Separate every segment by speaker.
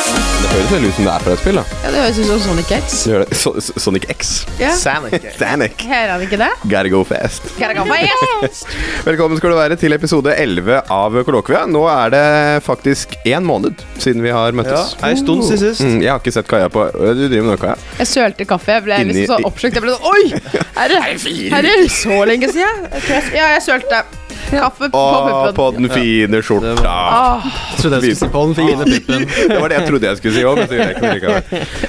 Speaker 1: høres veldig ut som det er fra et spill. da
Speaker 2: Ja, det høres ut som Sonic X.
Speaker 1: Så gjør det. So So- Sonic X.
Speaker 2: Ja.
Speaker 3: Sanic.
Speaker 1: Sanic.
Speaker 2: Her er det ikke det?
Speaker 1: Gotta go fast.
Speaker 2: Gotta go fast.
Speaker 1: Velkommen skal du være til episode 11 av Kollokvia. Nå er det faktisk én måned siden vi har
Speaker 3: Ja,
Speaker 1: møttes.
Speaker 3: ei stund siden sist.
Speaker 1: Mm, jeg har ikke sett Kaja på Øh, Du driver med noe, Kaja?
Speaker 2: Jeg sølte kaffe. Jeg ble
Speaker 1: Inni-
Speaker 2: liksom så oppslukt. Jeg ble sånn Oi! Er det, er det så lenge siden? Ok, Ja, jeg sølte kaffe på Ah.
Speaker 1: Å, på den
Speaker 2: puppen.
Speaker 1: fine skjorta.
Speaker 3: Det Jeg trodde jeg skulle si på den fine puppen.
Speaker 1: Det var det jeg trodde jeg skulle si òg, men så gjorde jeg ikke noe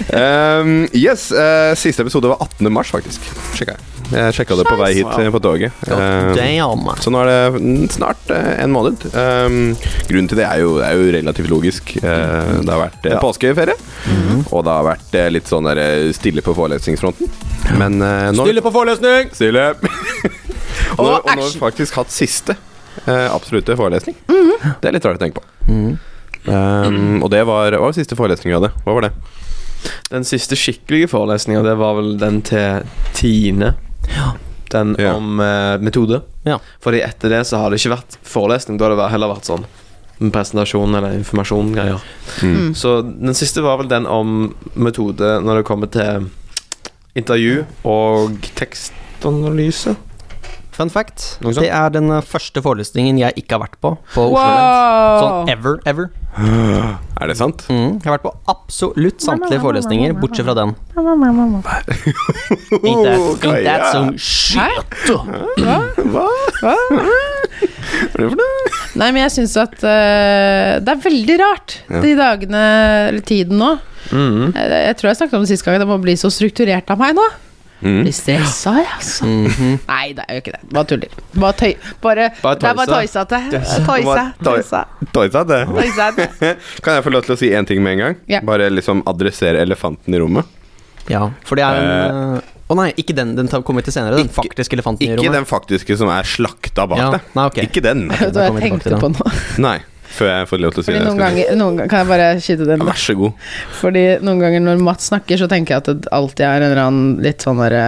Speaker 1: likevel. Um, yes, eh, siste episode var 18. mars, faktisk. Sjekka jeg. Jeg sjekka det på vei hit eh, på toget.
Speaker 3: God
Speaker 1: Um,
Speaker 3: damn.
Speaker 1: så nå er det mm, snart eh, en måned. Um, grunnen til det er jo, det er jo relativt logisk. Eh, det har vært eh, påskeferie, og det har vært eh, litt sånn der, eh, stille på forelesningsfronten. Men eh, nå
Speaker 3: på forelesning!
Speaker 1: Stille! og, nå, og nå har vi
Speaker 2: action.
Speaker 1: faktisk hatt siste eh, absolutte forelesning. Det er litt rart å tenke på. Um, og det var Hva var siste forelesning vi hadde? Hva var det?
Speaker 3: Den siste skikkelige forelesninga, det var vel den til Tine. Den
Speaker 1: Ja.
Speaker 3: om eh, metode.
Speaker 4: Ja.
Speaker 3: Fordi etter det så har det ikke vært forelesning. Da har det vært- heller vært sånn en presentasjon eller informasjon-greier.
Speaker 1: Mm.
Speaker 3: Så den siste var vel den om metode når det kommer til intervju og tekstanalyse.
Speaker 4: Fun fact.
Speaker 3: Noe sånt?
Speaker 4: Det er den eh, første forelesningen jeg ikke har vært på på Oslo Lens. Sånn
Speaker 2: Wow!
Speaker 4: ever, ever.
Speaker 1: Er det sant?
Speaker 4: Mm. Jeg har vært på absolutt samtlige forelesninger, bortsett fra den. Ain't that,
Speaker 1: Oh,
Speaker 4: ain't that
Speaker 1: Kaja.
Speaker 4: some shit?
Speaker 2: Hæ?
Speaker 1: Hva? Hva er det for noe?
Speaker 2: Nei, men jeg syns at eh, det er veldig rart,
Speaker 1: Ja.
Speaker 2: de dagene eller tiden nå.
Speaker 3: Mhm.
Speaker 2: Eh, Jeg tror jeg snakket om det sist gang, det må bli så strukturert av meg nå.
Speaker 1: Mm.
Speaker 2: Blir stressa, jeg, altså.
Speaker 4: Mm-hmm.
Speaker 2: Nei, det er jo ikke det. Bare tuller. Bare tøy... Bare,
Speaker 3: Bare
Speaker 2: det er bare
Speaker 3: tøysa.
Speaker 2: tøysete. Tøysa.
Speaker 3: Tøysa.
Speaker 1: Bare tøy-
Speaker 2: Tøysa.
Speaker 1: Toysat, det.
Speaker 2: Tøysa.
Speaker 1: Kan jeg få lov til å si én ting med en gang?
Speaker 2: Ja.
Speaker 1: Bare liksom adressere elefanten i rommet.
Speaker 4: Ja, for det er en eh, Å nei, ikke den. Den tar- kommer til senere. Den faktiske elefanten i
Speaker 1: Ikke
Speaker 4: rommet.
Speaker 1: den faktiske som er slakta bak
Speaker 4: Ja,
Speaker 1: deg.
Speaker 4: nei, ok.
Speaker 1: Ikke den.
Speaker 2: Vet du hva jeg
Speaker 4: Da kommer vi tilbake til
Speaker 2: tenkte
Speaker 4: det.
Speaker 2: på nå?
Speaker 1: Nei. Før jeg får lov til å si
Speaker 2: Fordi
Speaker 1: det. jeg skal
Speaker 2: noen
Speaker 1: si.
Speaker 2: ganger, noen ganger Kan jeg bare skyte den?
Speaker 1: Ja, Vær så god.
Speaker 2: Fordi noen ganger når Mats snakker, så tenker jeg at det alltid er en eller annen litt sånn derre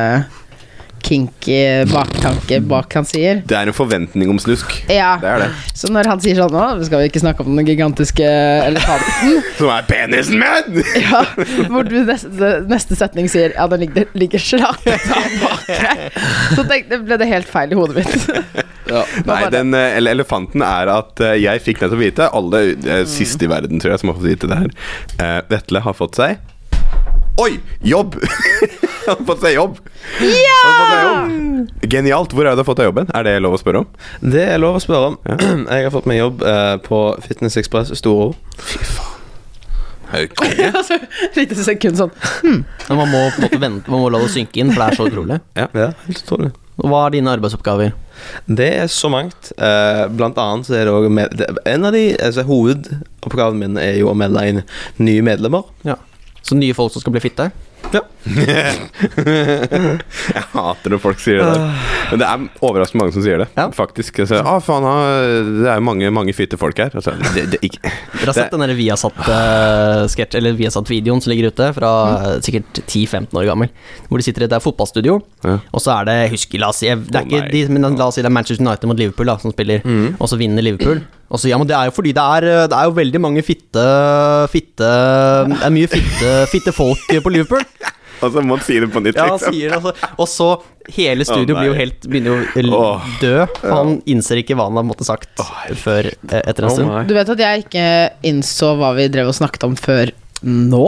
Speaker 2: kinky baktanke bak han sier.
Speaker 1: Det er en forventning om slusk. Det
Speaker 2: Ja.
Speaker 1: er det.
Speaker 2: Så når han sier sånn Nå skal vi ikke snakke om den gigantiske elefanten.
Speaker 1: Som er penisen min!
Speaker 2: Ja, hvor du neste, neste setning sier Ja, den ligger, ligger slakt bak deg. Så tenkte, ble det helt feil i hodet mitt.
Speaker 1: Nei,
Speaker 2: bare-
Speaker 1: den eh, ele- elefanten er at eh, jeg fikk nettopp vite Alle
Speaker 2: Mm.
Speaker 1: eh, sist i verden, tror jeg, som har fått vite det her. Eh, Vetle har fått seg Oi! Jobb! Han har fått seg jobb. Han har fått seg jobb. Genialt. Hvor er det du har fått deg jobben? Er det lov å spørre om?
Speaker 3: Det er lov å spørre om. Jeg har fått meg jobb eh, på Fitness Express Storo.
Speaker 2: Og så fikk det sekund sånn
Speaker 4: Men Man må på en måte vente, man må la det synke inn, for det er så utrolig.
Speaker 3: Ja, helt utrolig.
Speaker 4: Hva er dine arbeidsoppgaver?
Speaker 3: Det er så mangt. Eh, blant annet så er det også med, det, En av de altså, Hovedoppgaven min er jo å melde inn nye medlemmer.
Speaker 4: Så nye folk som skal bli fitte?
Speaker 1: Jeg hater når folk sier det der. Men det er overraskende mange som sier det.
Speaker 4: Ah. Ja.
Speaker 1: Faktisk. Altså, ah, faen, ah, det er jo mange, mange fitte folk her. Altså, det, det, ikke.
Speaker 4: Dere har sett den der Viasat-sketsj, eller Viasat-videoen som ligger ute, fra
Speaker 1: Mm.
Speaker 4: eh, sikkert 10-15 år gammel, hvor de sitter i et der fotballstudio,
Speaker 1: Ja.
Speaker 4: og så er det jeg husker, la oss si, jeg- det
Speaker 1: Å,
Speaker 4: er ikke
Speaker 1: nei. Mm.
Speaker 4: de, men la oss si det er Manchester United mot Liverpool da, som spiller, og så vinner Liverpool. Og så, ja, men det er jo fordi det er, eh, det er jo veldig mange fitte, fitte Det er mye fitte, fitte folk eh, på Liverpool.
Speaker 1: Altså, må man si det på nytt,
Speaker 4: Ja, han
Speaker 1: liksom.
Speaker 4: sier det, altså. Og så hele
Speaker 1: Å,
Speaker 4: studio
Speaker 1: nei.
Speaker 4: blir jo helt, begynner jo å l-
Speaker 1: Åh.
Speaker 4: dø. Han innser ikke hva han har måttet sagt før, eh, etter en stund.
Speaker 2: Du vet at jeg ikke innså hva vi drev og snakket om før nå?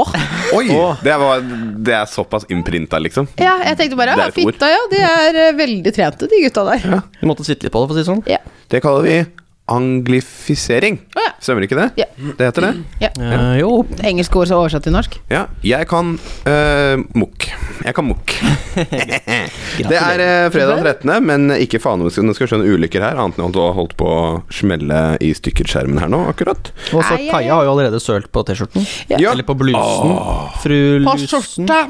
Speaker 1: Oi! Det, var, det er såpass innprinta, liksom.
Speaker 2: Ja, jeg tenkte bare
Speaker 1: Det er
Speaker 2: ja,
Speaker 1: et ord.
Speaker 2: fitta, ja. De er eh, veldig trente, de gutta der.
Speaker 4: Vi måtte sitte litt på det, for å si det sånn.
Speaker 2: Ja.
Speaker 1: Det kaller vi anglifisering.
Speaker 2: Å, ja.
Speaker 1: Stemmer ikke det?
Speaker 2: Ja.
Speaker 1: Det heter det?
Speaker 4: Eh, jo,
Speaker 2: Engelske ord som er oversatt til norsk.
Speaker 1: Ja. Jeg kan eh, mokk. Jeg kan mokk. Det er eh, fredag 13., men ikke faen om det skal, nå skal vi skjønne ulykker her, annet enn at du har holdt på å smelle i stykker skjermen her nå, akkurat.
Speaker 4: Og så
Speaker 2: Ai, ai, ai.
Speaker 4: Kaja har jo allerede sølt på T-skjorten.
Speaker 2: Ja.
Speaker 1: Ja. Ah.
Speaker 4: Eller på blusen. Fru
Speaker 2: På
Speaker 4: Lusen.
Speaker 2: skjorta!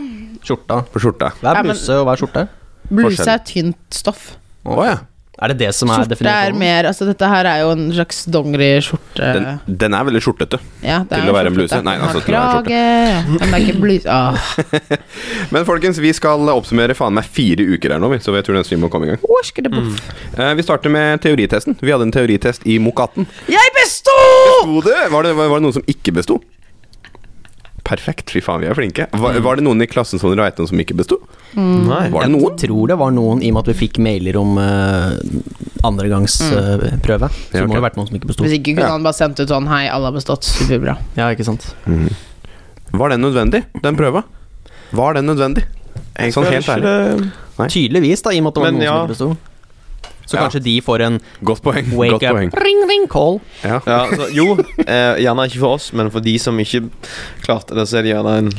Speaker 4: Skjorta.
Speaker 1: På skjorta.
Speaker 4: Hva
Speaker 2: Ja,
Speaker 4: er
Speaker 2: men-
Speaker 4: bluse og hva er skjorte?
Speaker 2: Bluse
Speaker 1: Forskjell.
Speaker 2: er tynt stoff.
Speaker 1: Å ja.
Speaker 4: Er det det som er
Speaker 2: Skjorte er
Speaker 4: definisjonen?
Speaker 2: mer Altså, dette her er jo en slags dongeriskjorte.
Speaker 1: Den, den er veldig skjortete.
Speaker 2: Ja, det er
Speaker 1: til
Speaker 2: jo
Speaker 1: å være en
Speaker 2: skjorte.
Speaker 1: bluse? Nei,
Speaker 2: Den har
Speaker 1: altså, til å være en
Speaker 2: krage, ja. Den er ikke Ah. bluse Åh.
Speaker 1: Men folkens, vi skal oppsummere faen meg fire uker her nå, vi, så jeg tror nesten vi må komme i gang.
Speaker 2: Hvor skal det boff?
Speaker 1: Eh, vi starter med teoritesten. Vi hadde en teoritest i Mokk 18.
Speaker 2: Jeg besto!
Speaker 1: Besto det? Var det, var det noen som ikke besto? perfekt. Fy faen, vi er flinke. Var, var det noen i klassen som dere vet om som ikke besto?
Speaker 3: Nei.
Speaker 1: Var det noen?
Speaker 4: Mm. Jeg tror det var noen, i og med at vi fikk mailer om uh, andregangsprøve. så
Speaker 1: Ja,
Speaker 4: det
Speaker 1: ok.
Speaker 4: må det ha vært noen som ikke besto.
Speaker 2: Mm. Hvis ikke kunne han bare sendt ut sånn Hei, alle har bestått. Superbra.
Speaker 4: Ja, ikke sant?
Speaker 1: Mm. Var den nødvendig, den prøva? Var den nødvendig?
Speaker 3: Jeg
Speaker 1: Sånn
Speaker 3: føler
Speaker 1: helt
Speaker 3: ikke det-
Speaker 1: Nei.
Speaker 4: Tydeligvis, da, i og med at det var
Speaker 3: Men
Speaker 4: noen
Speaker 3: ja.
Speaker 4: som ikke besto. Så
Speaker 1: Ja.
Speaker 4: kanskje de får en
Speaker 1: Godt poeng.
Speaker 4: wake
Speaker 1: Godt
Speaker 4: up
Speaker 1: poeng.
Speaker 4: ring ring call.
Speaker 1: Ja.
Speaker 3: Ja, altså, jo, eh, gjerne ikke for oss, men for de som ikke klarte det, så er det gjerne en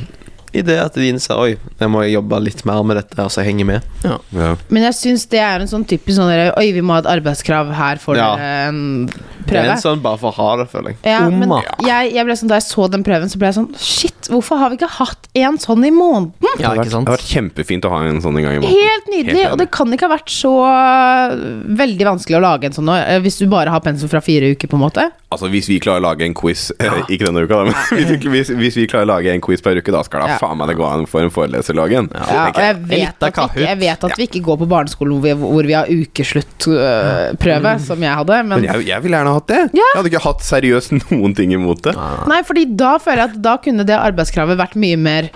Speaker 3: idé at de innser Oi, jeg må jobbe litt mer med dette, altså jeg henger med.
Speaker 1: Ja.
Speaker 2: Men jeg syns det er en sånn typisk sånn derre Oi, vi må ha et arbeidskrav. Her får
Speaker 3: Ja.
Speaker 2: dere en
Speaker 3: Det er
Speaker 2: prøve.
Speaker 3: en sånn bare for å ha det, føler jeg.
Speaker 2: Ja, men
Speaker 4: Omma.
Speaker 2: jeg, jeg ble sånn, da jeg så den prøven, så ble jeg sånn Shit, hvorfor har vi ikke hatt en sånn i måneden?
Speaker 1: Det
Speaker 4: Ja,
Speaker 1: har vært-
Speaker 4: ikke sant?
Speaker 1: Det har vært kjempefint å ha en sånn en gang i måneden.
Speaker 2: Helt nydelig.
Speaker 1: Helt enig.
Speaker 2: og det kan ikke ha vært så eh, veldig vanskelig å lage en sånn nå, eh, hvis du bare har pensum fra fire uker, på en måte.
Speaker 1: Altså Hvis vi klarer å lage en quiz eh, Ikke denne uka, da, men hvis vi, hvis, hvis vi klarer å lage en quiz per uke, da skal da
Speaker 2: Ja.
Speaker 1: faen meg det gå an for en foreleser å lage en.
Speaker 2: Ja,
Speaker 1: tenker jeg.
Speaker 2: og jeg vet,
Speaker 4: Elita
Speaker 2: at vi, ikke-
Speaker 4: Kahoot.
Speaker 2: jeg vet at vi ikke går på barneskolen hvor vi, hvor vi har ukesluttprøve, som jeg hadde, men
Speaker 1: Men jeg, jeg ville gjerne hatt det. Jeg hadde ikke hatt seriøst noen ting imot det.
Speaker 4: Ah.
Speaker 2: Nei, fordi da føler jeg at da kunne det arbeidskravet vært mye mer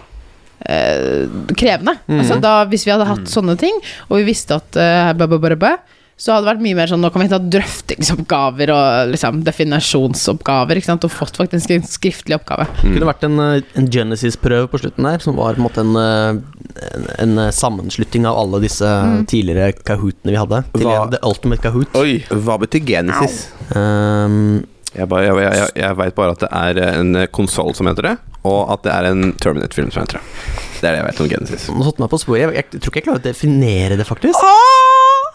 Speaker 2: eh, krevende. Altså da, Hvis vi hadde hatt sånne ting, og vi visste at eh, bæ, bæ, bæ, bæ, så hadde det vært mye mer sånn Nå kan vi ta drøftingsoppgaver og liksom, definasjonsoppgaver, ikke sant, og fått faktisk en skriftlig oppgave.
Speaker 1: Mm.
Speaker 4: Det kunne vært en, eh, en Genesis-prøve på slutten der, som var på en måte en, eh, en, en eh, sammenslutning av alle disse eh,
Speaker 2: Mm.
Speaker 4: tidligere Kahootene vi hadde. Til
Speaker 1: Hva-
Speaker 4: en The Ultimate Kahoot.
Speaker 3: Oi.
Speaker 1: Hva betyr Genesis?
Speaker 4: Um,
Speaker 1: Jeg, bare, jeg, jeg, jeg veit bare at det er eh, en konsoll som heter det, og at det er en Terminate-film som heter det. Det er det jeg vet om Genesis.
Speaker 4: nå satte du meg på sporet. Jeg, jeg, tror ikke jeg klarer å definere det, faktisk.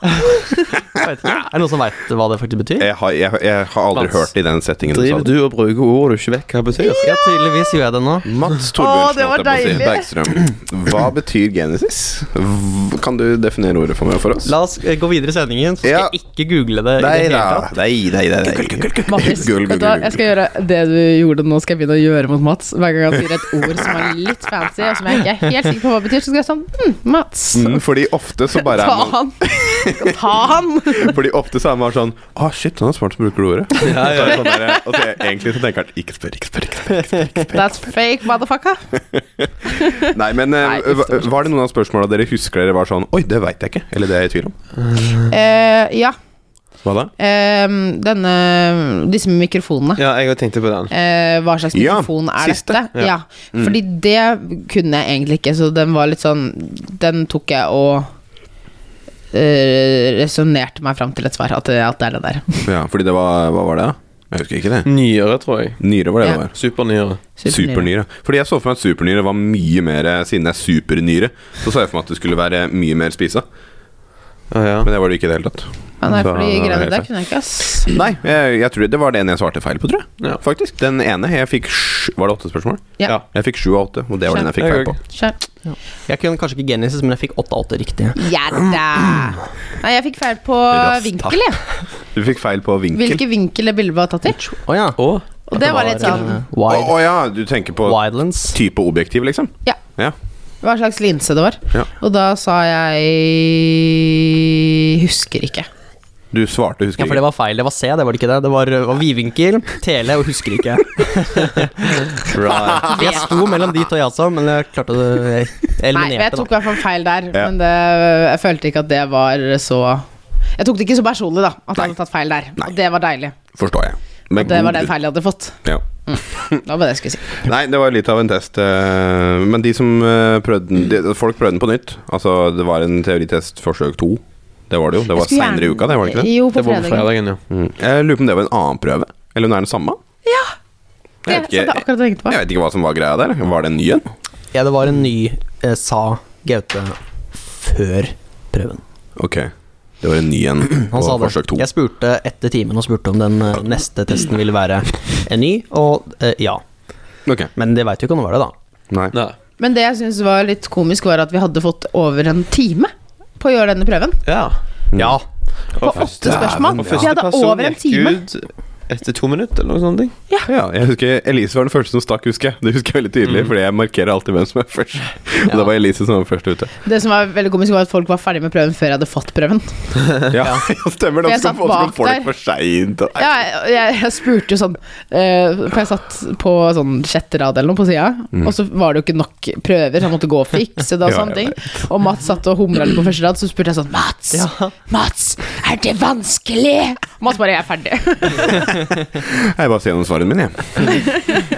Speaker 4: Jeg vet ikke. Er det noen som veit hva det faktisk betyr?
Speaker 1: Jeg har, jeg, jeg har aldri
Speaker 4: Mats.
Speaker 1: hørt det i den settingen du sa
Speaker 3: Driver
Speaker 1: det.
Speaker 3: du og bruker ord du ikke vet hva betyr?
Speaker 4: Ja, tydeligvis gjør jeg det nå.
Speaker 1: Mats
Speaker 2: Å, det
Speaker 1: Torbjørnsen,
Speaker 2: var
Speaker 1: holdt jeg på å
Speaker 2: deilig.
Speaker 1: si. Bergstrøm. Hva betyr Genesis? V- Kan du definere ordet for meg for oss?
Speaker 4: La oss eh, gå videre i sendingen, så skal
Speaker 1: Ja.
Speaker 4: jeg ikke google det. i
Speaker 1: Nei
Speaker 4: det hele
Speaker 1: da.
Speaker 4: tatt.
Speaker 1: Nei, nei, nei, nei.
Speaker 2: Mattis,
Speaker 1: Gull, gull,
Speaker 2: vet du hva?
Speaker 1: gull,
Speaker 2: Jeg skal gjøre det du gjorde nå, skal jeg begynne å gjøre mot Mats. Hver gang han sier et ord som er litt fancy, og som jeg ikke er helt sikker på hva betyr, så skal jeg sånn hm, Mats.
Speaker 1: Mm, fordi ofte så bare
Speaker 2: Ta
Speaker 1: er man
Speaker 2: han! Ta han!
Speaker 1: Fordi ofte så er man sånn Å, shit, han er smart som bruker det ordet.
Speaker 3: Ja,
Speaker 1: Så er det sånn der, og så egentlig så tenker han Ikke spør, ikke spør, ikke spør.
Speaker 2: That's fake, motherfucker.
Speaker 1: Nei, men eh,
Speaker 2: Nei, uff, det var
Speaker 1: hva- var det noen av spørsmålene dere husker dere var sånn Oi, det veit jeg ikke. Eller det er jeg i tvil om.
Speaker 2: Eh, ja.
Speaker 1: Hva da?
Speaker 2: Ehm, denne, disse mikrofonene.
Speaker 3: Ja, jeg tenkte på den.
Speaker 2: Eh, hva slags
Speaker 1: Ja, Mm.
Speaker 2: mikrofon er
Speaker 1: siste.
Speaker 2: dette?
Speaker 3: Ja.
Speaker 2: Ja. Fordi det kunne jeg egentlig ikke, så den var litt sånn Den tok jeg og uh, resonnerte meg fram til et svar, at det, at det er det der.
Speaker 1: Ja, fordi det var Hva var det, da? Jeg husker ikke det.
Speaker 3: Nyere, tror jeg.
Speaker 1: Nyre var det
Speaker 2: Ja.
Speaker 1: det var.
Speaker 3: Supernyere.
Speaker 1: Supernyre. Fordi jeg så for meg at supernyre var mye mer eh, Siden det er supernyre, så så jeg for meg at det skulle være mye mer spisa.
Speaker 3: Ja, ja.
Speaker 1: Men det var det ikke i det hele tatt.
Speaker 2: Ja, nei,
Speaker 1: Da
Speaker 2: for de
Speaker 1: var det
Speaker 2: greiene
Speaker 1: helt
Speaker 2: der
Speaker 1: feil.
Speaker 2: kunne jeg ikke, ass.
Speaker 1: Nei, jeg, jeg tror det var den jeg svarte feil på, tror jeg.
Speaker 3: Ja.
Speaker 1: Faktisk. Den ene. Jeg fikk sj- Var det åtte spørsmål?
Speaker 2: Ja.
Speaker 3: Ja.
Speaker 1: Jeg fikk sju av åtte, og det var den jeg fikk
Speaker 3: Jeg
Speaker 1: feil på.
Speaker 3: òg.
Speaker 2: Skjønt.
Speaker 4: Jeg kunne kanskje ikke Genesis, men jeg fikk åtte av åtte riktige.
Speaker 2: Ja da. Nei, jeg fikk feil på
Speaker 1: Raskt,
Speaker 2: vinkel, jeg.
Speaker 1: Du fikk feil på vinkel.
Speaker 2: Hvilken vinkel det bildet var tatt i.
Speaker 4: Å ja.
Speaker 3: Og
Speaker 2: Og det var litt sånn
Speaker 4: eh,
Speaker 1: Å
Speaker 4: wide,
Speaker 1: å ja, du tenker på
Speaker 4: Widelands.
Speaker 1: type objektiv, liksom?
Speaker 2: Ja.
Speaker 1: Ja.
Speaker 2: Hva slags linse det var.
Speaker 1: Ja.
Speaker 2: Og da sa jeg Husker ikke.
Speaker 1: Du svarte,
Speaker 4: Ja,
Speaker 1: husker
Speaker 4: for det var feil. Det var C, det var det ikke det? Det var, var vidvinkel, tele og husker ikke. Jeg sto mellom de to, jeg også, men jeg klarte å jeg
Speaker 2: Nei, men jeg
Speaker 4: eliminerte
Speaker 2: tok i
Speaker 4: det.
Speaker 2: hvert fall feil der,
Speaker 1: Ja.
Speaker 2: men det, jeg følte ikke at det var så Jeg tok det ikke så personlig, da, at jeg hadde tatt feil der.
Speaker 1: Nei.
Speaker 2: Og det var deilig.
Speaker 1: ikke. Forstår jeg. Men
Speaker 2: Det var
Speaker 1: god-
Speaker 2: den feilen jeg hadde fått.
Speaker 1: Ja.
Speaker 2: Det var bare det jeg skulle si.
Speaker 1: Nei, det var litt av en test. eh, Men de som eh, prøvde den de, Folk prøvde den på nytt. Altså, det var en teoritest forsøk to. Det var det jo. Det var
Speaker 2: Jeg skulle
Speaker 1: seinere i
Speaker 2: gjerne-
Speaker 1: uka, det var det ikke det?
Speaker 2: Jo, på
Speaker 3: det var på
Speaker 2: fredagen.
Speaker 3: fredagen, ja.
Speaker 1: Mm. Jeg lurer på om det var en annen prøve. Eller om det er den samme.
Speaker 2: Ja,
Speaker 1: Jeg
Speaker 2: så
Speaker 1: vet
Speaker 2: det er
Speaker 1: ikke,
Speaker 2: akkurat det jeg tenkte på.
Speaker 1: jeg vet ikke hva som var greia der. Var det en ny en?
Speaker 4: Ja, det var en ny eh, sa Gaute før prøven.
Speaker 1: Ok. Det var en ny en på
Speaker 4: Han sa
Speaker 1: forsøk to.
Speaker 4: det. Jeg spurte etter timen og spurte om den eh, neste testen ville være en ny, og eh, ja.
Speaker 1: Ok.
Speaker 4: Men det veit jo ikke om det var det, da.
Speaker 1: Nei.
Speaker 3: Nei.
Speaker 2: Men det jeg syns var litt komisk, var at vi hadde fått over en time på å gjøre denne prøven.
Speaker 3: Ja.
Speaker 1: Ja.
Speaker 2: På åtte
Speaker 1: Dæven,
Speaker 2: spørsmål.
Speaker 3: Og første
Speaker 2: Vi hadde
Speaker 3: person
Speaker 2: over en
Speaker 3: gikk
Speaker 2: time.
Speaker 3: Ut, etter to minutter, eller noe sånt. ting.
Speaker 1: Ja, jeg husker Elise var den første som stakk, husker jeg. Det husker jeg veldig
Speaker 2: Mm.
Speaker 1: tydelig, fordi jeg markerer alltid hvem som er først. Og da var Elise som var først ute.
Speaker 2: Det som var veldig komisk, var at folk var ferdig med prøven før jeg hadde fått prøven.
Speaker 1: Ja, stemmer.
Speaker 2: For
Speaker 1: De
Speaker 2: jeg
Speaker 1: skal
Speaker 2: satt
Speaker 1: få skal
Speaker 2: bak
Speaker 1: få det
Speaker 2: der.
Speaker 1: for seint.
Speaker 2: Ja, jeg, jeg spurte jo sånn eh, For jeg satt på sånn sjette rad eller noe på sida,
Speaker 3: Mm.
Speaker 2: og så var det jo ikke nok prøver, så jeg måtte gå og fikse det og
Speaker 1: Ja,
Speaker 2: sånne
Speaker 1: jeg
Speaker 2: ting. Og Mats satt og humra litt på første rad, så spurte jeg sånn Mats, Mats, er det vanskelig? Og Mats bare, jeg er ferdig.
Speaker 1: Jeg bare ser gjennom svarene mine, jeg.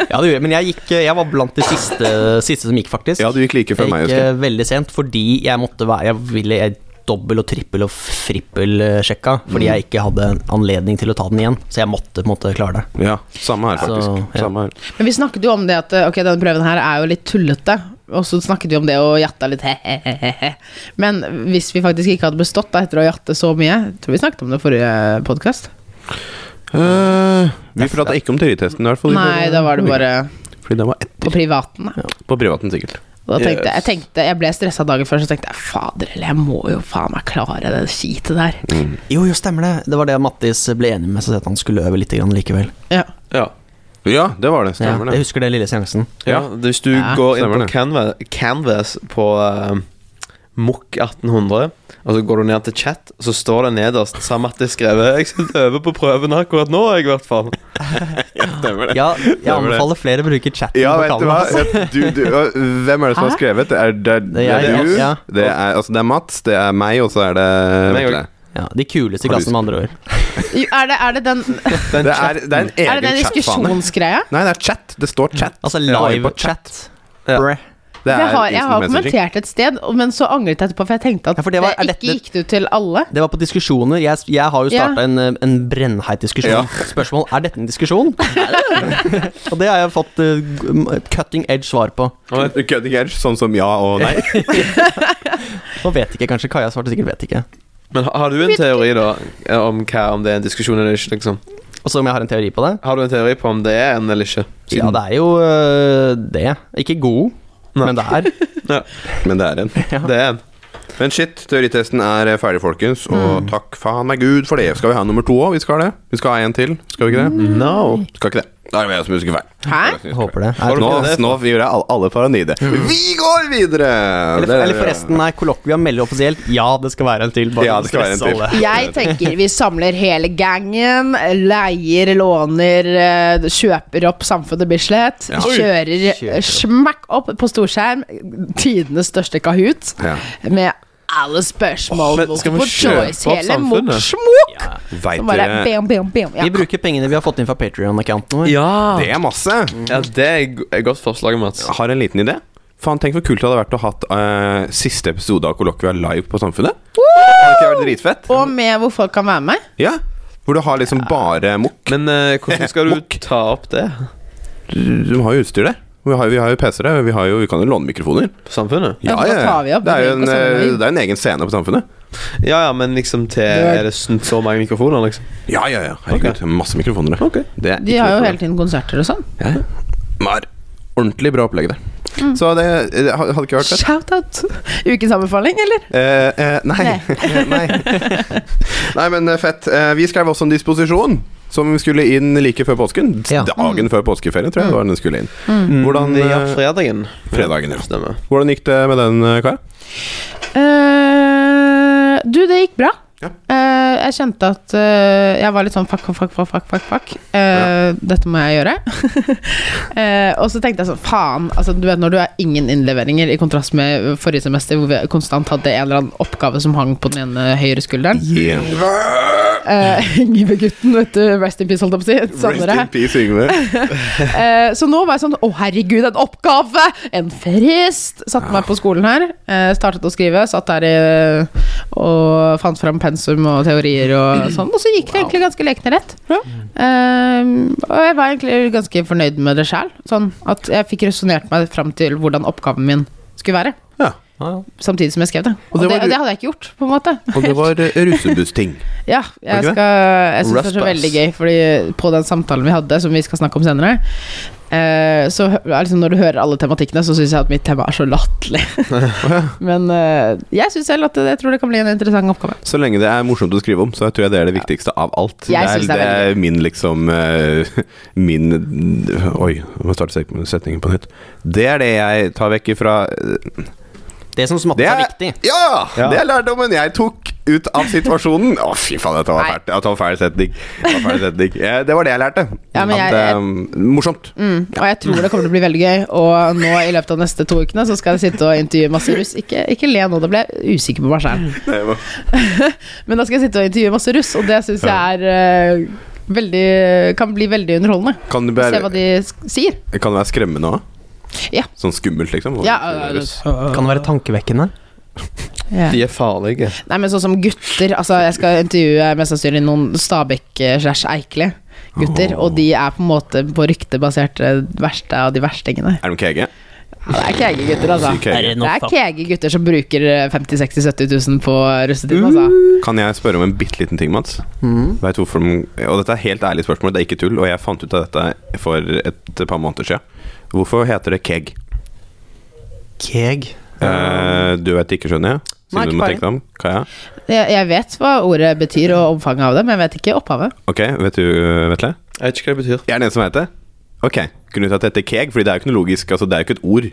Speaker 4: Ja, det gjorde jeg, men jeg, gikk, eh, jeg var blant de siste, siste som gikk, faktisk.
Speaker 1: Ja, du gikk like før
Speaker 4: jeg
Speaker 1: meg,
Speaker 4: gikk
Speaker 1: husker jeg.
Speaker 4: eh, veldig sent fordi jeg måtte være Jeg ville jeg dobbel og trippel og frippel eh, sjekka fordi jeg ikke hadde anledning til å ta den igjen. Så jeg måtte på en måte klare det.
Speaker 1: Ja, samme her,
Speaker 4: Så,
Speaker 1: faktisk.
Speaker 4: ja.
Speaker 1: Samme her.
Speaker 2: Men vi snakket jo om det at eh, ok, denne prøven her er jo litt tullete, og så snakket vi om det og jatta litt he-he-he. Men hvis vi faktisk ikke hadde bestått da, etter å jatte så mye jeg Tror vi snakket om det i forrige podkast.
Speaker 1: Eh, vi prata ikke om teoritesten, i hvert fall. i
Speaker 2: Nei,
Speaker 1: forrige-
Speaker 2: da var det bare
Speaker 1: Fordi den var etter.
Speaker 2: på privaten. da.
Speaker 1: På privaten, sikkert.
Speaker 2: Og da tenkte jeg, jeg,
Speaker 3: Yes.
Speaker 2: tenkte, jeg ble stressa dagen før, så tenkte jeg fader eller jeg må jo faen meg klare det skitet der.
Speaker 1: Mm.
Speaker 4: Jo, jo, stemmer det. Det var det Mattis ble enig med seg at han skulle øve litt grann likevel.
Speaker 2: Ja.
Speaker 3: Ja.
Speaker 1: Ja, det var det.
Speaker 4: Ja,
Speaker 1: Stemmer
Speaker 4: jeg
Speaker 1: det.
Speaker 4: husker den lille seansen.
Speaker 3: Ja,
Speaker 1: Ja.
Speaker 3: Hvis du
Speaker 2: Ja.
Speaker 3: går inn
Speaker 1: Stemmer
Speaker 3: på
Speaker 1: det.
Speaker 3: Canva, Canvas på uh, Mokk 1800, og så går du ned til chat, og så står det nederst Sam Mattis skrevet 'Jeg sitter over på prøven akkurat nå, jeg, i hvert fall'.
Speaker 1: Stemmer det.
Speaker 4: Ja, jeg
Speaker 1: var det.
Speaker 4: anbefaler flere å bruke chatten
Speaker 1: Ja,
Speaker 4: på
Speaker 1: vet du
Speaker 4: kanalen.
Speaker 1: hva?
Speaker 4: altså.
Speaker 1: Du, du, hvem er det som har
Speaker 2: Hæ?
Speaker 1: skrevet? Det er, det er, det
Speaker 4: jeg,
Speaker 1: er du,
Speaker 4: ja.
Speaker 1: det er, altså, det er Mats, det er meg, og så er det
Speaker 3: Meg
Speaker 1: Vetle.
Speaker 4: Ja, de kuleste i
Speaker 1: Har du-
Speaker 4: klassen, med andre ord.
Speaker 2: Jo, Er det, er det den,
Speaker 3: Den
Speaker 1: Det
Speaker 3: chat-
Speaker 1: er, det er en
Speaker 2: er det
Speaker 1: egen
Speaker 2: den
Speaker 1: chatfane.
Speaker 2: diskusjonsgreia?
Speaker 1: Nei, det er chat. Det står chat.
Speaker 4: Altså
Speaker 1: Jeg var jo på
Speaker 4: live-chat.
Speaker 3: Ja.
Speaker 4: Bre.
Speaker 1: Det er
Speaker 2: For Jeg har, jeg
Speaker 1: instant
Speaker 2: har
Speaker 1: messaging.
Speaker 2: kommentert et sted, og- men så angret jeg etterpå, for jeg tenkte at
Speaker 4: Ja, for
Speaker 2: det,
Speaker 4: det var- er
Speaker 2: ikke
Speaker 4: dette-
Speaker 2: gikk det ut til alle.
Speaker 4: Det var på diskusjoner. Jeg, jeg har jo
Speaker 2: Ja.
Speaker 4: starta en, eh, en brennheit diskusjon.
Speaker 1: Ja.
Speaker 4: Spørsmål er dette en diskusjon? og det har jeg fått eh, g- cutting edge svar på.
Speaker 1: Cutting edge, sånn som ja og nei.
Speaker 4: Nå vet ikke kanskje Kaja svarte sikkert vet ikke.
Speaker 3: Men har- har du en teori, da, eh, om hva om det er en diskusjon eller ikke? liksom?
Speaker 4: Og så om jeg har en teori på det?
Speaker 3: Har du en teori på om det er en eller ikke?
Speaker 4: Ja, det er jo eh, det. Ikke god,
Speaker 3: Nei.
Speaker 4: men det er.
Speaker 1: Men det er en.
Speaker 3: Det er en.
Speaker 1: Men shit, teoritesten er ferdig, folkens. Og takk faen meg gud for det. Skal vi ha nummer to òg? Vi skal det. Vi skal ha en til, skal vi ikke det?
Speaker 3: No.
Speaker 1: Skal ikke det. Da er det jeg som husker feil.
Speaker 2: Hæ?
Speaker 1: Jeg husker feil.
Speaker 4: Håper det. Er,
Speaker 1: Nå,
Speaker 3: ikke det?
Speaker 1: nå gjorde jeg alle, alle paranoide. Mm. Vi går videre! Det
Speaker 4: eller,
Speaker 1: er-
Speaker 4: eller forresten, nei, kollokvia melder offisielt ja, det skal være en til. Bare
Speaker 1: Ja, det skal være en
Speaker 4: stresse
Speaker 1: til.
Speaker 4: alle.
Speaker 2: Jeg tenker vi samler hele gangen. Leier, låner, eh, kjøper opp Samfunnet Bislett.
Speaker 1: Ja. Oi.
Speaker 2: Kjører eh, smekk opp på storskjerm. Tidenes største Kahoot.
Speaker 1: Ja.
Speaker 2: Med alle spørsmål.
Speaker 3: Åh, men skal vi
Speaker 2: multiple
Speaker 3: kjøpe opp
Speaker 2: choice, hele
Speaker 3: Samfunnet?
Speaker 2: Moksmok!
Speaker 1: Vet
Speaker 2: Bare
Speaker 1: dere
Speaker 2: bam, bam, bam. Ja.
Speaker 4: Vi bruker pengene vi har fått inn fra Patrion-accounten vår.
Speaker 3: Ja.
Speaker 1: Det er masse.
Speaker 3: ja, det er go- et godt forslag, Mats.
Speaker 1: har en liten idé. Faen, tenk hvor kult det hadde vært å ha hatt eh, siste episode av Kollokvia live på Samfunnet. Hadde ikke det vært dritfett?
Speaker 2: Og med hvor folk kan være med.
Speaker 1: Ja. Hvor du har liksom bare mokk.
Speaker 3: Men eh, hvordan skal du ta opp det
Speaker 1: Du har jo utstyr der. Vi har, vi har jo PC-er, og vi, har jo, vi kan jo låne mikrofoner.
Speaker 3: på samfunnet?
Speaker 2: Ja, da tar vi opp
Speaker 1: det er jo en,
Speaker 2: link og sender
Speaker 1: eh,
Speaker 2: det inn.
Speaker 1: det er en egen scene på Samfunnet.
Speaker 3: Ja, ja, men liksom til
Speaker 2: er-
Speaker 3: Er det sn- så mange mikrofoner, liksom?
Speaker 1: Ja, ja, ja. Herregud. Masse mikrofoner. der.
Speaker 3: Ok.
Speaker 1: Det er
Speaker 2: De
Speaker 1: ikke
Speaker 2: har
Speaker 1: noe
Speaker 2: jo
Speaker 1: problem.
Speaker 2: hele tiden konserter og sånn.
Speaker 1: Ja, ja. Mar. Ordentlig bra opplegg der.
Speaker 2: Mm.
Speaker 1: Så det, det hadde ikke vært fett.
Speaker 2: Shout-out! Ukens anbefaling, eller?
Speaker 1: Eh, eh, nei. nei. nei, men eh, fett. Eh, vi skrev også en disposisjon som skulle inn like før påsken.
Speaker 4: Ja.
Speaker 2: Mm.
Speaker 1: Dagen før påskeferien, tror jeg. det var den skulle inn Hvordan,
Speaker 3: Mm. Ja,
Speaker 1: eh,
Speaker 3: fredagen.
Speaker 1: fredagen, ja.
Speaker 3: Stemmer.
Speaker 1: Hvordan gikk det med den, eh, Kaja?
Speaker 2: Eh, du, det gikk bra.
Speaker 1: Ja.
Speaker 2: Eh, jeg kjente at eh, jeg var litt sånn fuck, fuck, fuck, fuck, fuck, fuck, fuck. Eh, Dette må jeg gjøre. Eh, og så tenkte jeg sånn, faen. Altså, du vet når du har ingen innleveringer, i kontrast med forrige semester hvor vi konstant hadde en eller annen oppgave som hang på den ene høyre skulderen. Eh, Yngve-gutten, vet du. Rest in peace, holdt jeg på å si.
Speaker 1: Rest
Speaker 2: Savner det.
Speaker 1: in peace, Yngve.
Speaker 2: Eh, så nå var jeg sånn Å, herregud, en oppgave! En frist! Satte meg på skolen her. Eh, startet å skrive. Satt der i, og fant fram pensum og teorier og sånn. Og så gikk det egentlig ganske lekende rett. Eh, og jeg var egentlig ganske fornøyd med det sjæl. Sånn at jeg fikk resonnert meg fram til hvordan oppgaven min skulle være.
Speaker 1: Ja.
Speaker 3: Ja, ja.
Speaker 2: samtidig som jeg skrev det. Og,
Speaker 1: det
Speaker 2: det,
Speaker 1: var
Speaker 2: og det hadde jeg ikke gjort, på en måte.
Speaker 1: Og det var eh, russebussting.
Speaker 2: Ja,
Speaker 1: Var
Speaker 2: jeg,
Speaker 1: det ikke det?
Speaker 2: skal, jeg synes det er så
Speaker 3: Raspass.
Speaker 2: veldig gøy, fordi på den samtalen vi hadde, som vi skal snakke om senere, eh, så hø- er liksom når du hører alle tematikkene, så syns jeg at mitt tema er så latterlig. Men eh, jeg syns selv at det, jeg tror det kan bli en interessant oppgave.
Speaker 1: Så lenge det er morsomt å skrive om, så tror jeg det er det viktigste av alt.
Speaker 2: Jeg
Speaker 1: det,
Speaker 2: synes
Speaker 1: er,
Speaker 2: det er veldig
Speaker 1: er min liksom eh, Min Oi, jeg må starte set- setningen på nytt. Det er det jeg tar vekk ifra eh,
Speaker 4: Det som smatter
Speaker 1: Det
Speaker 4: er
Speaker 1: er
Speaker 4: viktig.
Speaker 1: Ja!
Speaker 3: Ja.
Speaker 1: Det er lærdommen jeg tok ut av situasjonen. Å, fy faen, dette var
Speaker 2: Nei.
Speaker 1: fælt. Dette var fæl setning. Det var, fæl setning. Eh, det var det jeg lærte.
Speaker 2: Ja, men
Speaker 1: At,
Speaker 2: jeg-
Speaker 1: eh, morsomt.
Speaker 2: Mm, og jeg tror det kommer til å bli veldig gøy. Og nå i løpet av neste to ukene så skal jeg sitte og intervjue masse russ. Ikke, ikke le nå, da ble jeg usikker på meg sjæl.
Speaker 1: Det var-
Speaker 2: Men da skal jeg sitte og intervjue masse russ, og det syns jeg er eh, veldig Kan bli veldig underholdende.
Speaker 1: Kan det
Speaker 2: Se
Speaker 1: være,
Speaker 2: hva de sk- sier.
Speaker 1: kan det være skremmende òg?
Speaker 2: Ja.
Speaker 1: Sånn skummelt, liksom?
Speaker 2: Ja,
Speaker 1: Russ.
Speaker 4: Kan det være tankevekkende?
Speaker 2: ja.
Speaker 3: De er farlige.
Speaker 2: Nei, men sånn som gutter Altså, jeg skal intervjue mest sannsynlig noen eh, Stabæk-slash-Eikeli-gutter, og de er på en måte på ryktebasert eh, verste av de verstingene.
Speaker 1: Er de kege?
Speaker 2: Ja, det er kege gutter, altså.
Speaker 1: Sykt kege.
Speaker 4: Er det
Speaker 2: Det er
Speaker 4: noe
Speaker 2: kege gutter som bruker eh, 50 60 70 000 på russetiden, altså.
Speaker 1: Kan jeg spørre om en bitte liten ting, Mats?
Speaker 4: Mm.
Speaker 1: Vet du hvorfor de- og dette er helt ærlig spørsmål, det er ikke tull, og jeg fant ut av dette for et par måneder siden. Hvorfor heter det keg?
Speaker 4: Keg.
Speaker 1: Eh, du vet ikke, skjønner jeg?
Speaker 4: Nei,
Speaker 1: Siden du
Speaker 4: ikke
Speaker 1: må
Speaker 4: peiling.
Speaker 1: tenke deg om. Kaja?
Speaker 2: Jeg, jeg vet hva ordet betyr og omfanget av det, men jeg vet ikke opphavet.
Speaker 1: Ok, vet du, eh, Vetle?
Speaker 3: Jeg vet ikke hva det betyr.
Speaker 1: Jeg er den eneste som vet det. Ok, Grunnen til at det heter keg, fordi det er jo ikke noe logisk, altså det er jo ikke et ord.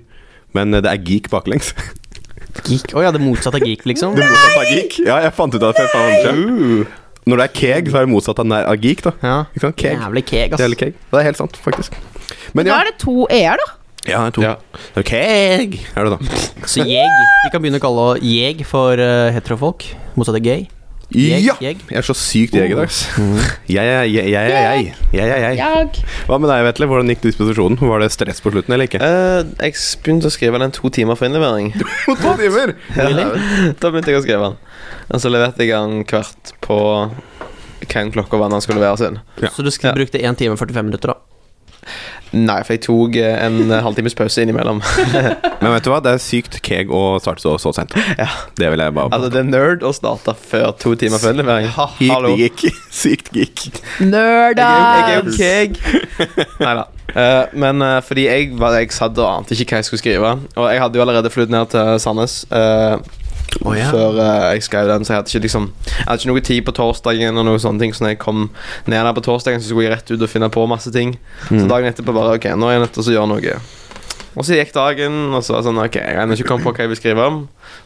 Speaker 1: Men eh, det er geek baklengs.
Speaker 4: Geek. Å ja, det motsatte av geek, liksom.
Speaker 1: Det motsatte av geek. Ja, jeg fant ut av det for et par måneder siden.
Speaker 3: Uh.
Speaker 1: Når det er keg, så er det motsatt av nær- av geek, da.
Speaker 4: Ja.
Speaker 1: Ikke sant? Keg.
Speaker 4: Jævlig keg,
Speaker 1: Det er,
Speaker 4: ass.
Speaker 1: keg. det er helt sant, faktisk. Men
Speaker 2: Da
Speaker 1: ja,
Speaker 2: er det to e-er, da.
Speaker 1: ja det er to.
Speaker 3: Ja.
Speaker 1: Det er keg, er det da.
Speaker 4: Så jeg. Vi kan begynne å kalle jeg for eh, heterofolk. Motsatt av gay. Jeg,
Speaker 1: Ja!
Speaker 4: jeg.
Speaker 1: Jeg er så sykt jeg i dag. ass. Jeg, jeg, jeg, jeg, jeg, jeg, jeg, jeg.
Speaker 2: Jag.
Speaker 1: Hva med deg, Vetle? Hvordan gikk disposisjonen? Var det stress på slutten, eller ikke?
Speaker 3: Eh, jeg s- begynte å skrive den to timer for innlevering.
Speaker 1: På to timer!
Speaker 3: Da begynte jeg å skrive den. Og så leverte jeg den hvert på hvem klokka var når den skulle leveres inn.
Speaker 1: Ja.
Speaker 4: Så du skulle
Speaker 3: Ja.
Speaker 4: brukte 1 time og 45 minutter, da.
Speaker 3: Nei, for jeg tok eh, en eh, halvtimes pause innimellom.
Speaker 1: Men vet du hva, det er sykt keg å starte så, så sent.
Speaker 3: Ja.
Speaker 1: Det vil jeg bare
Speaker 3: Altså, det er nerd å starte før to timer for innlevering. Ha, hallo.
Speaker 1: Sykt geek. Sykt geek.
Speaker 2: Nerda!
Speaker 3: Jeg er jo keg. Nei da. men eh, fordi jeg, var, jeg satt og ante ikke hva jeg skulle skrive. Og jeg hadde jo allerede flydd ned til Sandnes eh,
Speaker 1: Å, ja.
Speaker 3: før eh, jeg skrev den. Så jeg hadde ikke liksom Jeg hadde ikke noe tid på torsdagen. Og noe sånne ting Så når jeg kom ned der på torsdagen, så skulle jeg rett ut og finne på masse ting.
Speaker 1: Mm.
Speaker 3: Så dagen etterpå bare Ok, nå er jeg nødt til å gjøre noe. Og så gikk dagen, og så var det sånn Ok, jeg har ennå ikke kommet på hva jeg vil skrive om.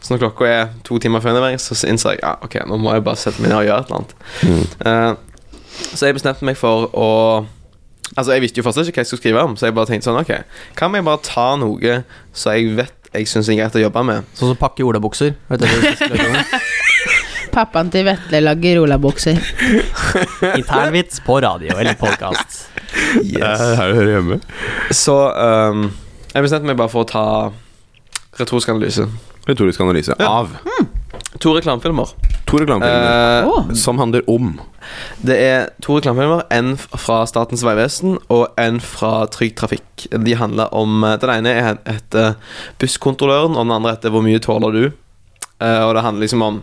Speaker 3: Så når klokka er to timer før innlevering, så innså jeg ja, ok, nå må jeg bare sette meg ned og gjøre et eller annet.
Speaker 1: Mm.
Speaker 3: Eh, så jeg bestemte meg for å Altså, jeg visste jo fortsatt ikke hva jeg skulle skrive om, så jeg bare tenkte sånn, ok, kan vi bare ta noe så jeg vet jeg syns er greit å jobbe med?
Speaker 4: Sånn som pakke i olabukser. Vet du det du skulle gjøre?
Speaker 2: Pappaen til Vetle lager olabukser.
Speaker 4: Internvits på radio eller podkast.
Speaker 1: Det er Eh, her du hører hjemme.
Speaker 3: Så ehm, jeg bestemte meg bare for å ta retorisk analyse.
Speaker 1: Retorisk analyse
Speaker 3: Ja.
Speaker 1: av
Speaker 3: To reklamefilmer.
Speaker 1: to reklamefilmer
Speaker 3: Eh,
Speaker 2: Åh.
Speaker 1: som handler om
Speaker 3: det er to reklamefilmer, en f- fra Statens vegvesen og en fra Trygg Trafikk. De handler om eh, Den ene er- heter Busskontrolløren, og den andre heter Hvor mye tåler du? Eh, og det handler liksom om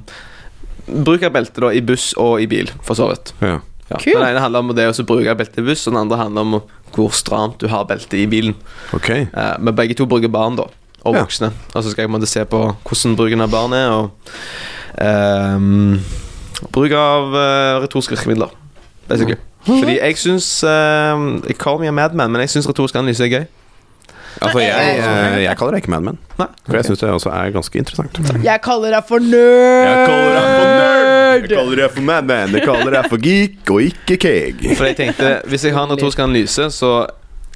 Speaker 3: bruk av belte da, i buss og i bil, for så vidt.
Speaker 1: ja.
Speaker 3: Ja.
Speaker 2: Kult.
Speaker 3: Den ene handler om det å så bruke belte i buss, og den andre handler om hvor stramt du har belte i bilen.
Speaker 1: Ok.
Speaker 3: Eh, men begge to bruker barn, da. Og
Speaker 1: Ja.
Speaker 3: voksne. Og så skal jeg på en måte se på hvordan bruken av barn er, og ehm, Bruk av eh, retoriske virkemidler, basically. Fordi jeg syns uh, Call me a madman, men jeg syns retorisk analyse er gøy.
Speaker 1: Altså, jeg, eh, jeg kaller det ikke Mad Men.
Speaker 3: Nei.
Speaker 1: For jeg syns det også er ganske interessant.
Speaker 2: Jeg kaller deg for nerd!
Speaker 1: Jeg kaller deg for nerd, jeg kaller deg for madman, jeg kaller deg for geek og ikke keg.
Speaker 3: For jeg tenkte, hvis jeg har en retorisk analyse, så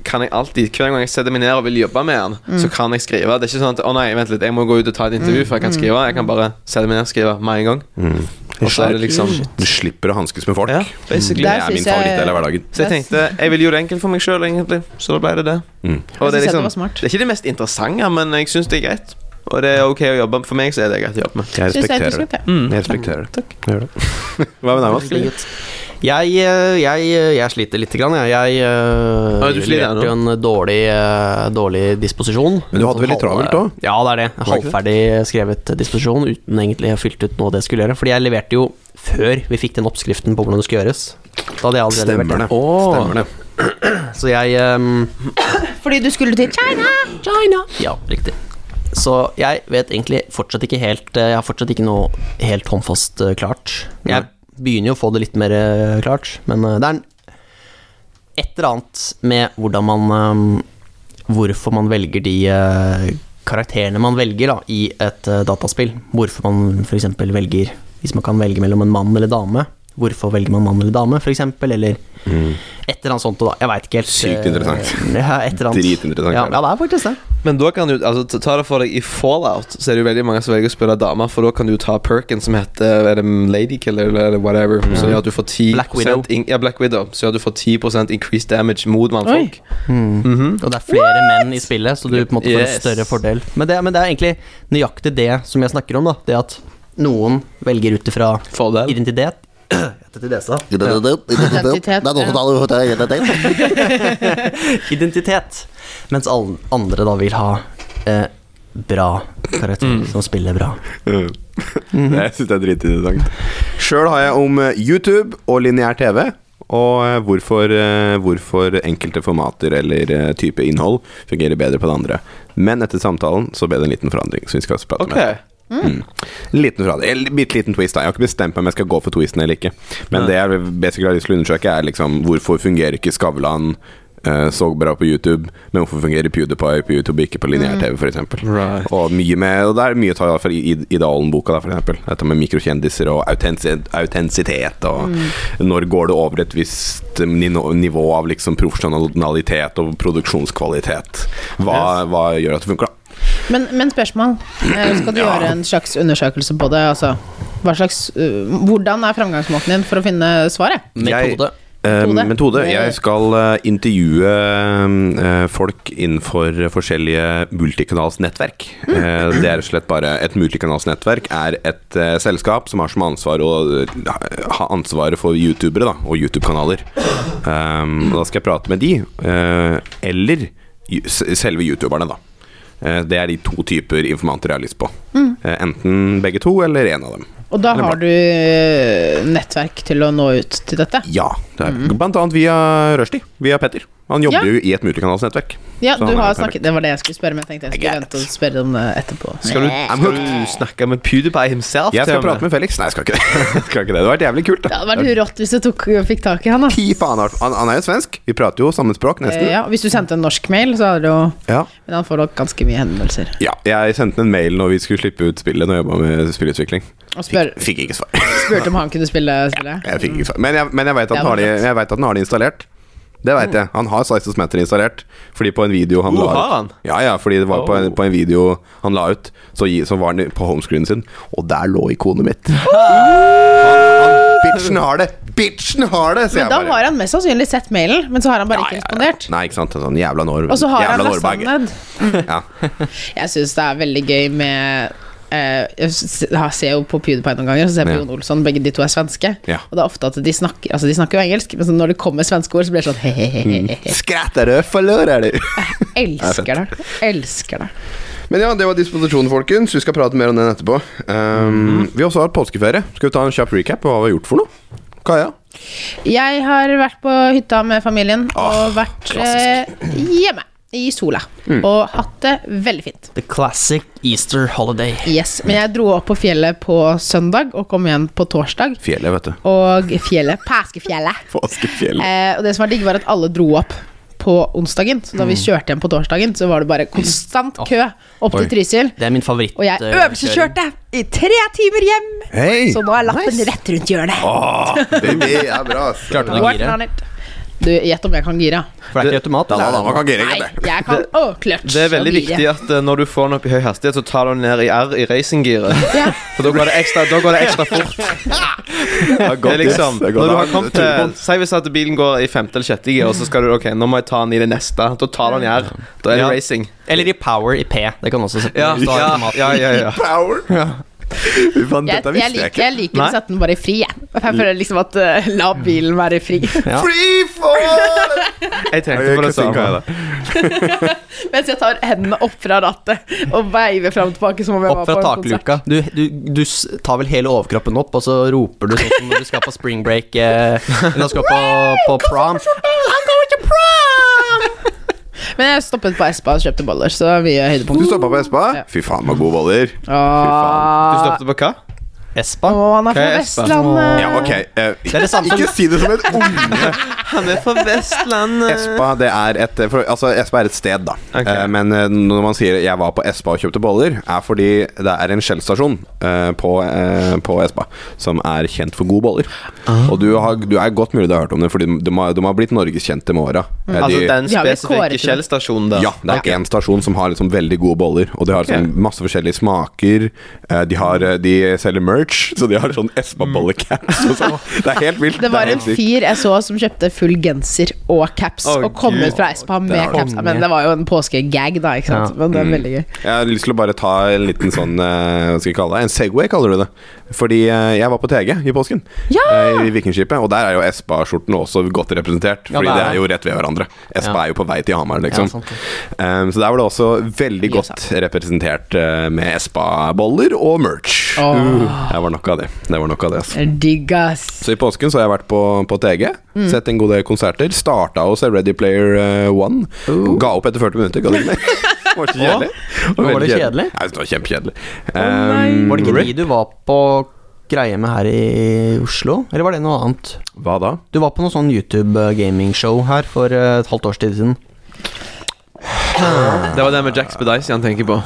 Speaker 3: kan jeg alltid, hver gang jeg setter meg ned og vil jobbe med den,
Speaker 2: Mm.
Speaker 3: så kan jeg skrive. Det er ikke sånn at 'Å nei, vent litt, jeg må gå ut og ta et intervju for jeg
Speaker 2: Mm.
Speaker 3: kan skrive'. Jeg kan bare sette meg ned og skrive med en gang. Og så er det liksom
Speaker 1: Mm. Du slipper å hanskes med folk.
Speaker 3: Ja, basically.
Speaker 1: Det
Speaker 2: Der
Speaker 1: er min
Speaker 2: synes jeg-
Speaker 1: favorittdel av hverdagen.
Speaker 3: Så jeg tenkte jeg ville gjøre det enkelt for meg sjøl, egentlig. Så da ble det det.
Speaker 1: Mm.
Speaker 3: Og
Speaker 2: Jeg synes
Speaker 3: det er,
Speaker 2: det var
Speaker 3: liksom,
Speaker 2: smart.
Speaker 3: det er ikke det mest interessante, men jeg syns det er greit. Og det er ok å jobbe med. For meg så er det greit å jobbe med.
Speaker 1: Jeg
Speaker 2: Synes jeg er
Speaker 1: respekterer det.
Speaker 2: interessant, jeg.
Speaker 1: Jeg respekterer det. Jeg gjør det. Hva med deg, Mads?
Speaker 4: Jeg, eh, jeg, eh, jeg sliter lite grann, jeg. Jeg eh,
Speaker 3: Ah, du sliter
Speaker 4: leverte jo en dårlig, eh, dårlig disposisjon. Sånn
Speaker 1: Men du hadde veldig travelt også?
Speaker 4: Ja, det er det.
Speaker 1: Var det ikke
Speaker 4: Halvferdig skrevet disposisjon uten egentlig å ha fylt ut noe av det jeg skulle gjøre. Fordi jeg leverte jo før vi fikk den oppskriften på hvordan det skulle gjøres. Da hadde jeg allerede
Speaker 1: Stemmer det.
Speaker 4: levert den.
Speaker 1: Stemmer det.
Speaker 4: Åh, Så jeg ehm,
Speaker 2: Fordi du skulle til China!
Speaker 4: Ja, riktig. Så jeg vet egentlig fortsatt ikke helt eh, Jeg har fortsatt ikke noe helt håndfast eh, klart. Jeg begynner jo å få det litt mer eh, klart, men eh, det er en- et eller annet med hvordan man eh, Hvorfor man velger de eh, karakterene man velger da, i et eh, dataspill. Hvorfor man f.eks. velger Hvis man kan velge mellom en mann eller dame. Hvorfor velger man mann eller dame, f.eks.? Eller et eller annet sånt. Da. Jeg veit ikke helt.
Speaker 1: Mm. Sykt
Speaker 4: eh,
Speaker 1: interessant.
Speaker 4: Ja, et eller annet.
Speaker 1: Dritinteressant,
Speaker 4: Ja,
Speaker 1: er det.
Speaker 4: ja, det er faktisk det.
Speaker 3: Men da kan du altså, ta- Ta det for deg i Fallout, så er det jo veldig mange som velger å spille damer, for da kan du jo ta perken som heter Er det Ladykiller eller er det whatever, som gjør at du får 10
Speaker 4: Black Widow.
Speaker 3: In, ja, Black Widow. Så gjør at du får 10 increased damage mot mannfolk.
Speaker 4: Og det er flere menn i spillet, så du på en måte får en
Speaker 3: Mhm. Yes.
Speaker 4: større fordel. Men det, men det er egentlig nøyaktig det som jeg snakker om, da. Det at noen velger ut ifra
Speaker 3: Fordel.
Speaker 4: identitet. Identitet.
Speaker 2: Identitet,
Speaker 5: Det er noe som taler for deg, identitet.
Speaker 4: Identitet. Mens alle andre da vil ha eh, bra karakterer som spiller bra.
Speaker 1: Mm.
Speaker 3: Mhm.
Speaker 1: Jeg syns det er dritinteressant. Sjøl har jeg om eh, YouTube og lineær TV. Og eh, hvorfor, eh, hvorfor enkelte formater eller eh, type innhold fungerer bedre på det andre. Men etter samtalen så ble det en liten forandring. Så vi skal prate
Speaker 3: Ok.
Speaker 1: med Mm. Liten forandring, eller bitte liten twist. da Jeg har ikke bestemt meg om jeg skal gå for twisten eller ikke. Men det jeg basically har lyst til å undersøke, er liksom hvorfor fungerer ikke Skavlan eh, så bra på YouTube, men hvorfor fungerer PewDiePie på YouTube ikke på lineær-TV, f.eks.
Speaker 3: Right.
Speaker 1: Og, mye med- og det er mye å ta fra Id- Idalen-boka, da, for eksempel Dette med mikrokjendiser og autensi- autentisitet, og når går det over et visst nino- nivå av liksom profesjonalitet og produksjonskvalitet? Hva, hva gjør at det funker, da?
Speaker 2: Men, men spørsmål. Eh, Skal du gjøre en slags undersøkelse på det? Altså, hva slags, eh, hvordan er framgangsmåten din for å finne svaret?
Speaker 1: Jeg-
Speaker 4: Metode.
Speaker 1: Eh,
Speaker 2: Metode.
Speaker 1: metode.
Speaker 2: Det-
Speaker 1: Jeg skal eh, intervjue eh, folk innenfor eh, forskjellige multikanalsnettverk. Eh, det er rett og slett bare Et multikanalsnettverk er et eh, selskap som har som ansvar å eh, ha ansvaret for youtubere da, og YouTube-kanaler. Um, da skal jeg prate med de, eh, eller ju- s- selve youtuberne, da. Eh, Det er de to typer informanter jeg har lyst på. Eh, Enten begge to, eller én av dem.
Speaker 2: Og da
Speaker 1: Eller
Speaker 2: har du eh, nettverk til å nå ut til dette?
Speaker 1: Ja, det er, blant annet via Rushdie, via Petter. Han jobber
Speaker 2: Mhm. Ja.
Speaker 1: jo i et multikanalsnettverk.
Speaker 2: Ja,
Speaker 1: Så
Speaker 2: du
Speaker 1: han er
Speaker 2: har
Speaker 1: perfekt.
Speaker 2: snakket Det var det jeg skulle spørre om. Jeg tenkte jeg skulle
Speaker 1: Greit.
Speaker 2: vente og spørre om det etterpå.
Speaker 3: Skal du,
Speaker 1: I'm
Speaker 3: skal du snakke med PewDiePie himself?
Speaker 1: Jeg skal
Speaker 3: til og
Speaker 1: prate med Felix. Nei, jeg skal ikke det. Jeg skal ikke det. det hadde vært jævlig kult.
Speaker 2: Det
Speaker 1: Da.
Speaker 2: hadde vært rått hvis du tok, fikk tak i han. Da.
Speaker 1: Fy faen, Arf. han, han er jo svensk. Vi prater jo samme språk,
Speaker 2: Eh,
Speaker 1: nesten.
Speaker 2: Ja, hvis du sendte en norsk mail, så hadde du jo
Speaker 1: Ja.
Speaker 2: Men han får nok ganske mye henvendelser.
Speaker 1: ja. Jeg sendte en mail når vi skulle slippe ut spillet, når jeg jobba med spillutvikling.
Speaker 2: Og spør,
Speaker 1: Fikk ikke svar.
Speaker 2: spurte om han kunne spille spillet.
Speaker 1: Jeg fikk ikke svar. Men jeg, men jeg veit at, han har
Speaker 2: Mm. Det Mm. var
Speaker 1: det-
Speaker 2: godt.
Speaker 1: jeg vet at han har det installert. Det veit jeg. Han har Size of Matter installert. Fordi på en video han
Speaker 3: Oh,
Speaker 1: la ut
Speaker 3: har han?
Speaker 1: Ja, ja, fordi det var på, en,
Speaker 3: Oh.
Speaker 1: på en video han la ut, så, gi- så var han på homescreenen sin, og der lå ikonet mitt. Han, han, bitchen har det! Bitchen har det! sier
Speaker 2: Men
Speaker 1: jeg
Speaker 2: da
Speaker 1: bare.
Speaker 2: har han mest sannsynlig sett mailen, men så har han bare
Speaker 1: Ja,
Speaker 2: ikke
Speaker 1: ja, ja.
Speaker 2: respondert.
Speaker 1: Nei, ikke sant. En sånn jævla norv.
Speaker 2: Og så har han
Speaker 1: jævla
Speaker 2: lasta
Speaker 1: norrbag.
Speaker 2: den ned.
Speaker 1: Ja.
Speaker 2: Jeg syns det er veldig gøy med eh, jeg s- jeg ser jo på PewDiePie noen ganger, så ser jeg på
Speaker 1: Ja.
Speaker 2: Jon Olsson, begge de to er svenske.
Speaker 1: Ja.
Speaker 2: Og det er ofte at de snakker Altså, de snakker jo engelsk, men så når det kommer svenske ord, så blir det sånn he-he-he.
Speaker 1: Skrattar du, forlører du?
Speaker 2: Elsker det. Elsker det.
Speaker 1: Men ja, det var disposisjonen, folkens. Vi skal prate mer om den etterpå. Um,
Speaker 2: Mhm.
Speaker 1: Vi har også hatt påskeferie. Skal vi ta en kjapp recap på hva vi har gjort for noe? Kaja?
Speaker 2: Jeg har vært på hytta med familien
Speaker 1: Åh,
Speaker 2: og vært eh, hjemme i sola.
Speaker 1: Mm.
Speaker 2: Og hatt det veldig fint.
Speaker 4: The classic Easter holiday.
Speaker 2: Yes. Men jeg dro opp på fjellet på søndag og kom igjen på torsdag.
Speaker 1: Fjellet, vet du.
Speaker 2: Og fjellet Påskefjellet.
Speaker 1: Påskefjellet.
Speaker 2: Eh, og det som var digg, var at alle dro opp på onsdagen. Så da vi kjørte hjem på torsdagen, så var det bare konstant kø opp
Speaker 1: Oi.
Speaker 2: til Trysil.
Speaker 4: Det er min favoritt.
Speaker 2: Og jeg
Speaker 4: eh, kjøring.
Speaker 2: øvelseskjørte i tre timer hjem!
Speaker 1: Hei!
Speaker 2: Så nå er lappen rett rundt hjøret.
Speaker 1: Åh, baby, det er bra. ass.
Speaker 4: Klarte du å
Speaker 2: Working
Speaker 4: gire?
Speaker 2: on it. Du, gjett om jeg kan gire?
Speaker 4: For det er ikke automat.
Speaker 1: Ja, da, da,
Speaker 4: altså.
Speaker 1: man kan gire,
Speaker 2: Nei,
Speaker 1: gutter.
Speaker 2: jeg kan Å, clutch.
Speaker 3: Det er veldig
Speaker 2: og
Speaker 3: viktig
Speaker 2: gire.
Speaker 3: at eh, når du får den opp i høy hastighet, så tar du den ned i R i racinggiret.
Speaker 2: Ja.
Speaker 3: For da går det ekstra, da går det ekstra fort.
Speaker 1: Det er
Speaker 3: Det
Speaker 1: godt,
Speaker 3: er liksom,
Speaker 1: yes. Det er godt.
Speaker 3: når du har kommet
Speaker 1: Det er
Speaker 3: til
Speaker 1: turbon.
Speaker 3: Si hvis at bilen går i femte eller sjette gir, og så skal du Ok, nå må jeg ta den i det neste. Da tar den i R. Da er det
Speaker 4: Ja.
Speaker 3: racing.
Speaker 4: Eller i power i P. Det kan også sette
Speaker 3: Ja,
Speaker 4: hvis du har
Speaker 3: ja,
Speaker 4: automat.
Speaker 3: ja, ja, ja.
Speaker 1: Power. Fy faen,
Speaker 2: Jeg,
Speaker 1: dette
Speaker 2: jeg,
Speaker 1: visste jeg
Speaker 2: liker,
Speaker 1: ikke.
Speaker 2: jeg liker å
Speaker 3: Nei.
Speaker 2: sette den bare fri, jeg. Jeg føler liksom at eh, La bilen være fri.
Speaker 3: Ja.
Speaker 1: Free fall!
Speaker 3: Jeg tenkte på det samme.
Speaker 2: Mens jeg tar hendene opp fra rattet og veiver fram og tilbake som om jeg
Speaker 4: Opp
Speaker 2: var
Speaker 4: fra
Speaker 2: på en konsert.
Speaker 4: takluka. Du, du, du s- tar vel hele overkroppen opp, og så roper du sånn som når du skal på spring break eh, Når du skal på, på prom.
Speaker 2: Men jeg stoppet på Espa og kjøpte boller, så vi gjør
Speaker 1: Du
Speaker 2: høydepunkt.
Speaker 1: stoppa på Espa?
Speaker 2: Ja.
Speaker 1: Fy faen, med gode boller.
Speaker 2: Åh.
Speaker 3: Du stoppet på hva?
Speaker 4: Espa.
Speaker 2: Å, han er fra
Speaker 3: Hva er Espa?
Speaker 2: Vestlandet.
Speaker 1: Ja, ok. eh,
Speaker 4: Det er det samme som
Speaker 1: ikke si det som et ord.
Speaker 3: Han er fra Vestlandet.
Speaker 1: Espa det er et for, Altså, Espa er et sted, da.
Speaker 3: Ok.
Speaker 1: Eh, men eh, når man sier 'jeg var på Espa og kjøpte boller', er fordi det er en Shell-stasjon eh, på, eh, på Espa som er kjent for gode boller. Og du, har, du er godt mulig du har hørt om det, fordi de har, de har blitt norgeskjente med åra.
Speaker 2: Mm.
Speaker 1: Eh,
Speaker 3: Altså
Speaker 1: de-
Speaker 3: den
Speaker 2: De har vel kåret
Speaker 3: spesifikke
Speaker 2: det.
Speaker 3: Kjell-stasjonen der.
Speaker 1: Ja, det er én stasjon som har liksom veldig gode boller. Og de har sånn masse forskjellige smaker. Eh, De, har, eh, de selger merch, så de har sånn Espa-bollecaps og sånn. Det er helt vilt.
Speaker 2: Mm. Det var
Speaker 1: er
Speaker 2: en
Speaker 1: helt sykt.
Speaker 2: fyr jeg så som kjøpte full genser og caps
Speaker 3: Å,
Speaker 2: og kom
Speaker 3: Gud.
Speaker 2: ut fra Espa med
Speaker 1: er
Speaker 2: caps. Men det var jo en påskegag, da. Ikke sant? Men det er veldig gøy.
Speaker 1: Jeg har lyst til å bare ta en liten sånn eh, Hva skal jeg kalle det? En Segway, kaller du det. Fordi eh, jeg var på TG i påsken.
Speaker 2: Ja!
Speaker 1: Eh, I Vikingskipet. Og der er jo Espa-skjortene også godt representert.
Speaker 4: Ja,
Speaker 1: Fordi
Speaker 4: det er
Speaker 1: det
Speaker 4: det.
Speaker 1: er jo rett ved hverandre. Espa
Speaker 4: Ja.
Speaker 1: er jo på vei til Hamar,
Speaker 4: Ja,
Speaker 1: liksom.
Speaker 4: sant det.
Speaker 1: Eh, så der var det også veldig
Speaker 2: Mye
Speaker 1: godt representert eh, med Espa-boller og merch. Det var nok av det. Det var nok av det altså.
Speaker 2: Digg, ass.
Speaker 1: Så i påsken så har jeg vært på, på TG, sett en god del konserter. Starta hos Ready Player eh, One. Ga opp etter 40 minutter. Gadd ikke mer. Det Var ikke kjedelig.
Speaker 4: Var det
Speaker 1: veldig
Speaker 4: kjedelig?
Speaker 1: Ja, det var kjempekjedelig. Um,
Speaker 4: Var det ikke de du var på greie med her i Oslo? Eller var det noe annet?
Speaker 1: Hva da?
Speaker 4: Du var på noe sånn YouTube-gamingshow her for eh, et halvt års tid siden.
Speaker 3: Det var det med Jack Spedice han tenker på.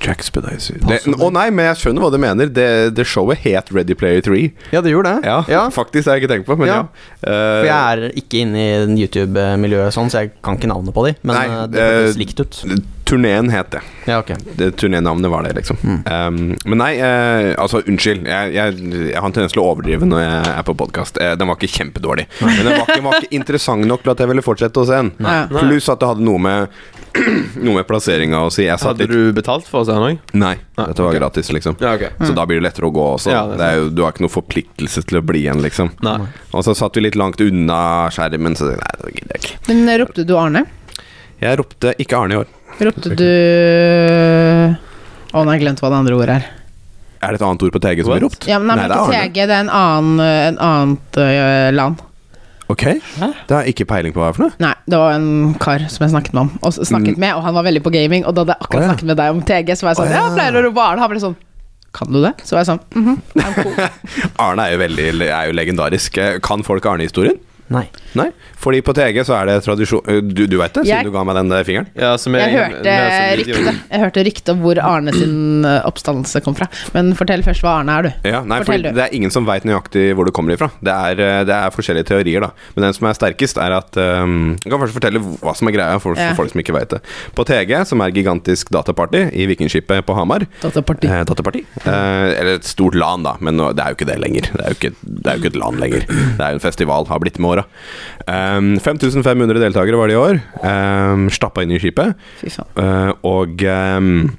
Speaker 1: Jack Spedice Det- Å nei, men jeg skjønner hva du mener. Det, det showet het Ready Player 3.
Speaker 4: Ja, det gjorde det.
Speaker 1: Ja, faktisk har jeg ikke tenkt på, men ja. Eh,
Speaker 4: Ja. For jeg er ikke inne i den YouTube-miljøet, sånn, så jeg kan ikke navnet på de. Men
Speaker 1: Nei,
Speaker 4: eh, det høres
Speaker 1: eh,
Speaker 4: likt ut.
Speaker 1: Turneen het det.
Speaker 4: Ja, ok.
Speaker 1: det Turnénavnet var det, liksom. Um, men nei, eh, altså, unnskyld. Jeg, jeg, jeg har en tendens til å overdrive når jeg er på podkast. den var ikke kjempedårlig, men den var ikke, var ikke interessant nok til at jeg ville fortsette å se den.
Speaker 2: Nei. Nei.
Speaker 1: Pluss at det hadde noe med Noe med plasseringa å si. Jeg satt
Speaker 3: Hadde
Speaker 1: litt
Speaker 3: du betalt for oss, han òg?
Speaker 1: Nei,
Speaker 3: Nei,
Speaker 1: dette var
Speaker 3: ok.
Speaker 1: gratis, liksom.
Speaker 3: Ja, ok.
Speaker 1: Så da blir det lettere å gå også.
Speaker 3: Ja, det er
Speaker 1: det er jo, du har ikke noen forpliktelse til å bli igjen, liksom.
Speaker 3: Nei.
Speaker 1: Og så satt vi litt langt unna skjermen, så nei, det gidder jeg ikke.
Speaker 2: Men eh, ropte du Arne?
Speaker 1: Jeg ropte ikke Arne i år.
Speaker 2: Ropte du Å, nå har jeg glemt hva det andre ordet er.
Speaker 1: Er det et annet ord på TG som
Speaker 3: What?
Speaker 1: er ropt?
Speaker 2: Ja, men nei, men ikke
Speaker 1: Arne.
Speaker 2: TG, det er en annen, eh, en annet eh, land.
Speaker 1: Ok, det har jeg ikke peiling på hva det er for noe.
Speaker 2: Nei, det var en kar som jeg snakket med om Og s- snakket med, og han var veldig på gaming Og da hadde jeg
Speaker 1: Mm.
Speaker 2: akkurat
Speaker 1: Å, ja.
Speaker 2: snakket med deg om TG Så var jeg sånn,
Speaker 1: Å,
Speaker 2: ja,
Speaker 1: ja.
Speaker 2: jeg pleier å rope Arne Han ble sånn, kan du det? Så var jeg sånn, mhm
Speaker 1: Arne er jo, veldig, er jo legendarisk. Eh, Kan folk Arne-historien?
Speaker 4: Nei.
Speaker 1: Nei. Fordi på TG så er det tradisjon eh, Du, du veit det, siden
Speaker 2: Jeg-
Speaker 1: du ga meg den der fingeren?
Speaker 3: Ja, så vi-
Speaker 2: Jeg
Speaker 3: vi- vi
Speaker 2: hørte
Speaker 3: har sånn video-
Speaker 2: rykte Jeg hørte rykte om hvor Arne sin eh, oppstandelse kom fra Men fortell først hva Arne er du
Speaker 1: Ja, nei,
Speaker 2: Fortell
Speaker 1: fordi
Speaker 2: du.
Speaker 1: Det er ingen som veit nøyaktig hvor det kommer ifra. Det er, eh, det er forskjellige teorier, da. Men den som er sterkest, er at um, Jeg kan først fortelle hva som er greia, for,
Speaker 2: Ja.
Speaker 1: for folk som ikke veit det. På TG, som er gigantisk dataparty i Vikingskipet på Hamar
Speaker 2: Dataparti
Speaker 1: Eh, dataparti. Eh, eller et stort LAN, da, men nå, det er jo ikke det lenger. Det er jo ikke, det er jo ikke et LAN lenger. Det er jo en festival, har blitt med åra. Um, 5500 deltakere var det i år. Um, stappa inn i skipet.
Speaker 2: Fy faen
Speaker 1: Eh, og ehm,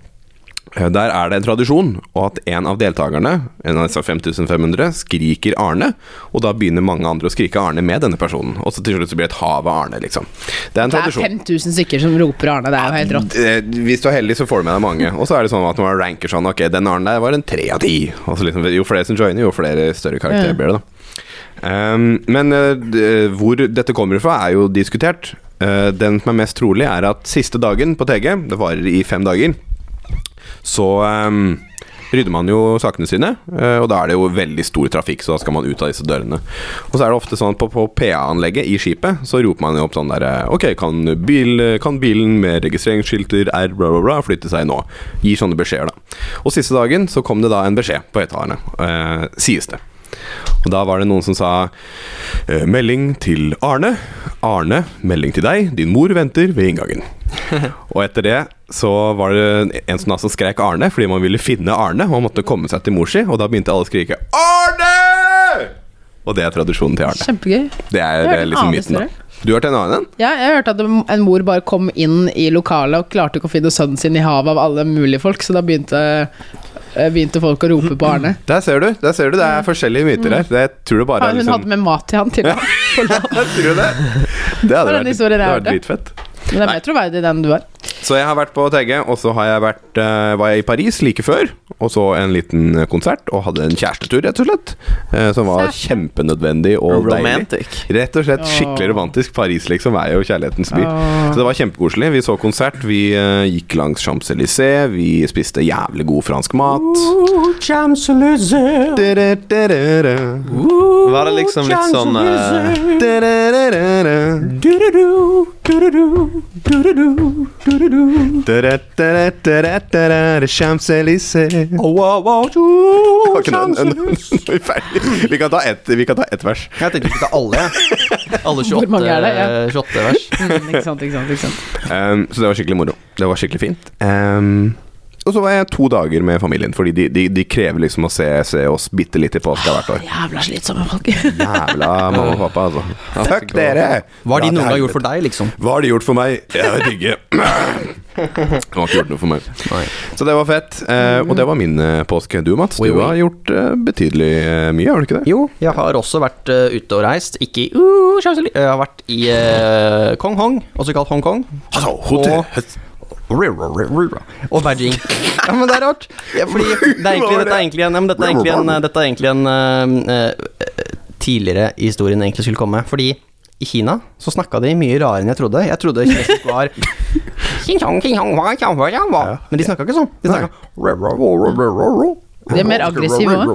Speaker 1: der er det en tradisjon og at en av deltakerne, en av disse 5500, skriker Arne. Og da begynner mange andre å skrike Arne med denne personen. Og så til slutt så blir det et hav av Arne, liksom. Det er en
Speaker 2: Det er
Speaker 1: tradisjon.
Speaker 2: 5000 stykker som roper Arne Det er jo helt rått
Speaker 1: Eh, Hvis du er heldig, så får du med deg mange. Og så er det sånn at man ranker sånn Ok, den Arne der var en tre av ti. Og så liksom, jo flere som joiner, jo flere større karakterer
Speaker 2: Ja.
Speaker 1: blir det, da. Ehm, men eh, d- hvor dette kommer fra, er jo diskutert. Eh, den som er mest trolig, er at siste dagen på TG, det varer i fem dager, så ehm, rydder man jo sakene sine, eh, og da er det jo veldig stor trafikk, så da skal man ut av disse dørene. Og så er det ofte sånn at på, på PA-anlegget i skipet, så roper man jo opp sånn der eh, Ok, kan, bil, kan bilen med registreringsskilter R bla, bla, bla flytte seg nå? Gir sånne beskjeder, da. Og siste dagen så kom det da en beskjed på høyttalerne, eh, sies det. Og da var det noen som sa eh, Melding til Arne. Arne, melding til deg. Din mor venter ved inngangen. Og etter det så var det en som altså skrek Arne fordi man ville finne Arne. Og man måtte komme seg til mor si, og da begynte alle å skrike Arne! Og det er tradisjonen til Arne.
Speaker 2: Kjempegøy
Speaker 1: Det er,
Speaker 2: Jeg har
Speaker 1: det
Speaker 2: hørt
Speaker 1: er
Speaker 2: en
Speaker 1: liksom
Speaker 2: annen
Speaker 1: myten, da. Du har hørt en annen en?
Speaker 2: Ja, jeg hørte at en mor bare kom inn i lokalet og klarte ikke å finne sønnen sin i havet av alle mulige folk, så da begynte eh, begynte folk å rope på Arne.
Speaker 1: Der ser du, der ser du, det er forskjellige myter her. Det tror du bare
Speaker 2: Ja,
Speaker 1: er
Speaker 2: Mm. Hun
Speaker 1: liksom
Speaker 2: hadde med mat til han til og med.
Speaker 1: Tror du det? Det hadde
Speaker 2: Var den
Speaker 1: vært, det hadde
Speaker 2: historien jeg
Speaker 1: vært
Speaker 2: hørte?
Speaker 1: dritfett.
Speaker 2: Men det er mer troverdig den du har.
Speaker 1: Så jeg har vært på TG, og så har jeg vært, eh, var jeg i Paris like før. Og så en liten eh, konsert, og hadde en kjærestetur, rett og slett. eh, som var kjempenødvendig og deilig.
Speaker 3: Romantic.
Speaker 1: Rett og slett skikkelig romantisk. Paris liksom er jo kjærlighetens by. Så det var kjempekoselig. Vi så konsert, vi eh, gikk langs Champs-Élysées, vi spiste jævlig god fransk mat. Champs-Élysées
Speaker 3: Var det liksom litt sånn eh,
Speaker 1: Champs-Élysées Var ikke den- den- Vi er ferdig. Vi kan ta ett vi kan ta ett vers.
Speaker 4: Jeg tenkte ikke ta alle, jeg. Alle 28,
Speaker 2: Hvor mange er det? Ja.
Speaker 4: eh, 28 vers.
Speaker 2: Mm, ikke sant, ikke sant, ikke sant.
Speaker 1: Um, så det var skikkelig moro. Det var skikkelig fint. Um, og så var jeg to dager med familien, fordi de, de, de krever liksom å se, se oss bitte litt i påska hvert år.
Speaker 2: Jævla slitsomme folk.
Speaker 1: Jævla mamma og pappa, altså. Fuck dere!
Speaker 4: Hva har
Speaker 1: Ja,
Speaker 4: de
Speaker 1: til
Speaker 4: noen gang gjort
Speaker 1: helvete.
Speaker 4: for deg, liksom?
Speaker 1: Hva har de gjort for meg? Jeg vet ikke. De har ikke gjort noe for meg.
Speaker 4: Nei.
Speaker 1: Så det var fett. Eh, og det var min eh, påske. Du, Mats,
Speaker 4: Oi,
Speaker 1: du
Speaker 4: oi.
Speaker 1: har gjort eh, betydelig eh, mye, har du ikke det?
Speaker 4: Jo, jeg har også vært eh, ute og reist. Ikke i uh, Champs-Élysées. Jeg har vært i eh, Kong Hong, også kalt Hongkong.
Speaker 1: Altså, hotell-
Speaker 4: Og Beijing. Ja, men det er rart. Ja, fordi det er egentlig, dette er egentlig en, ja, men dette er egentlig en, eh, dette er egentlig en eh, eh, tidligere i historien egentlig skulle komme. Fordi i Kina så snakka de mye rarere enn jeg trodde. Jeg trodde kinesisk var Men de snakka ikke sånn. De snakka
Speaker 2: De er mer aggressive òg.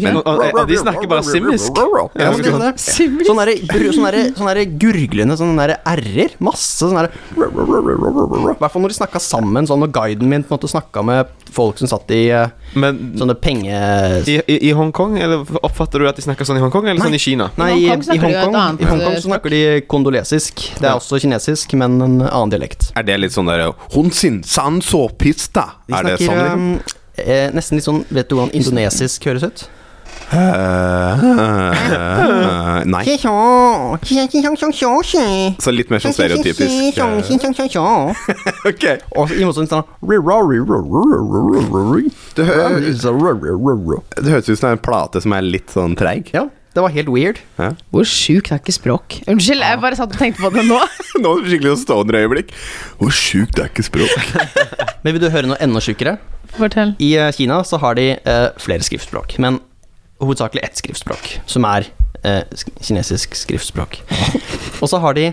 Speaker 3: Men, og, og, og de snakker bare simmisk.
Speaker 4: Ja, men det var det.
Speaker 2: Simlis.
Speaker 4: Sånn derre br- sånn derre- sånn derre gurglende sånne derre r-er. Masse sånne derre I hvert fall når de snakka sammen, sånn når guiden min på en måte snakka med folk som satt i eh,
Speaker 3: Men
Speaker 4: sånne penge...
Speaker 3: i, i, i Hongkong, eller oppfatter du at de snakker sånn i Hongkong, eller sånn i Kina?
Speaker 4: Nei, i
Speaker 2: I Hongkong snakker de
Speaker 4: i
Speaker 2: jo et
Speaker 4: Hongkong
Speaker 2: annet eh,
Speaker 4: i Hongkong så
Speaker 2: språk.
Speaker 4: snakker de kondolesisk. Det er også kinesisk, men en annen dialekt.
Speaker 1: Er det litt sånn der Hun sin san so pista?
Speaker 4: De
Speaker 1: Er det
Speaker 4: snakker,
Speaker 1: sånn, liksom?
Speaker 4: eh, eh, nesten litt sånn Vet du hvordan indonesisk høres ut?
Speaker 1: Eh, eh, nei. Så litt mer sånn stereotypisk. eh, Ok.
Speaker 4: Og i motsetning til sånn
Speaker 1: Det, hø det høres ut som det er en plate som er litt sånn treig.
Speaker 4: Ja, det var helt weird.
Speaker 1: Ja.
Speaker 2: Hvor sjukt er ikke språk? Unnskyld, jeg bare satt og tenkte på det nå.
Speaker 1: Nå er det skikkelig Stoner-øyeblikk. Hvor sjukt er ikke språk?
Speaker 4: Men vil du høre noe enda sjukere?
Speaker 2: Fortell.
Speaker 4: I eh, Kina så har de eh, flere skriftspråk, men hovedsakelig ett skriftspråk, som er eh, sk kinesisk skriftspråk. Og så har de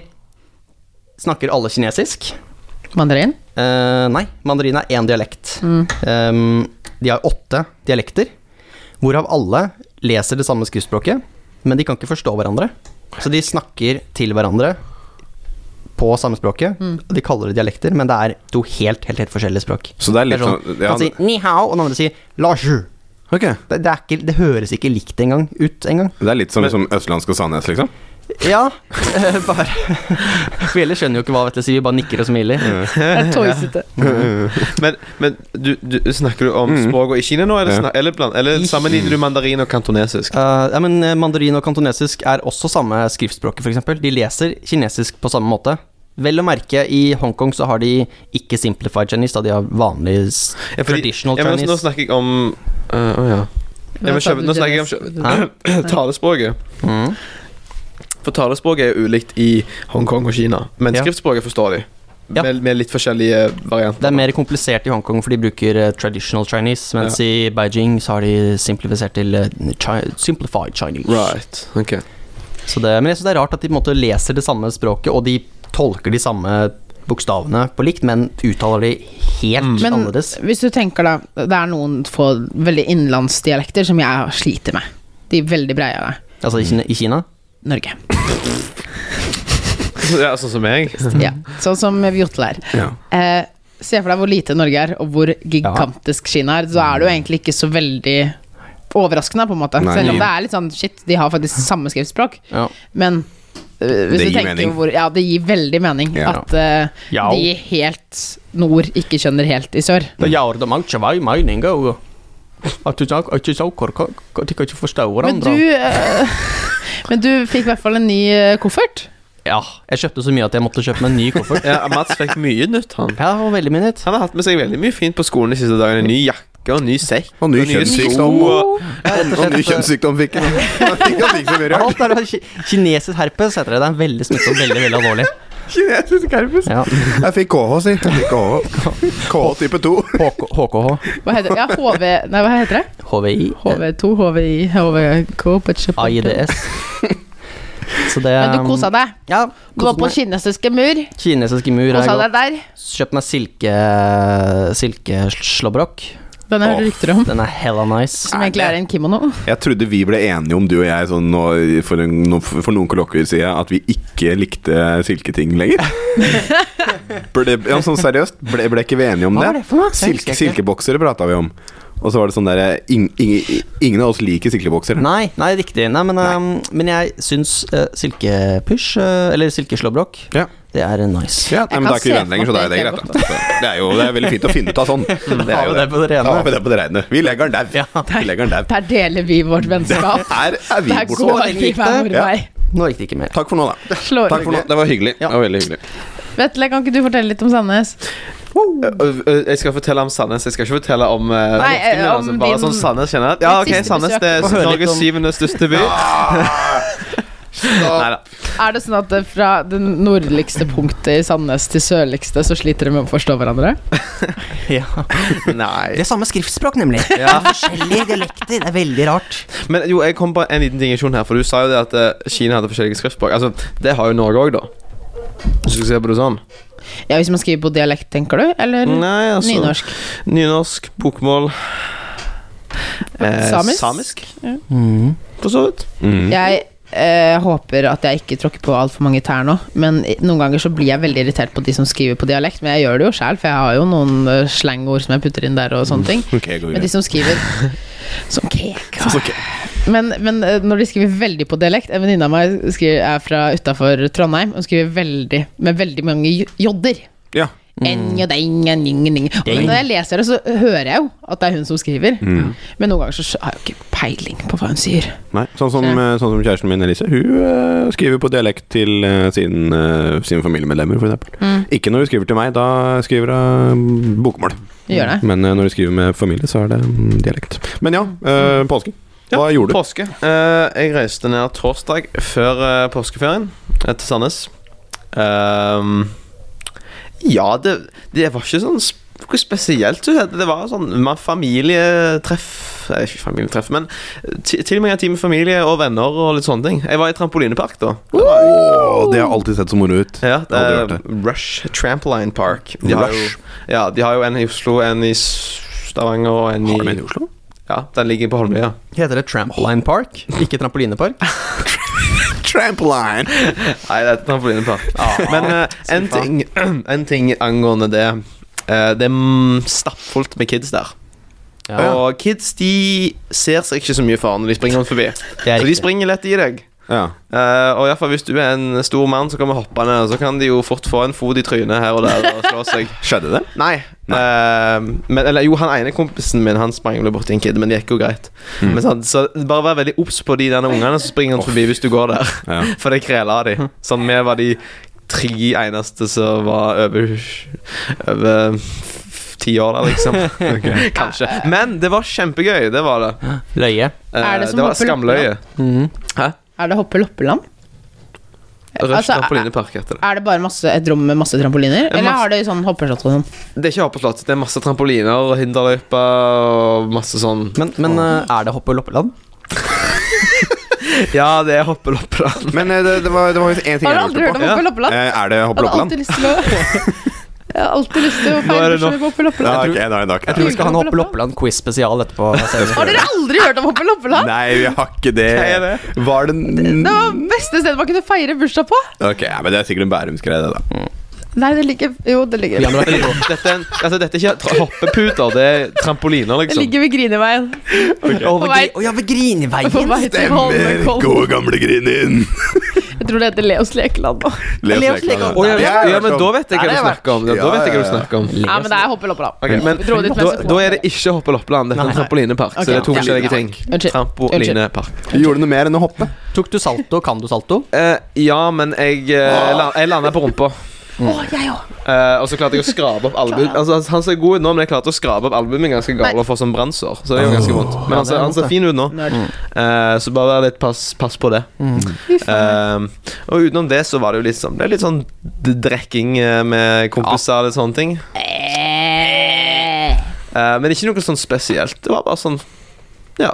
Speaker 4: Snakker alle kinesisk?
Speaker 2: Mandarin?
Speaker 4: Eh, nei, mandarin er én dialekt. Ehm, de har åtte dialekter, hvorav alle leser det samme skriftspråket, men de kan ikke forstå hverandre. Så de snakker til hverandre på samme språket. De kaller det dialekter, men det er to helt, helt, helt forskjellige språk.
Speaker 1: Så det er
Speaker 4: Det er
Speaker 1: litt
Speaker 4: sånn,
Speaker 1: sånn
Speaker 4: Han sier ni hao, og den andre sier la sju.
Speaker 1: Ok.
Speaker 4: Det, det, er ikke, det høres ikke likt engang ut engang.
Speaker 1: Det er litt som liksom, østlandsk og Sandnes, liksom?
Speaker 4: Ja, eh, bare For ellers skjønner jo ikke hva dette sier, vi bare nikker og smiler.
Speaker 2: Det er tøysete.
Speaker 1: Mm-hmm.
Speaker 3: Men, men du, du, snakker du om språket i Kina nå, eller,
Speaker 1: Ja.
Speaker 3: snak, eller, bland, eller sammenligner du mandarin og kantonesisk?
Speaker 4: Eh, ja, men eh, mandarin og kantonesisk er også samme skriftspråket, f.eks. De leser kinesisk på samme måte. Vel å merke, i Hongkong så har de ikke simplified Chinese, da de har vanlig s-
Speaker 3: Ja, fordi-
Speaker 4: traditional
Speaker 3: ja, men
Speaker 4: Chinese.
Speaker 3: Nå snakker jeg om eh, Å ja. Ja, men kjøp- nå snakker jeg om kjøp-
Speaker 4: Hæ?
Speaker 3: talespråket.
Speaker 1: Mm-hmm.
Speaker 4: Mm.
Speaker 3: For talespråket er jo ulikt i Hongkong og Kina, men
Speaker 4: Ja.
Speaker 3: skriftspråket forstår de.
Speaker 4: Ja.
Speaker 3: Med, med litt forskjellige varianter.
Speaker 4: Det er mer komplisert i Hongkong, for de bruker eh, traditional Chinese, mens i Beijing så har de simplifisert til eh, chi simplified Chinese.
Speaker 3: Right. ok
Speaker 4: Så det, men jeg synes det er rart at de på en måte leser det samme språket, og de tolker de samme bokstavene på likt, men uttaler de
Speaker 3: Mm.
Speaker 4: helt
Speaker 2: Men
Speaker 4: annerledes.
Speaker 2: hvis du tenker da, det er noen få veldig innenlandsdialekter som jeg sliter med. De veldig breiere.
Speaker 4: Altså i Kina, i Kina.
Speaker 2: Norge.
Speaker 3: Ja, sånn som meg.
Speaker 2: Ja. Sånn som Jotle er.
Speaker 1: Ja.
Speaker 2: Eh, se for deg hvor lite Norge er, og hvor gigantisk Kina er. Så er det jo egentlig ikke så veldig overraskende, på en måte.
Speaker 1: Mm. Nei.
Speaker 2: Selv om det er litt sånn shit, de har faktisk samme skriftspråk,
Speaker 4: Ja.
Speaker 2: men øh, hvis
Speaker 1: Det
Speaker 2: du
Speaker 1: gir
Speaker 2: tenker
Speaker 1: mening.
Speaker 2: Hvor, ja, det gir veldig mening
Speaker 1: Ja.
Speaker 2: at øh,
Speaker 4: Ja.
Speaker 2: de helt nord ikke skjønner helt i sør. Men du, øh, men du fikk i hvert fall en ny øh, koffert.
Speaker 4: Ja, jeg kjøpte så mye at jeg måtte kjøpe meg en ny koffert.
Speaker 3: Ja, Mats fikk mye nytt, han.
Speaker 4: Ja, det var veldig mye nytt.
Speaker 3: Han har hatt med seg veldig mye fint på skolen de siste dagene. Ny jakke, jakke og ny sekk.
Speaker 1: Og ny
Speaker 3: nye sko,
Speaker 1: kjønnssykdom.
Speaker 3: og-
Speaker 4: Ja, rett og
Speaker 1: Og ny
Speaker 4: slett, eh,
Speaker 1: kjønnssykdom fikk han. Han fikk han fikk så mye rart.
Speaker 4: Alt er ki- kinesisk herpes, heter det. Det er veldig smittsomt, veldig veldig alvorlig.
Speaker 1: Kinesisk herpes.
Speaker 4: Ja.
Speaker 1: Jeg fikk KH, si. Jeg fikk KH. KH type 2.
Speaker 6: HK, HKH.
Speaker 2: Hva heter det? Ja, HV, nei, hva heter det?
Speaker 4: HVI. eh,
Speaker 2: HV2, HVI, HVK
Speaker 4: AIDS. Så det um,
Speaker 2: Men du kosa deg.
Speaker 4: Ja.
Speaker 2: Du var på
Speaker 4: koset meg.
Speaker 2: kinesiske mur.
Speaker 4: Kinesiske mur.
Speaker 2: Kosa
Speaker 4: har
Speaker 2: deg
Speaker 4: jeg
Speaker 2: der.
Speaker 4: gått. Kjøpt meg silke silkeslåbrok.
Speaker 2: Den har jeg hørt rykter om.
Speaker 4: Den er hella nice.
Speaker 2: Som egentlig er en kimono.
Speaker 1: Jeg trodde vi ble enige om, du og jeg, sånn, nå, for, en, nå, for noen kollokvier siden, at vi ikke likte silketing lenger. ble, ja, sånn seriøst, ble, ble ikke vi enige om
Speaker 4: Hva var
Speaker 1: det?
Speaker 4: det for noe? Jeg
Speaker 1: Silke,
Speaker 4: husker ikke.
Speaker 1: silkeboksere prata vi om. Og så var det sånn derre ing, ing, Ingen av oss liker silkeboksere.
Speaker 4: Nei, nei, riktig. Nei, men, ehm, men jeg syns eh, silkepysj, eh, eller silkeslåbrok,
Speaker 1: Ja.
Speaker 4: det er eh, nice.
Speaker 1: Ja, nei, men
Speaker 2: kan
Speaker 1: da er ikke vi
Speaker 2: se
Speaker 1: venner lenger,
Speaker 2: for
Speaker 1: så da
Speaker 2: meg
Speaker 1: er det
Speaker 2: at
Speaker 1: greit. Da. Så Det er jo det er veldig fint å finne ut av sånn. Det
Speaker 4: Mm. Har
Speaker 1: er
Speaker 4: vi
Speaker 1: jo
Speaker 4: det på det rene?
Speaker 1: Da har vi det på det rene. Vi legger den der.
Speaker 4: Ja.
Speaker 1: Vi legger den der.
Speaker 2: Der deler vi vårt vennskap.
Speaker 1: Her er vi
Speaker 2: Der
Speaker 1: borte.
Speaker 2: går vi hver vår
Speaker 1: Ja.
Speaker 2: vei.
Speaker 4: Nå gikk det ikke mer.
Speaker 1: Takk for nå, da.
Speaker 2: Slår
Speaker 1: Takk for nå. Det var hyggelig. Det var veldig hyggelig.
Speaker 2: Vetle, kan ikke du fortelle litt om Sandnes?
Speaker 3: Øh, øh, Jeg skal fortelle om Sandnes. Jeg skal ikke fortelle om uh,
Speaker 2: Nei, eh, om
Speaker 3: altså, bare
Speaker 2: din-
Speaker 3: sånn Sandnes kjenner jeg. Ja,
Speaker 2: Ditt
Speaker 3: ok,
Speaker 2: siste
Speaker 3: Sandnes
Speaker 2: besøk.
Speaker 3: det
Speaker 4: Få
Speaker 3: er
Speaker 4: høre litt
Speaker 3: Norges
Speaker 4: om- Ah!
Speaker 3: syvende største by. Neida.
Speaker 2: Er det sånn at eh, fra det nordligste punktet i Sandnes til sørligste, så sliter dere med å forstå hverandre?
Speaker 4: Ja.
Speaker 3: Nei.
Speaker 4: Det er samme skriftspråk, nemlig.
Speaker 3: Ja.
Speaker 4: Det er forskjellige dialekter. Det er veldig rart.
Speaker 3: Men jo, jeg kom på en liten digresjon her, for du sa jo det at eh, Kina hadde forskjellige skriftspråk. Altså, det har jo Norge òg, da. Hvis du skal se på det sånn.
Speaker 2: Ja, hvis man skriver på dialekt, tenker du? Eller
Speaker 3: Nei, altså
Speaker 2: Mm. nynorsk?
Speaker 3: Nynorsk, bokmål eh,
Speaker 2: Samisk?
Speaker 3: Samisk,
Speaker 4: Mm.
Speaker 3: for så vidt.
Speaker 2: Jeg eh, håper at jeg ikke tråkker på altfor mange tær nå, men i- noen ganger så blir jeg veldig irritert på de som skriver på dialekt, men jeg gjør det jo sjæl, for jeg har jo noen eh, slangord som jeg putter inn der og sånne ting.
Speaker 1: Ok, går
Speaker 2: Men de
Speaker 1: greit.
Speaker 2: som skriver Som keka.
Speaker 1: Så- så- ok.
Speaker 2: Men, men eh, når de skriver veldig på dialekt En venninne av meg skriver, er fra utafor Trondheim og skriver veldig med veldig mange j- jodder.
Speaker 1: Ja.
Speaker 2: En og deng, Mm. en ing, en ing. Og Når jeg leser det, så hører jeg jo at det er hun som skriver.
Speaker 1: Mm.
Speaker 2: Men noen ganger så skj- har jeg jo ikke peiling på hva hun sier.
Speaker 1: Nei, sånn som, eh, sånn som kjæresten min Elise. Hun eh, skriver på dialekt til eh, sin, eh, sine familiemedlemmer, f.eks.
Speaker 2: Mm.
Speaker 1: Ikke når hun skriver til meg, da skriver hun eh, bokmål.
Speaker 2: Hun gjør det.
Speaker 1: Men eh, når hun skriver med familie, så er det mm, dialekt. Men ja, eh,
Speaker 2: Mm.
Speaker 1: påsken. Hva gjorde du?
Speaker 3: Påske. Eh, jeg reiste ned torsdag før eh, påskeferien eh, til Sandnes. Ehm, ja, det, det var ikke sånn sp- noe spesielt. du vet. Det var sånn man- familietreff eh, Ikke familietreff, men ti- tilbringe tid med familie og venner og litt sånne ting. Jeg var i trampolinepark, da.
Speaker 1: Åh, det har alltid sett så moro ut.
Speaker 3: Ja, det
Speaker 1: Aldri
Speaker 3: er
Speaker 1: vært
Speaker 3: Rush Trampoline Park. De har,
Speaker 1: Rush.
Speaker 3: jo, ja, de har jo en i Oslo, en i Stavanger og en i
Speaker 1: Har du en i Oslo?
Speaker 3: Ja, den ligger på Holmlia.
Speaker 4: Heter det Trampoline Park, ikke trampolinepark?
Speaker 1: Trampoline!
Speaker 3: Nei, det er et trampolinepark. Men eh, en, ting, en ting angående det eh, Det er mm, stappfullt med kids der. Og kids de ser seg ikke så mye for når de springer rundt forbi.
Speaker 4: Det er
Speaker 3: Så de
Speaker 4: riktig.
Speaker 3: springer lett i deg.
Speaker 1: Ja.
Speaker 3: Uh, og i hvert fall Hvis du er en stor mann som kommer hoppende, så kan de jo fort få en fot i trynet her og der og slå seg.
Speaker 1: Skjedde det?
Speaker 3: Nei. Eh, men, eller jo, han ene kompisen min Han sprang vel borti en kid, men det gikk jo greit. Men sånn, så bare vær veldig obs på de der ungene som springer rundt forbi hvis du går der.
Speaker 1: Ja.
Speaker 3: For det kreler av de. Sånn, vi var de tre eneste som var over Over f- ti år der, liksom. Kanskje. Men det var kjempegøy. Det var det.
Speaker 4: Løye.
Speaker 3: Eh,
Speaker 2: Er det som
Speaker 3: var
Speaker 2: hopper
Speaker 3: skamløye.
Speaker 2: Er det hoppe loppeland?
Speaker 3: Rush
Speaker 2: Altså,
Speaker 3: trampolinepark heter det.
Speaker 2: Er det bare masse, et rom med masse trampoliner?
Speaker 3: En
Speaker 2: Eller
Speaker 3: masse-
Speaker 2: har det sånn hoppeslott og sånn?
Speaker 3: Det er ikke hoppeslott. Det er masse trampoliner og hinderløyper og masse sånn.
Speaker 4: Men, men eh, er det hoppe loppeland?
Speaker 3: Ja, det er hoppeloppeland.
Speaker 1: Men eh, det, det var det var visst én ting
Speaker 2: Har du
Speaker 1: jeg
Speaker 2: aldri
Speaker 1: lurte
Speaker 2: hørt
Speaker 1: på.
Speaker 2: om
Speaker 3: Ja.
Speaker 2: hoppe loppeland?
Speaker 1: Eh, er det
Speaker 2: Jeg hadde
Speaker 1: Hoppeloppland?
Speaker 2: alltid lyst til å Jeg har alltid lyst til å
Speaker 3: Nå er det
Speaker 2: feilforstå hoppe
Speaker 1: Ja,
Speaker 2: loppeland.
Speaker 1: ok, da er det nok.
Speaker 4: Jeg tror vi skal ha en
Speaker 2: Hoppe
Speaker 4: hoppe loppeland-quiz spesial etterpå.
Speaker 2: Har dere aldri hørt om hoppe loppeland?
Speaker 1: Nei, vi har ikke det.
Speaker 3: Hva er det?
Speaker 1: Var det
Speaker 2: Det var beste stedet man kunne feire bursdag på.
Speaker 1: Ok, ja, men Det er sikkert en bærumsgreie, det, da.
Speaker 2: Nei, det ligger Jo, det ligger
Speaker 4: Vi
Speaker 3: liksom.
Speaker 4: andre har ikke-
Speaker 3: Dette er, en, altså, dette er ikke tra- hoppeputer, det er trampoliner,
Speaker 2: Det
Speaker 3: liksom.
Speaker 2: ligger ved Grineveien.
Speaker 4: Å, ved
Speaker 2: På vei-
Speaker 4: gri- å ja, ved
Speaker 2: På vei
Speaker 4: Grineveien!
Speaker 2: til
Speaker 1: Stemmer,
Speaker 2: Holmenkollen.
Speaker 1: gode gamle Grinin.
Speaker 2: Jeg tror det heter Leos lekeland nå.
Speaker 1: Les
Speaker 4: Leos
Speaker 1: Lekeland.
Speaker 4: Lekeland.
Speaker 3: Å, ja,
Speaker 1: Det
Speaker 3: ja,
Speaker 1: er
Speaker 3: men
Speaker 1: sånn-
Speaker 3: da vet jeg
Speaker 4: Ja,
Speaker 3: hva
Speaker 4: det
Speaker 3: du
Speaker 4: er
Speaker 3: snakker om. Da, da
Speaker 1: Ja,
Speaker 3: vet jeg hva
Speaker 1: ja,
Speaker 3: du
Speaker 1: ja.
Speaker 3: snakker om.
Speaker 2: Ja, men det er hoppe loppeland.
Speaker 3: Ok, men
Speaker 2: Vi dro dit
Speaker 3: da,
Speaker 2: mens vi
Speaker 3: da
Speaker 2: får
Speaker 3: er det ikke hoppeloppland, dette er en
Speaker 2: Nei.
Speaker 3: trampolinepark.
Speaker 2: Ok,
Speaker 3: Så det er to
Speaker 2: ja.
Speaker 3: forskjellige ting.
Speaker 2: Unnskyld.
Speaker 3: Trampolinepark.
Speaker 1: Du gjorde noe mer enn å hoppe.
Speaker 4: Tok du salto? Kan du salto?
Speaker 3: Eh, ja, men jeg, eh, la- jeg landa på rumpa.
Speaker 2: Å, jeg òg!
Speaker 3: Eh, og så klarte jeg å skrape opp albuen. Altså, han- han ser god ut nå, men jeg klarte å skrape opp albuen min ganske gal og få sånn brannsår. Så
Speaker 1: Ah.
Speaker 3: det gjør ganske vondt. Men han ser, han ser fin ut nå,
Speaker 1: Mm.
Speaker 3: Eh, så bare vær litt pass, pass på det. Eh, og utenom det så var det jo litt sånn Det er litt sånn d- drekking eh, med kompiser og litt sånne ting. Eh, men ikke noe sånn spesielt. Det var bare sånn Ja.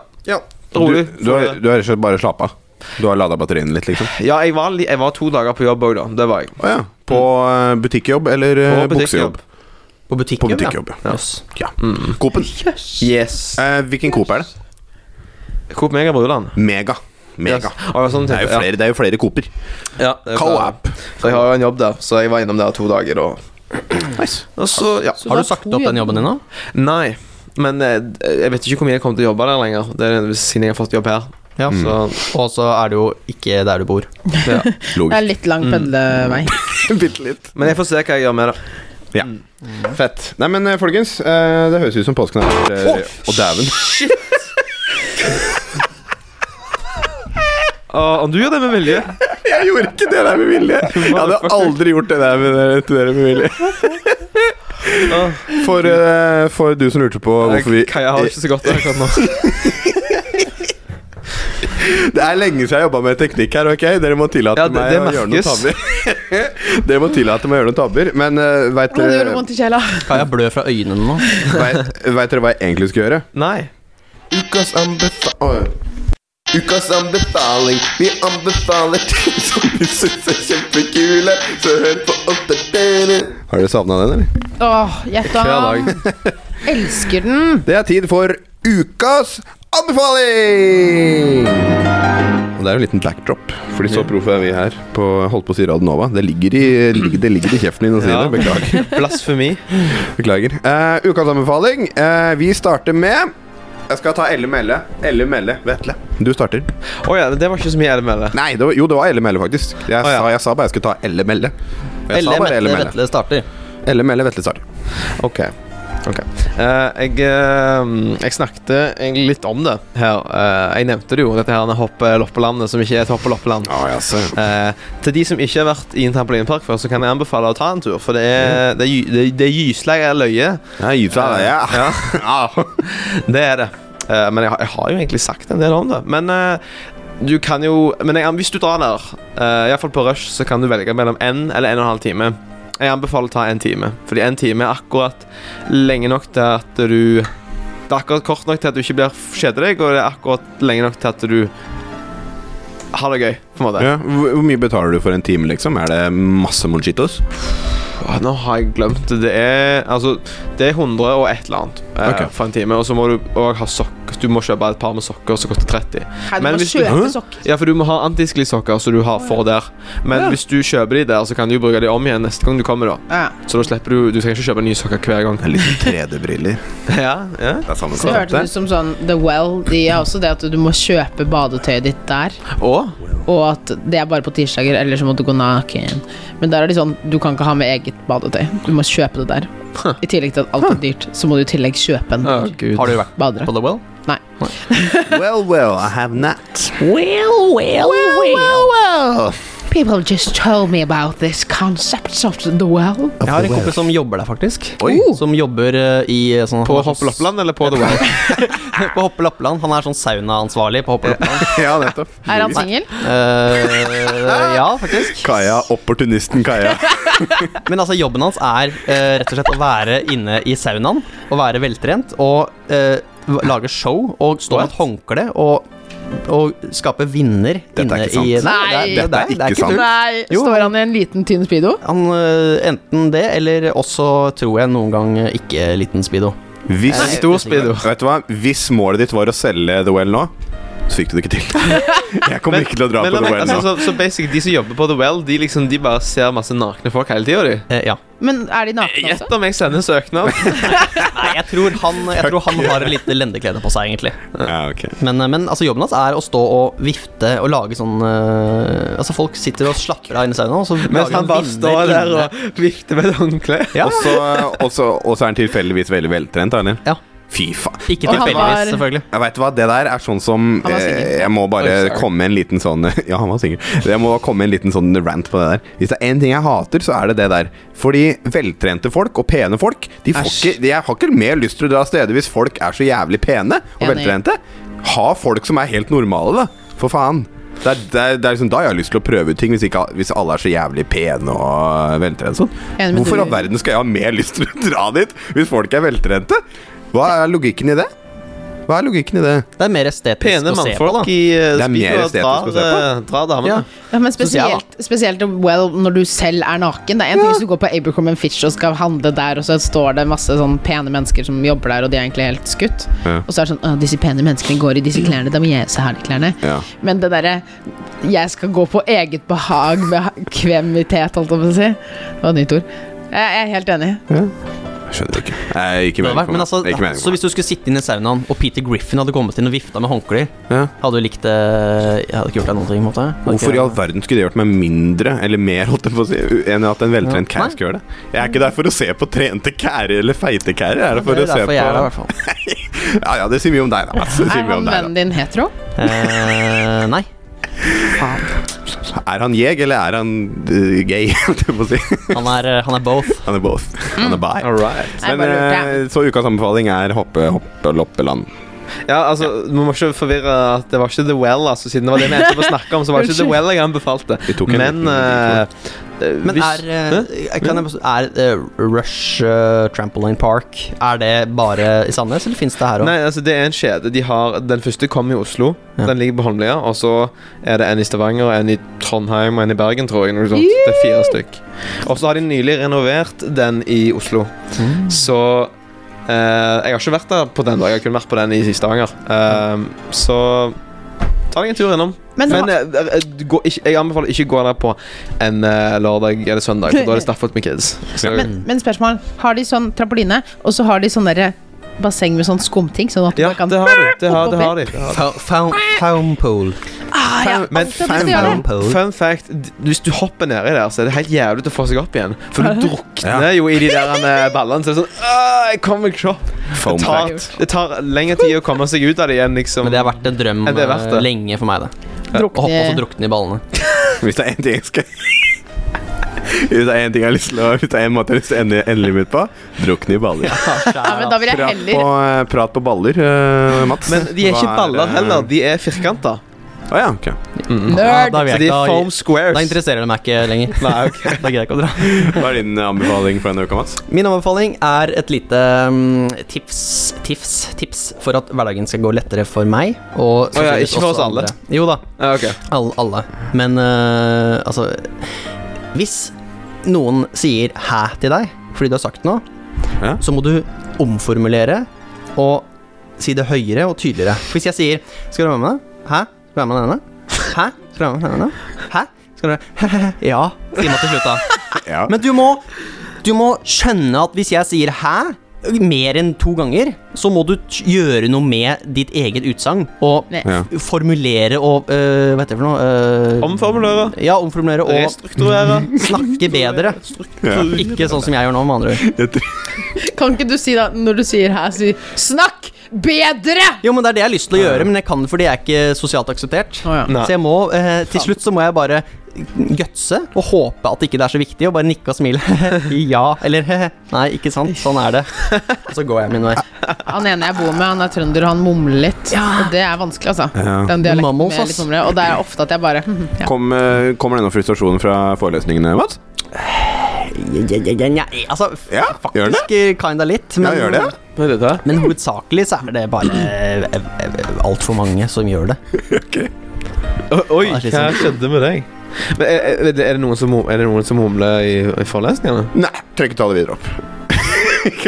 Speaker 1: Du,
Speaker 3: Rolig.
Speaker 1: du, har, du har rett og slett bare slappa av. Du har lada batteriene litt, liksom.
Speaker 3: Ja, jeg var, li- jeg var to dager på jobb òg, da. Det var jeg.
Speaker 1: Å ja. På eh, butikkjobb eller eh,
Speaker 3: På butikkjobb. Mm.
Speaker 1: buksejobb?
Speaker 4: På butikkjobb,
Speaker 1: På butikkjobb,
Speaker 4: ja.
Speaker 1: ja.
Speaker 4: Jøss.
Speaker 1: Ja. Coop-en.
Speaker 3: Yes.
Speaker 1: Eh, hvilken Coop er det?
Speaker 3: Coop Mega Bruland.
Speaker 1: Mega. Mega.
Speaker 3: Yes. Og sånn
Speaker 1: Det er jo
Speaker 3: type, ja.
Speaker 1: flere, det er jo flere Cooper.
Speaker 3: Ja, det er jo klart.
Speaker 1: Co-op.
Speaker 3: For jeg har jo en jobb der, så jeg var innom der to dager da. Og så, ja.
Speaker 2: Så
Speaker 4: Har
Speaker 2: da
Speaker 4: du sagt
Speaker 2: tror
Speaker 4: opp
Speaker 2: jeg-
Speaker 4: den jobben din nå?
Speaker 3: Nei, men eh, jeg vet ikke hvor mye jeg kommer til å jobbe der lenger. Det er siden jeg har fått jobb her.
Speaker 4: Ja.
Speaker 1: Mm.
Speaker 3: Så
Speaker 4: Og så er det jo ikke der du bor.
Speaker 3: ja.
Speaker 2: Det er
Speaker 1: Logisk.
Speaker 2: litt
Speaker 3: Mm.
Speaker 2: lang pendlevei.
Speaker 1: Bitte litt.
Speaker 3: Men jeg får se hva jeg gjør med det.
Speaker 1: Ja. Fett. Nei, men eh, folkens, eh, det høres ut som påsken har vært eh, Og dæven.
Speaker 3: Ah, Og om du gjør det med vilje
Speaker 1: Jeg gjorde ikke det der med vilje. Jeg hadde aldri gjort det der med dere, til dere med vilje. For, eh, for du som lurte på hvorfor vi
Speaker 3: Kaja har det ikke så godt akkurat nå.
Speaker 1: Det er lenge siden jeg jobba med teknikk her, ok? Dere må tillate
Speaker 3: Ja, det-
Speaker 1: meg
Speaker 3: det
Speaker 1: å gjøre noen
Speaker 3: merkes.
Speaker 1: tabber. dere må tillate meg å gjøre noen tabber, men uh, veit
Speaker 2: Å, det gjorde
Speaker 1: dere,
Speaker 2: vondt i sjela.
Speaker 4: Kan jeg blø fra øynene nå?
Speaker 1: vet, vet dere hva jeg egentlig skulle gjøre?
Speaker 3: Nei.
Speaker 5: Ukas anbefaling Ukas anbefaling Vi anbefaler ting som vi synes er kjempekule Så hør på oss der dere
Speaker 1: Har dere savna den, eller?
Speaker 2: Åh, Jetta. Elsker den.
Speaker 1: Det er tid for ukas anbefaling! Og det er jo en liten backdrop, fordi så proffe er vi her. På, holdt på å si Radionova. Det ligger i, ligger- det ligger i kjeften din å si
Speaker 3: Ja.
Speaker 1: det. Beklager.
Speaker 3: Blasfemi.
Speaker 1: Beklager. Eh, ukas anbefaling. Eh, vi starter med Jeg skal ta Elle Melle. Elle Melle Vetle. Du starter.
Speaker 3: Å ja, det var ikke så mye jeg med det.
Speaker 1: Nei, det var, jo, det var Elle Melle, faktisk. Jeg,
Speaker 3: Å, ja.
Speaker 1: sa, jeg sa bare jeg skulle ta Elle Melle. Og Jeg
Speaker 4: Elle
Speaker 1: sa bare Elle
Speaker 4: Mette
Speaker 1: Melle.
Speaker 4: Vetle starter.
Speaker 1: Elle Melle Vetle starter.
Speaker 3: Ok. ok. Eh, jeg, eh, jeg snakket egentlig litt om det her. Eh, jeg nevnte det jo, dette her hoppe-loppelandet som ikke er et hoppe-loppeland. Eh, til de som ikke har vært i en trampolinpark før, så kan jeg anbefale å ta en tur. For det er, det er, gy- det, det er gyselig løye. Eh,
Speaker 1: Jeg gyter deg, ja. Ja.
Speaker 3: Det er det. Eh, men jeg, har- jeg har jo egentlig sagt en del om det. Men eh, du kan jo Men jeg, hvis du drar der, eh, i hvert fall på rush, så kan du velge mellom en eller en og en halv time. Jeg anbefaler å ta en time, fordi en time er akkurat lenge nok til at du Det er akkurat kort nok til at du ikke blir kjeder deg, og det er akkurat lenge nok til at du har det gøy, på en måte.
Speaker 1: Ja, Hvor hvor mye betaler du for en time, liksom? Er det masse mojitos?
Speaker 3: Åh, Nå har jeg glemt det. Det er, altså, det er 100 og et eller annet eh,
Speaker 1: Ok.
Speaker 3: for en time. Og så må du òg ha sokk. Du må kjøpe et par med sokker som koster 30.
Speaker 2: Her, du
Speaker 3: Men
Speaker 2: må
Speaker 3: hvis du-
Speaker 2: kjøpe
Speaker 1: Hæ?
Speaker 2: sokker.
Speaker 3: Ja, for du må ha antisklisokker som du har for der. Men hvis du kjøper de der, så kan du jo bruke de om igjen neste gang du kommer, da.
Speaker 2: Ja.
Speaker 3: Så da slipper du Du skal ikke kjøpe nye sokker hver gang.
Speaker 1: Det er Litt sånn 3D-briller.
Speaker 3: ja, ja.
Speaker 1: Det er samme
Speaker 2: Så hørtes det ut
Speaker 1: konseptet.
Speaker 2: som sånn The Well. De er også det at du må kjøpe badetøyet ditt der,
Speaker 3: Og
Speaker 2: og at det er bare på tirsdager, eller så må du gå naken. Men der er de sånn du kan ikke ha med eget badetøy. Du må kjøpe det der. I tillegg til at alt er dyrt, så må du i tillegg kjøpe en
Speaker 3: Å, Ah, gud.
Speaker 4: Har du vært
Speaker 2: badedrakt.
Speaker 4: på The Well?
Speaker 2: Nei.
Speaker 1: Well, well, I have not.
Speaker 2: Well, well, well. People just told me about this concept of The Well.
Speaker 4: Jeg har en kompis som jobber der, faktisk.
Speaker 1: Oi.
Speaker 4: Som jobber eh, i eh, sånn
Speaker 3: på Hoppeloppeland eller på The Well?
Speaker 4: På Hoppeloppeland. Han er sånn saunaansvarlig på Hoppeloppeland.
Speaker 1: Ja, nettopp.
Speaker 2: Er han singel?
Speaker 4: Eh, ja, faktisk.
Speaker 1: Kaja, opportunisten Kaja.
Speaker 4: Men altså, jobben hans er eh, rett og slett å være inne i saunaen og være veltrent og eh, v- lage show og stå med et håndkle og, og skape vinner
Speaker 1: Dette er
Speaker 4: inne
Speaker 1: ikke sant.
Speaker 4: i
Speaker 2: Nei,
Speaker 4: det er- det
Speaker 1: dette er
Speaker 4: det
Speaker 1: ikke sant.
Speaker 4: tull.
Speaker 2: Nei.
Speaker 4: Jo.
Speaker 2: Står han i en liten, tynn speedo?
Speaker 4: Han, eh, enten det, eller også tror jeg noen gang eh, ikke liten speedo.
Speaker 1: Hvis,
Speaker 3: Stor speedo.
Speaker 1: vet du hva? Hvis målet ditt var å selge The Well nå, så fikk du det ikke til. Jeg kommer ikke til å dra
Speaker 3: Men
Speaker 1: på
Speaker 3: la
Speaker 1: The
Speaker 3: meg-
Speaker 1: Well
Speaker 3: altså,
Speaker 1: nå.
Speaker 3: så, så basic, de som jobber på The Well, de liksom De bare ser masse nakne folk hele tida, de.
Speaker 4: Eh, ja.
Speaker 2: Men er de nakne også?
Speaker 3: Gjett om jeg sender søknad.
Speaker 4: Nei, jeg tror han, jeg tror han har et lite lendeklede på seg, egentlig.
Speaker 1: Ja, ok.
Speaker 4: Men, eh, men altså, jobben hans er å stå og vifte og lage sånn eh, Altså, folk sitter og slapper av inne i saunaen, og så
Speaker 3: Mens
Speaker 4: lager
Speaker 3: han bare står
Speaker 4: vinner
Speaker 3: der
Speaker 4: inne.
Speaker 3: og vifter med et håndkle.
Speaker 4: Ja.
Speaker 1: Og så og så- og så er han tilfeldigvis veldig veltrent, da, eller?
Speaker 4: Ja.
Speaker 1: Fy faen.
Speaker 4: Ikke
Speaker 2: Og han var-
Speaker 4: tilfeldigvis, selvfølgelig.
Speaker 1: Jeg vet hva, Det der er sånn som
Speaker 2: var
Speaker 1: eh,
Speaker 2: singel.
Speaker 1: Jeg må bare
Speaker 3: Oh, sorry.
Speaker 1: komme med en liten sånn Ja, han var singel. Jeg må komme med en liten sånn rant på det der. Hvis det er én ting jeg hater, så er det det der. Fordi veltrente folk og pene folk de får
Speaker 3: Æsj.
Speaker 1: ikke, de- Jeg har ikke mer lyst til å dra av steder hvis folk er så jævlig pene og
Speaker 2: Enig.
Speaker 1: veltrente. Ha folk som er helt normale, da. For faen. Det er, det, er, det er liksom da jeg har lyst til å prøve ut ting, hvis, ikke, hvis alle er så jævlig pene og veltrente. og Sånn.
Speaker 2: Enig med
Speaker 1: Hvorfor i
Speaker 2: du-
Speaker 1: all verden skal jeg ha mer lyst til å dra dit hvis folk er veltrente? Hva er logikken i det? Hva er logikken i det?
Speaker 4: Det er mer estetisk
Speaker 3: Pene
Speaker 4: å se på, da.
Speaker 3: mannfolk i uh,
Speaker 1: Det er mer
Speaker 3: speedo
Speaker 1: estetisk
Speaker 3: drar,
Speaker 1: å se på.
Speaker 3: eh, drar damene.
Speaker 4: Ja.
Speaker 2: Ja, men
Speaker 4: Synes jeg, da.
Speaker 2: spesielt, spesielt well når du selv er naken. Det er en ting hvis du går på Abercrombie Fitch og skal handle der, og så står det masse sånn pene mennesker som jobber der, og de er egentlig helt skutt.
Speaker 1: Ja.
Speaker 2: Og så er det sånn «Å, Disse pene menneskene går i disse klærne, da må jeg også ha de klærne.
Speaker 1: Ja.
Speaker 2: Men det derre Jeg skal gå på eget behag med ha- kvemitet, holdt jeg på å si. Det var et nytt ord. Jeg jeg er helt enig.
Speaker 1: Jeg skjønner ikke. Nei, ikke meningen
Speaker 4: Det hadde vært,
Speaker 1: for
Speaker 4: men
Speaker 1: meg.
Speaker 4: altså,
Speaker 1: ikke meningen
Speaker 4: så
Speaker 1: for
Speaker 4: hvis du skulle sitte inn i saunaen, og Peter Griffin hadde kommet inn og vifta med håndklær,
Speaker 1: Ja.
Speaker 4: hadde du likt det Jeg hadde ikke gjort deg noen ting, på en måte. Hadde
Speaker 1: meg. Hvorfor i
Speaker 4: ikke-
Speaker 1: all verden skulle det gjort meg mindre eller mer holdt jeg på å si, enn at en veltrent
Speaker 4: Ja.
Speaker 1: kær skal gjøre det? Jeg er ikke der for å se på trente kærer eller feite kærer. Jeg er der for å
Speaker 4: Det er
Speaker 1: se
Speaker 4: derfor
Speaker 1: på
Speaker 4: jeg er der, i hvert fall.
Speaker 1: Ja, ja, det sier mye om deg, da. Det sier
Speaker 2: Er
Speaker 1: mye om
Speaker 2: han
Speaker 1: deg,
Speaker 2: vennen din hetero?
Speaker 4: Eh, nei.
Speaker 1: da. Er han jeg, eller er han eh, gay? holdt jeg på å si.
Speaker 4: Han er, eh, han er both.
Speaker 1: Han er both. Han er bi.
Speaker 3: All right.
Speaker 2: Nei,
Speaker 1: Men
Speaker 2: Mm. bare lurte.
Speaker 1: eh, så ukas anbefaling er hoppe, hoppe, loppeland.
Speaker 3: Ja, altså, Man må ikke forvirre at det var ikke The Well. altså, Siden det var det vi endte på å snakke om, så var det ikke The Well jeg anbefalte.
Speaker 1: Vi tok en
Speaker 3: Men,
Speaker 1: liten-
Speaker 3: eh, eh,
Speaker 4: Men
Speaker 3: hvis,
Speaker 4: er, eh, kan jeg, bare- er eh, Rush eh, Trampoline Park Er det bare i Sandnes, eller fins det her òg?
Speaker 3: Nei, altså, det er en kjede. De har, den første kom i Oslo.
Speaker 4: Ja.
Speaker 3: Den ligger på Holmlia. Og så er det en i Stavanger, en i Trondheim og en i Bergen, tror jeg. Noe sånt. Det er fire stykk. Og så har de nylig renovert den i Oslo.
Speaker 4: Mm.
Speaker 3: Så eh, Jeg har ikke vært der på den, da. Jeg har kun vært på den i Stavanger. Eh, så ta deg en tur innom.
Speaker 2: Men, ha-
Speaker 3: Men eh, eh, gå, ikke, jeg anbefaler ikke gå der på en eh, lørdag eller søndag, for da er det stappfullt med kids. Så,
Speaker 2: men, men spørsmål. Har de sånn trampoline, og så har de sånn derre basseng med sånn skumting, sånn at du
Speaker 3: ja,
Speaker 2: bare kan
Speaker 3: det har de. Det har, det har de. Det har de.
Speaker 4: Founpole.
Speaker 2: ah, jeg har
Speaker 3: Men
Speaker 2: alltid hatt lyst til å gjøre det.
Speaker 3: Fun fact, d- hvis du hopper nedi der, så er det helt jævlig å få seg opp igjen. For du drukner
Speaker 1: Ja.
Speaker 3: jo i de der eh, ballene. Så det er sånn «Åh, Jeg kommer meg ikke opp. Det
Speaker 1: Foam
Speaker 3: tar,
Speaker 1: fact.
Speaker 3: det tar lengre tid å komme seg ut av det igjen, liksom.
Speaker 4: Men det har vært en drøm
Speaker 3: Ja, det er verdt
Speaker 4: eh,
Speaker 3: det.
Speaker 4: lenge for meg, det. Å hoppe og så
Speaker 2: Drukne
Speaker 4: drukne i ballene.
Speaker 1: Hvis det er én ting jeg skal Hvis det er en ting jeg har lyst til å Hvis det er en måte jeg har lyst til å ende endelig mitt på, drukne i baller.
Speaker 2: Ja, men da vil jeg
Speaker 1: Prat på,
Speaker 2: heller
Speaker 1: prat på baller, eh, Mats.
Speaker 3: Men de er
Speaker 1: Hva
Speaker 3: ikke baller
Speaker 1: eh,
Speaker 3: heller. De er firkanta.
Speaker 1: Å ja, ok.
Speaker 4: Ja,
Speaker 2: Nerd!
Speaker 4: da, vil
Speaker 3: Så
Speaker 4: Mm. jeg
Speaker 3: de
Speaker 4: ikke
Speaker 3: er
Speaker 4: ha-
Speaker 3: foam squares.
Speaker 4: da interesserer det meg ikke lenger.
Speaker 3: Nei, ok.
Speaker 4: Da gidder jeg ikke å dra.
Speaker 1: Hva er din eh, anbefaling for denne uka, Mats?
Speaker 4: Min anbefaling er et lite mm, tips, tips, tips for at hverdagen skal gå lettere for meg.
Speaker 3: Å ja,
Speaker 4: Og sannsynligvis
Speaker 3: ikke for
Speaker 4: også
Speaker 3: oss alle.
Speaker 4: andre. Jo da,
Speaker 3: Ja, ok.
Speaker 4: alle. alle. Men eh, altså Hvis noen sier 'hæ' til deg fordi du har sagt noe,
Speaker 1: Ja.
Speaker 4: så må du omformulere og si det høyere og tydeligere. For hvis jeg sier 'skal du være med meg?' 'Hæ? Skal du være med denne?' 'Hæ? Skal du være med denne?' 'Hæ? Skal du være Ja, sier man til slutt da.
Speaker 1: Ja.
Speaker 4: Men du må, du må skjønne at hvis jeg sier 'hæ' mer enn to ganger, så må du t- gjøre noe med ditt eget utsagn. Og
Speaker 2: Nei.
Speaker 1: Ja.
Speaker 4: f- formulere og øh, Hva heter det for noe? Øh,
Speaker 3: Omformulere.
Speaker 4: ja, omformulere og
Speaker 3: Restrukturere.
Speaker 4: snakke bedre. Ikke sånn som jeg gjør nå, med andre ord.
Speaker 1: Jeg tror-
Speaker 2: Kan ikke du si da, når du sier her, si 'snakk bedre'!
Speaker 4: Jo, men det er det jeg har lyst til å gjøre, men jeg kan det fordi jeg er ikke sosialt akseptert.
Speaker 2: Å, ja.
Speaker 3: Nei.
Speaker 4: Så jeg må, eh, til slutt så må jeg bare gutse og håpe at ikke det er så viktig, og bare nikke og smile. ja, eller Nei, ikke sant. Sånn er det. Og så går jeg min vei.
Speaker 2: Han ene jeg bor med, han er trønder, og han mumler litt. Og det er vanskelig, altså.
Speaker 1: Ja.
Speaker 2: Den dialekten
Speaker 4: Mammals,
Speaker 2: med
Speaker 4: ass.
Speaker 2: litt mumlere. Og det er ofte at jeg bare hm, ja.
Speaker 1: Kom, eh, kommer det noe frustrasjon fra forelesningene, Mats?
Speaker 4: Ja, ja, ja, ja, ja. Altså, f-
Speaker 1: Ja, gjør det.
Speaker 4: faktisk eh, kinda litt,
Speaker 1: Ja,
Speaker 4: men,
Speaker 1: gjør det.
Speaker 3: Hva er dette?
Speaker 4: men hovedsakelig så er det bare eh, altfor mange som gjør det.
Speaker 1: Ok.
Speaker 3: O- Oi,
Speaker 4: Det er sånn. litt
Speaker 3: hva skjedde med deg? Men er, er, er, det noen som, mum- er det noen som mumler i, i forelesningene?
Speaker 1: Nei, trenger ikke ta det videre opp.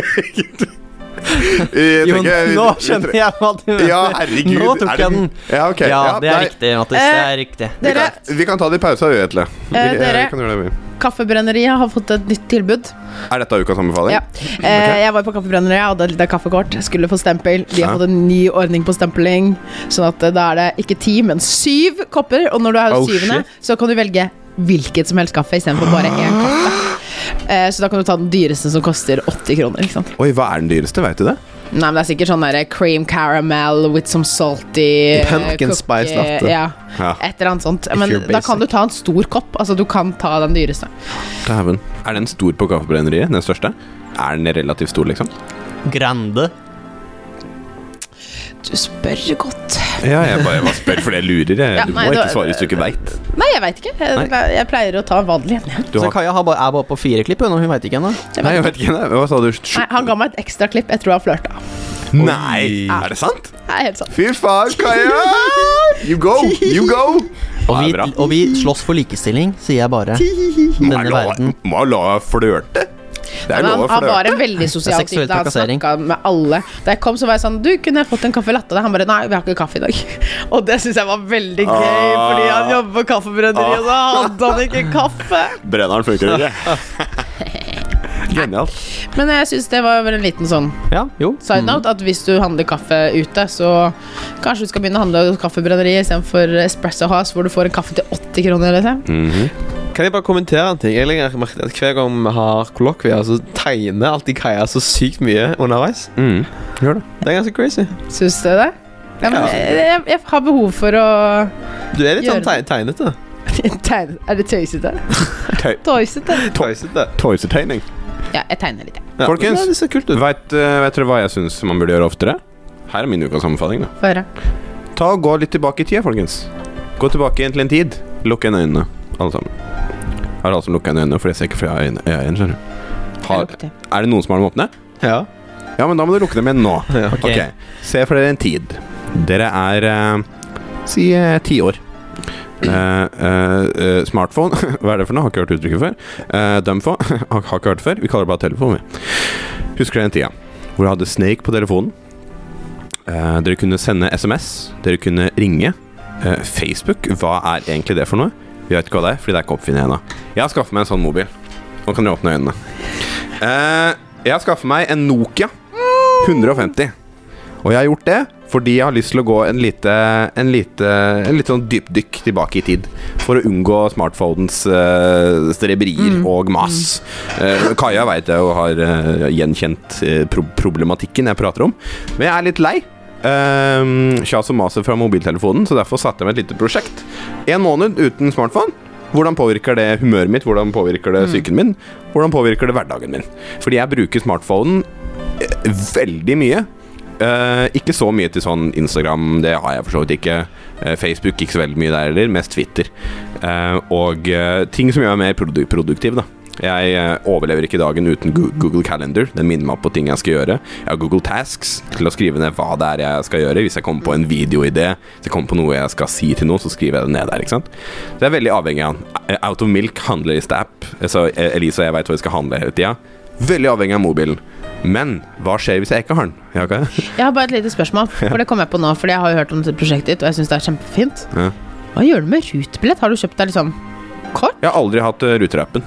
Speaker 1: Jeg
Speaker 4: Jo,
Speaker 1: trenger ikke-
Speaker 4: nå skjønner jeg hva du mener.
Speaker 1: Ja, herregud.
Speaker 4: Nå tok
Speaker 1: er
Speaker 4: jeg
Speaker 1: det-
Speaker 4: den.
Speaker 1: Ja, ok.
Speaker 4: ja,
Speaker 1: Ja,
Speaker 4: det er
Speaker 1: nei,
Speaker 4: riktig, Mattis. Det er riktig.
Speaker 1: Vi
Speaker 2: Dere,
Speaker 1: kan, vi kan ta det i pausa, vi, Vetle. Vi,
Speaker 2: Eh,
Speaker 1: eh,
Speaker 2: dere-
Speaker 1: kan gjøre det, vi.
Speaker 2: Kaffebrenneriet har fått et nytt tilbud.
Speaker 1: Er dette ukas anbefaling?
Speaker 2: Ja. Eh, jeg var på Kaffebrenneriet, jeg hadde litt av kaffekort, jeg skulle få stempel. De har
Speaker 1: Ja.
Speaker 2: fått en ny ordning på stempling, sånn at eh, da er det ikke ti, men syv kopper. Og når du er
Speaker 1: Oh,
Speaker 2: syvende, så kan du velge hvilket som helst kaffe istedenfor bare én kaffe. Eh, så da kan du ta den dyreste som koster 80 kroner. Ikke sant?
Speaker 1: Oi, hva er den dyreste? Veit du det?
Speaker 2: Nei, men det er sikkert sånn der cream caramel with some salty eh,
Speaker 3: Pumpkin
Speaker 2: cookie-
Speaker 3: spice latte.
Speaker 2: Ja,
Speaker 1: Ja.
Speaker 2: et eller annet sånt.
Speaker 3: If
Speaker 2: Men
Speaker 3: you're
Speaker 2: da kan du
Speaker 3: basic.
Speaker 2: ta en stor kopp. Altså, du kan ta den dyreste.
Speaker 1: Dæven. Er den stor på Kaffebrenneriet? Den største? Er den relativt stor, liksom?
Speaker 4: Grande.
Speaker 2: Du spør godt.
Speaker 1: Ja, jeg bare, jeg bare spør fordi jeg lurer. Jeg.
Speaker 2: Ja,
Speaker 1: du må
Speaker 2: nei,
Speaker 1: ikke
Speaker 2: da-
Speaker 1: svare hvis du ikke veit.
Speaker 2: Nei, jeg veit ikke. Jeg, jeg pleier å ta vanlig en, jeg.
Speaker 1: Du
Speaker 4: Så
Speaker 1: har-
Speaker 4: Kaja har bare, er bare på fire klipp, hun, og hun veit ikke ennå.
Speaker 2: Jeg
Speaker 1: Nei,
Speaker 2: vet
Speaker 1: jeg
Speaker 2: ikke.
Speaker 1: vet ikke. nei. Hva sa du? Sju-
Speaker 2: Nei, han ga meg et ekstra klipp. Jeg tror han flørta.
Speaker 1: Nei! Er det sant?
Speaker 2: Nei, helt sant.
Speaker 1: Fy faen, Kaja! You go! You go!
Speaker 4: Og,
Speaker 1: Ja, det er
Speaker 4: vi-
Speaker 1: bra.
Speaker 4: og vi slåss for likestilling, sier jeg bare.
Speaker 1: Må jeg
Speaker 4: Denne
Speaker 1: la-
Speaker 4: verden.
Speaker 1: Må jeg la henne flørte? Det er
Speaker 2: Men
Speaker 1: lov å
Speaker 2: han, han var
Speaker 1: flørte.
Speaker 2: en veldig sosial
Speaker 4: seksuell
Speaker 2: type. da. Han
Speaker 4: trakassering.
Speaker 2: snakka med alle. Da jeg kom, så var jeg sånn Du, kunne jeg fått en kaffe latte? Han bare Nei, vi har ikke kaffe i dag. Og det syns jeg var veldig gøy,
Speaker 1: Ah.
Speaker 2: fordi han jobber på kaffebrenneri, og så hadde han ikke kaffe.
Speaker 1: Brenneren funker ikke. Genialt.
Speaker 2: Men jeg syns det var vel en liten sånn
Speaker 4: Ja, jo.
Speaker 1: Mm.
Speaker 2: side note at hvis du handler kaffe ute, så kanskje du skal begynne å handle hos kaffebrenneriet istedenfor Espresso House, hvor du får en kaffe til 80 kroner, liksom.
Speaker 1: Mhm.
Speaker 3: Kan jeg bare kommentere en ting? Jeg legger merke til at Hver gang vi har kollokvier, så tegner alltid Kaja så sykt mye underveis.
Speaker 1: Mhm. Gjør det.
Speaker 3: Det er ganske crazy.
Speaker 2: Syns du det? Ja, men jeg, jeg, jeg har behov for å
Speaker 3: Du er litt
Speaker 2: Gjør
Speaker 3: sånn teg tegnete.
Speaker 2: tegne. Er det tøysete?
Speaker 1: Tøy-
Speaker 2: Tøysete?
Speaker 3: Tøysete.
Speaker 1: Toysetegning.
Speaker 2: Ja, jeg tegner litt. jeg.
Speaker 3: Ja.
Speaker 1: Folkens.
Speaker 3: Nei, Det ser kult ut.
Speaker 1: Vet, eh, vet dere hva jeg syns man burde gjøre oftere? Her er min ukas anbefaling. da.
Speaker 2: Få høre.
Speaker 1: Ta og Gå litt tilbake i tida, folkens. Gå tilbake igjen til en tid. Lukk igjen øynene, alle sammen. Har alle som lukka igjen øynene, for jeg ser ikke fra øynene øya igjen, skjønner du.
Speaker 2: Jeg
Speaker 1: Har,
Speaker 2: lukter.
Speaker 1: er det noen som har dem åpne?
Speaker 3: Ja.
Speaker 1: Ja, men da må du lukke dem igjen nå.
Speaker 3: Ja.
Speaker 1: Ok, Se for dere en tid. Dere er eh, si eh, ti år. Eh, eh, eh, smartphone Hva er det for noe? Har ikke hørt uttrykket før. Eh, Dumphone har, har ikke hørt det før. Vi kaller det bare telefon. Vi. Husker dere den tida hvor dere hadde Snake på telefonen? Eh, dere kunne sende SMS. Dere kunne ringe. Eh, Facebook, hva er egentlig det for noe? Vi vet ikke hva det er, fordi det er ikke oppfunnet ennå. Jeg har skaffet meg en sånn mobil. Nå kan dere åpne øynene. Eh, jeg har skaffet meg en Nokia 150. Og jeg har gjort det fordi jeg har lyst til å gå en lite, en lite, en litt sånn dypdykk tilbake i tid. For å unngå smartphonens eh, strebrier og mas. Eh, Kaja veit jeg jo har eh, gjenkjent eh, pro problematikken jeg prater om. Men jeg er litt lei. eh, Kjas og maset fra mobiltelefonen, så derfor satte jeg meg et lite prosjekt. En måned uten smartphone. Hvordan påvirker det humøret mitt? Hvordan påvirker det psyken min? Hvordan påvirker det hverdagen min? Fordi jeg bruker smartphonen eh, veldig mye. Eh, ikke så mye til sånn Instagram, det har jeg for så vidt ikke. Eh, Facebook ikke så veldig mye der heller, mest Twitter. Eh, og eh, ting som gjør meg mer produ produktiv, da. Jeg eh, overlever ikke dagen uten Gu- Google Calendar. Den minner meg på ting jeg skal gjøre. Jeg har Google Tasks til å skrive ned hva det er jeg skal gjøre. Hvis jeg kommer på en videoidé, hvis jeg kommer på noe jeg skal si til noen, så skriver jeg det ned der. ikke sant? Så jeg er veldig avhengig av den. Eh, Out of Milk handleliste-app. Så eh, Elise og jeg veit hva vi skal handle hele tida. Veldig avhengig av mobilen. Men hva skjer hvis jeg ikke har den? Ja, Kaja?
Speaker 2: Jeg har bare et lite spørsmål, for det kom jeg på nå. Fordi jeg har jo hørt om dette prosjektet ditt, og jeg syns det er kjempefint.
Speaker 1: Ja.
Speaker 2: Hva gjør du med rutebillett? Har du kjøpt deg liksom kort?
Speaker 1: Jeg har aldri hatt uh, ruterappen.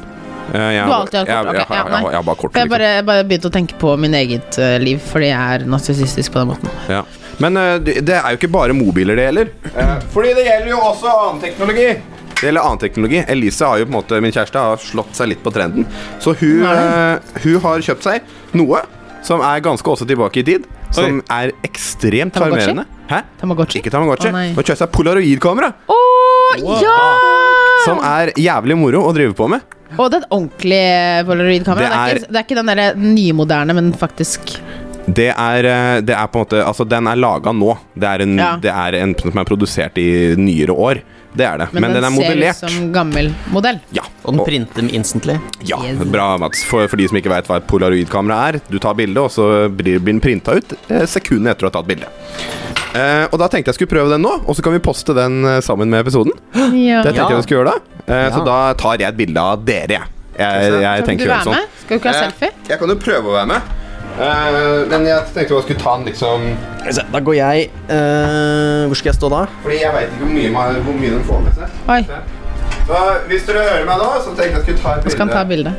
Speaker 1: Eh, jeg,
Speaker 2: Du har alltid hatt
Speaker 1: jeg,
Speaker 2: kort,
Speaker 1: jeg,
Speaker 2: ok, ja,
Speaker 1: jeg, jeg, jeg har bare kort.
Speaker 2: For jeg bare, bare begynte å tenke på min eget eh, liv, fordi jeg er narsissistisk på den måten.
Speaker 1: Liksom. Ja. Men eh, det det er jo ikke bare mobiler det gjelder. Eh, fordi det gjelder jo også annen teknologi. Det gjelder annen teknologi. Elise har jo på en måte, min kjæreste har slått seg litt på trenden. Så hun, eh, hun har kjøpt seg noe som er ganske også tilbake i tid. Som er ekstremt
Speaker 2: Tamagotchi?
Speaker 1: sjarmerende. Hæ?
Speaker 2: Tamagotchi?
Speaker 1: Ikke Tamagotchi.
Speaker 2: Å, nei.
Speaker 1: Hun har kjøpt seg polaroidkamera,
Speaker 2: Å ja!
Speaker 1: som er jævlig moro å drive på med.
Speaker 2: Og det er et ordentlig polaroidkamera. Det, er
Speaker 1: Det
Speaker 2: ikke- det er ikke den derre nymoderne, men faktisk
Speaker 1: Det er, eh, det er på en måte Altså, den er laga nå. Det er, en,
Speaker 2: Ja.
Speaker 1: det er en som er produsert i nyere år. Det er det. Men, den, er modellert.
Speaker 2: ser liksom ut som gammel modell.
Speaker 1: Ja.
Speaker 4: Og den printer dem instantly.
Speaker 1: ja,
Speaker 2: Yes.
Speaker 1: Bra, Mats. For, for de som ikke veit hva et polaroidkamera er. Du tar bildet, og så blir blir den printa ut eh, sekundene etter du har tatt bildet. Eh, og da tenkte jeg skulle prøve den nå, og så kan vi poste den eh, sammen med episoden.
Speaker 2: Ja.
Speaker 1: Det tenkte
Speaker 4: Ja.
Speaker 1: jeg vi skulle gjøre da. Eh, Så
Speaker 4: Ja.
Speaker 1: da tar jeg et bilde av dere, jeg. Jeg, jeg
Speaker 2: Kan ikke
Speaker 1: tenkte
Speaker 2: du
Speaker 1: å gjøre
Speaker 2: være
Speaker 1: det sånn.
Speaker 2: med? Skal du ikke ha
Speaker 1: Eh,
Speaker 2: selfie?
Speaker 1: Jeg kan jo prøve å være med. Eh, men jeg tenkte jeg skulle ta den liksom
Speaker 4: Da går jeg eh, Hvor skal jeg stå da?
Speaker 1: Fordi jeg veit ikke hvor mye, man- hvor mye den får med seg.
Speaker 2: Oi,
Speaker 1: Så hvis dere hører meg nå, så tenkte jeg skulle ta et
Speaker 2: vi skal ta bilde.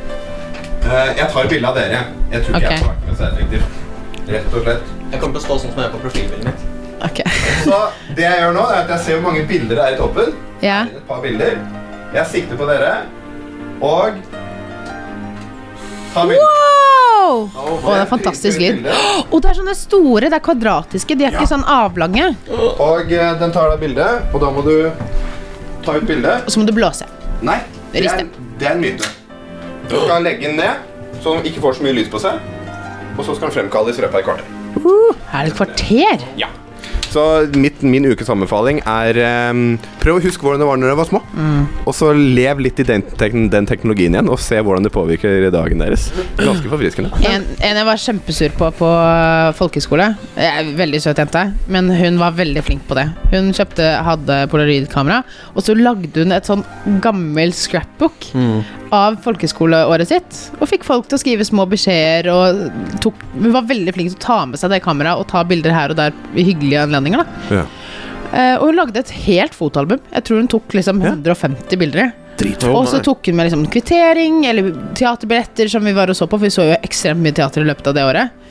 Speaker 1: Eh, jeg tar et bilde av dere. Jeg tror ikke
Speaker 2: Ok.
Speaker 1: jeg får vært med selektivt. Rett og slett.
Speaker 4: Jeg kommer til å stå sånn som jeg er på profilbildet mitt.
Speaker 2: Ok.
Speaker 1: Så det jeg gjør nå, er at jeg ser hvor mange bilder det er i toppen.
Speaker 2: Ja.
Speaker 1: Et par bilder. Jeg sikter på dere og Ta bilde.
Speaker 2: Wow! Wow! Å, det er fantastisk lyd. Og det er sånne store, det er kvadratiske. De er ikke sånn avlange.
Speaker 1: Og eh, den tar deg bilde, og da må du ta ut bildet.
Speaker 2: Og så må du blåse.
Speaker 1: Nei, det er,
Speaker 2: Riste.
Speaker 1: det er en myte. Du skal legge den ned, så den ikke får så mye lys på seg. Og så skal den fremkalles i løpet av et kvarter.
Speaker 2: Her er det et kvarter.
Speaker 1: Ja. Så mitt, min ukesammenfaling er ehm, prøv å huske hvordan det var når dere var små.
Speaker 4: Mm.
Speaker 1: Og så lev litt i den, tek- den teknologien igjen, og se hvordan det påvirker dagen deres. Ganske forfriskende.
Speaker 2: En, en jeg var kjempesur på på eh, folkeskole Jeg er en veldig søt jente, men hun var veldig flink på det. Hun kjøpte, hadde polaroidkamera, og så lagde hun et sånn gammel scrapbook av folkeskoleåret sitt. Og fikk folk til å skrive små beskjeder, og tok, hun var veldig flink til å ta med seg det kameraet og ta bilder her og der i hyggelige anledninger. da
Speaker 1: Ja.
Speaker 2: Eh, og hun lagde et helt fotoalbum. Jeg tror hun tok liksom 150 bilder. og så tok hun med liksom kvittering eller teaterbilletter som vi var og så på, for vi så jo ekstremt mye teater i løpet av det året.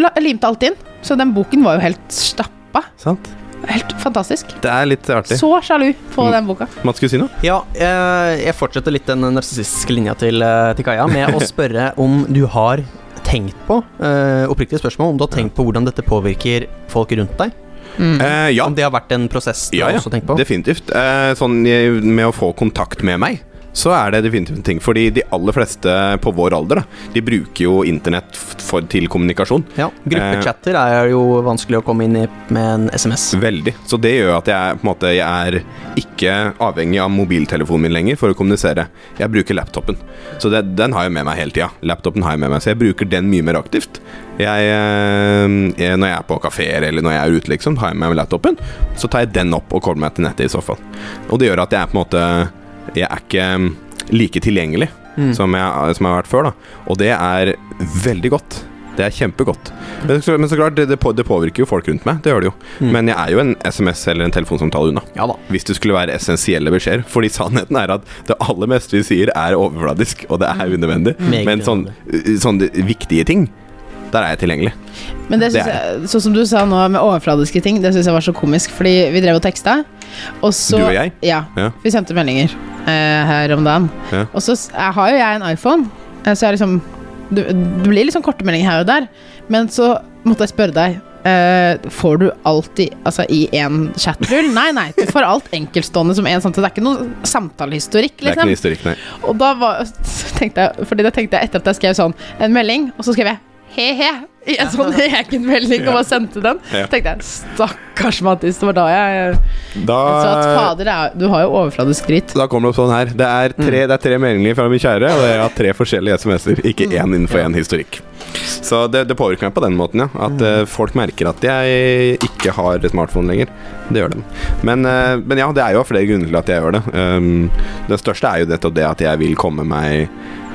Speaker 2: La, limte alt inn. Så den boken var jo helt stappa.
Speaker 1: Sant?
Speaker 2: Helt fantastisk.
Speaker 1: Det Mm. er litt artig.
Speaker 2: Så sjalu på den boka.
Speaker 1: Mats skulle si noe?
Speaker 4: Ja, eh, jeg fortsetter litt den narsissistiske linja til, eh, til Kaja med å spørre om du har tenkt på, eh, oppriktig spørsmål, om du har tenkt på hvordan dette påvirker folk rundt deg?
Speaker 1: Eh, ja.
Speaker 4: Om Mm. det har vært en prosess du
Speaker 1: Ja,
Speaker 4: har
Speaker 1: ja.
Speaker 4: også tenkt på?
Speaker 1: Definitivt. Eh, sånn eh, med å få kontakt med meg, så er det definitivt en ting. Fordi de aller fleste på vår alder, da, de bruker jo internett f- for, til kommunikasjon.
Speaker 4: Ja, Gruppechatter
Speaker 1: Eh.
Speaker 4: er jo vanskelig å komme inn i med en SMS.
Speaker 1: Veldig. Så det gjør at jeg, på en måte, jeg er ikke avhengig av mobiltelefonen min lenger for å kommunisere. Jeg bruker laptopen. Så det, den har jeg med meg hele tida. Laptopen har jeg med meg, så jeg bruker den mye mer aktivt. Jeg, eh, jeg, når jeg er på kafeer eller når jeg er ute, liksom, har jeg med meg laptopen. Så tar jeg den opp og kobler meg til nettet i så fall. Og det gjør at jeg er på en måte Jeg er ikke mm, like tilgjengelig
Speaker 2: Mm.
Speaker 1: som, jeg, som jeg har vært før, da. Og det er veldig godt. Det er kjempegodt. Men så, men så klart, det, det på- det påvirker jo folk rundt meg. Det gjør det jo.
Speaker 2: Mm.
Speaker 1: Men jeg er jo en SMS eller en telefonsamtale unna.
Speaker 4: Ja da.
Speaker 1: Hvis det skulle være essensielle beskjeder. Fordi sannheten er at det aller meste vi sier, er overfladisk, og det er unødvendig.
Speaker 2: Mm.
Speaker 4: Meget
Speaker 1: Men sånn, sånn viktige ting, der er jeg tilgjengelig.
Speaker 2: Men det synes
Speaker 1: Det
Speaker 2: jeg, sånn som du sa nå med overfladiske ting, det syns jeg var så komisk, fordi vi drev og teksta. Og så,
Speaker 1: Du og jeg?
Speaker 2: Ja.
Speaker 1: Ja.
Speaker 2: Vi sendte meldinger eh, her om dagen.
Speaker 1: Ja.
Speaker 2: Og så s- jeg har jo jeg en iPhone, eh, så jeg liksom du, Det blir liksom korte meldinger her og der, men så måtte jeg spørre deg. eh, får du alt i, altså, i én chatrull? Nei, nei. Du får alt enkeltstående som én samtale. Det er ikke noe samtalehistorikk.
Speaker 1: Det er ikke
Speaker 2: Liksom.
Speaker 1: noe historikk, nei.
Speaker 2: Og da var, så tenkte jeg, fordi da tenkte jeg etter at jeg skrev sånn en melding, og så skrev jeg he-he i en sånn egen melding og bare sendte den.
Speaker 1: Ja.
Speaker 2: tenkte jeg, stakkars Mattis, det var da jeg Så at
Speaker 1: Da,
Speaker 2: fader, det er, du har jo overfladisk drit.
Speaker 1: da kommer det opp sånn her. Det er tre, det er tre meldinger fra min kjære, og jeg har tre forskjellige SMS-er. Ikke én innenfor én historikk. Så det, det påvirker meg på den måten, ja. At eh, folk merker at jeg ikke har smartphone lenger. Det gjør de. Men, eh, men ja, det er jo av flere grunner til at jeg gjør det. Um, det største er jo nettopp det at jeg vil komme meg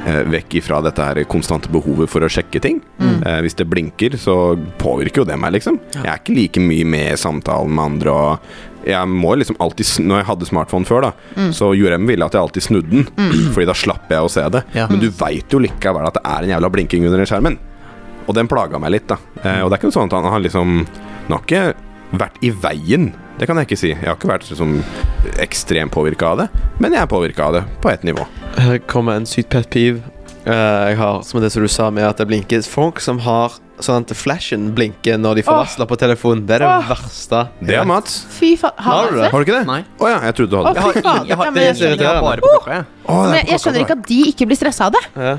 Speaker 1: eh, vekk ifra dette her konstante behovet for å sjekke ting. Eh, hvis det blinker, så påvirker jo det meg, liksom. Jeg er ikke like mye med i samtalen med andre. og jeg må liksom alltid, sn- Når jeg hadde smartphone før, da, så gjorde jeg meg villig at jeg alltid snudde den. Fordi da slapp jeg å se det.
Speaker 4: Ja.
Speaker 1: Men du veit jo likevel at det er en jævla blinking under den skjermen. Og den plaga meg litt, da. Eh, og det er ikke noe sånn at han har liksom Han har ikke vært i veien. Det kan jeg ikke si. Jeg har ikke vært liksom ekstremt påvirka av det, men jeg er påvirka av det på ett nivå.
Speaker 3: Her kommer en sykt pet peeve eh, jeg har, som er det som du sa med at det blinker. Folk som har sånn at flashen blinker når de får
Speaker 2: Åh.
Speaker 3: varsler på telefonen, det er det
Speaker 2: Åh.
Speaker 3: verste.
Speaker 1: Det er Mats.
Speaker 2: Fy faen. Har
Speaker 3: Har du
Speaker 2: du det?
Speaker 1: Har du ikke det?
Speaker 4: Nei.
Speaker 1: Å ja, jeg trodde du
Speaker 2: Å,
Speaker 1: hadde det.
Speaker 2: fy faen.
Speaker 4: Jeg har,
Speaker 2: men
Speaker 4: jeg,
Speaker 2: jeg, skjønner-
Speaker 4: jeg har bare på klokka, jeg.
Speaker 1: Å, det er
Speaker 2: men jeg skjønner ikke at de ikke blir stressa av det.
Speaker 3: Ja.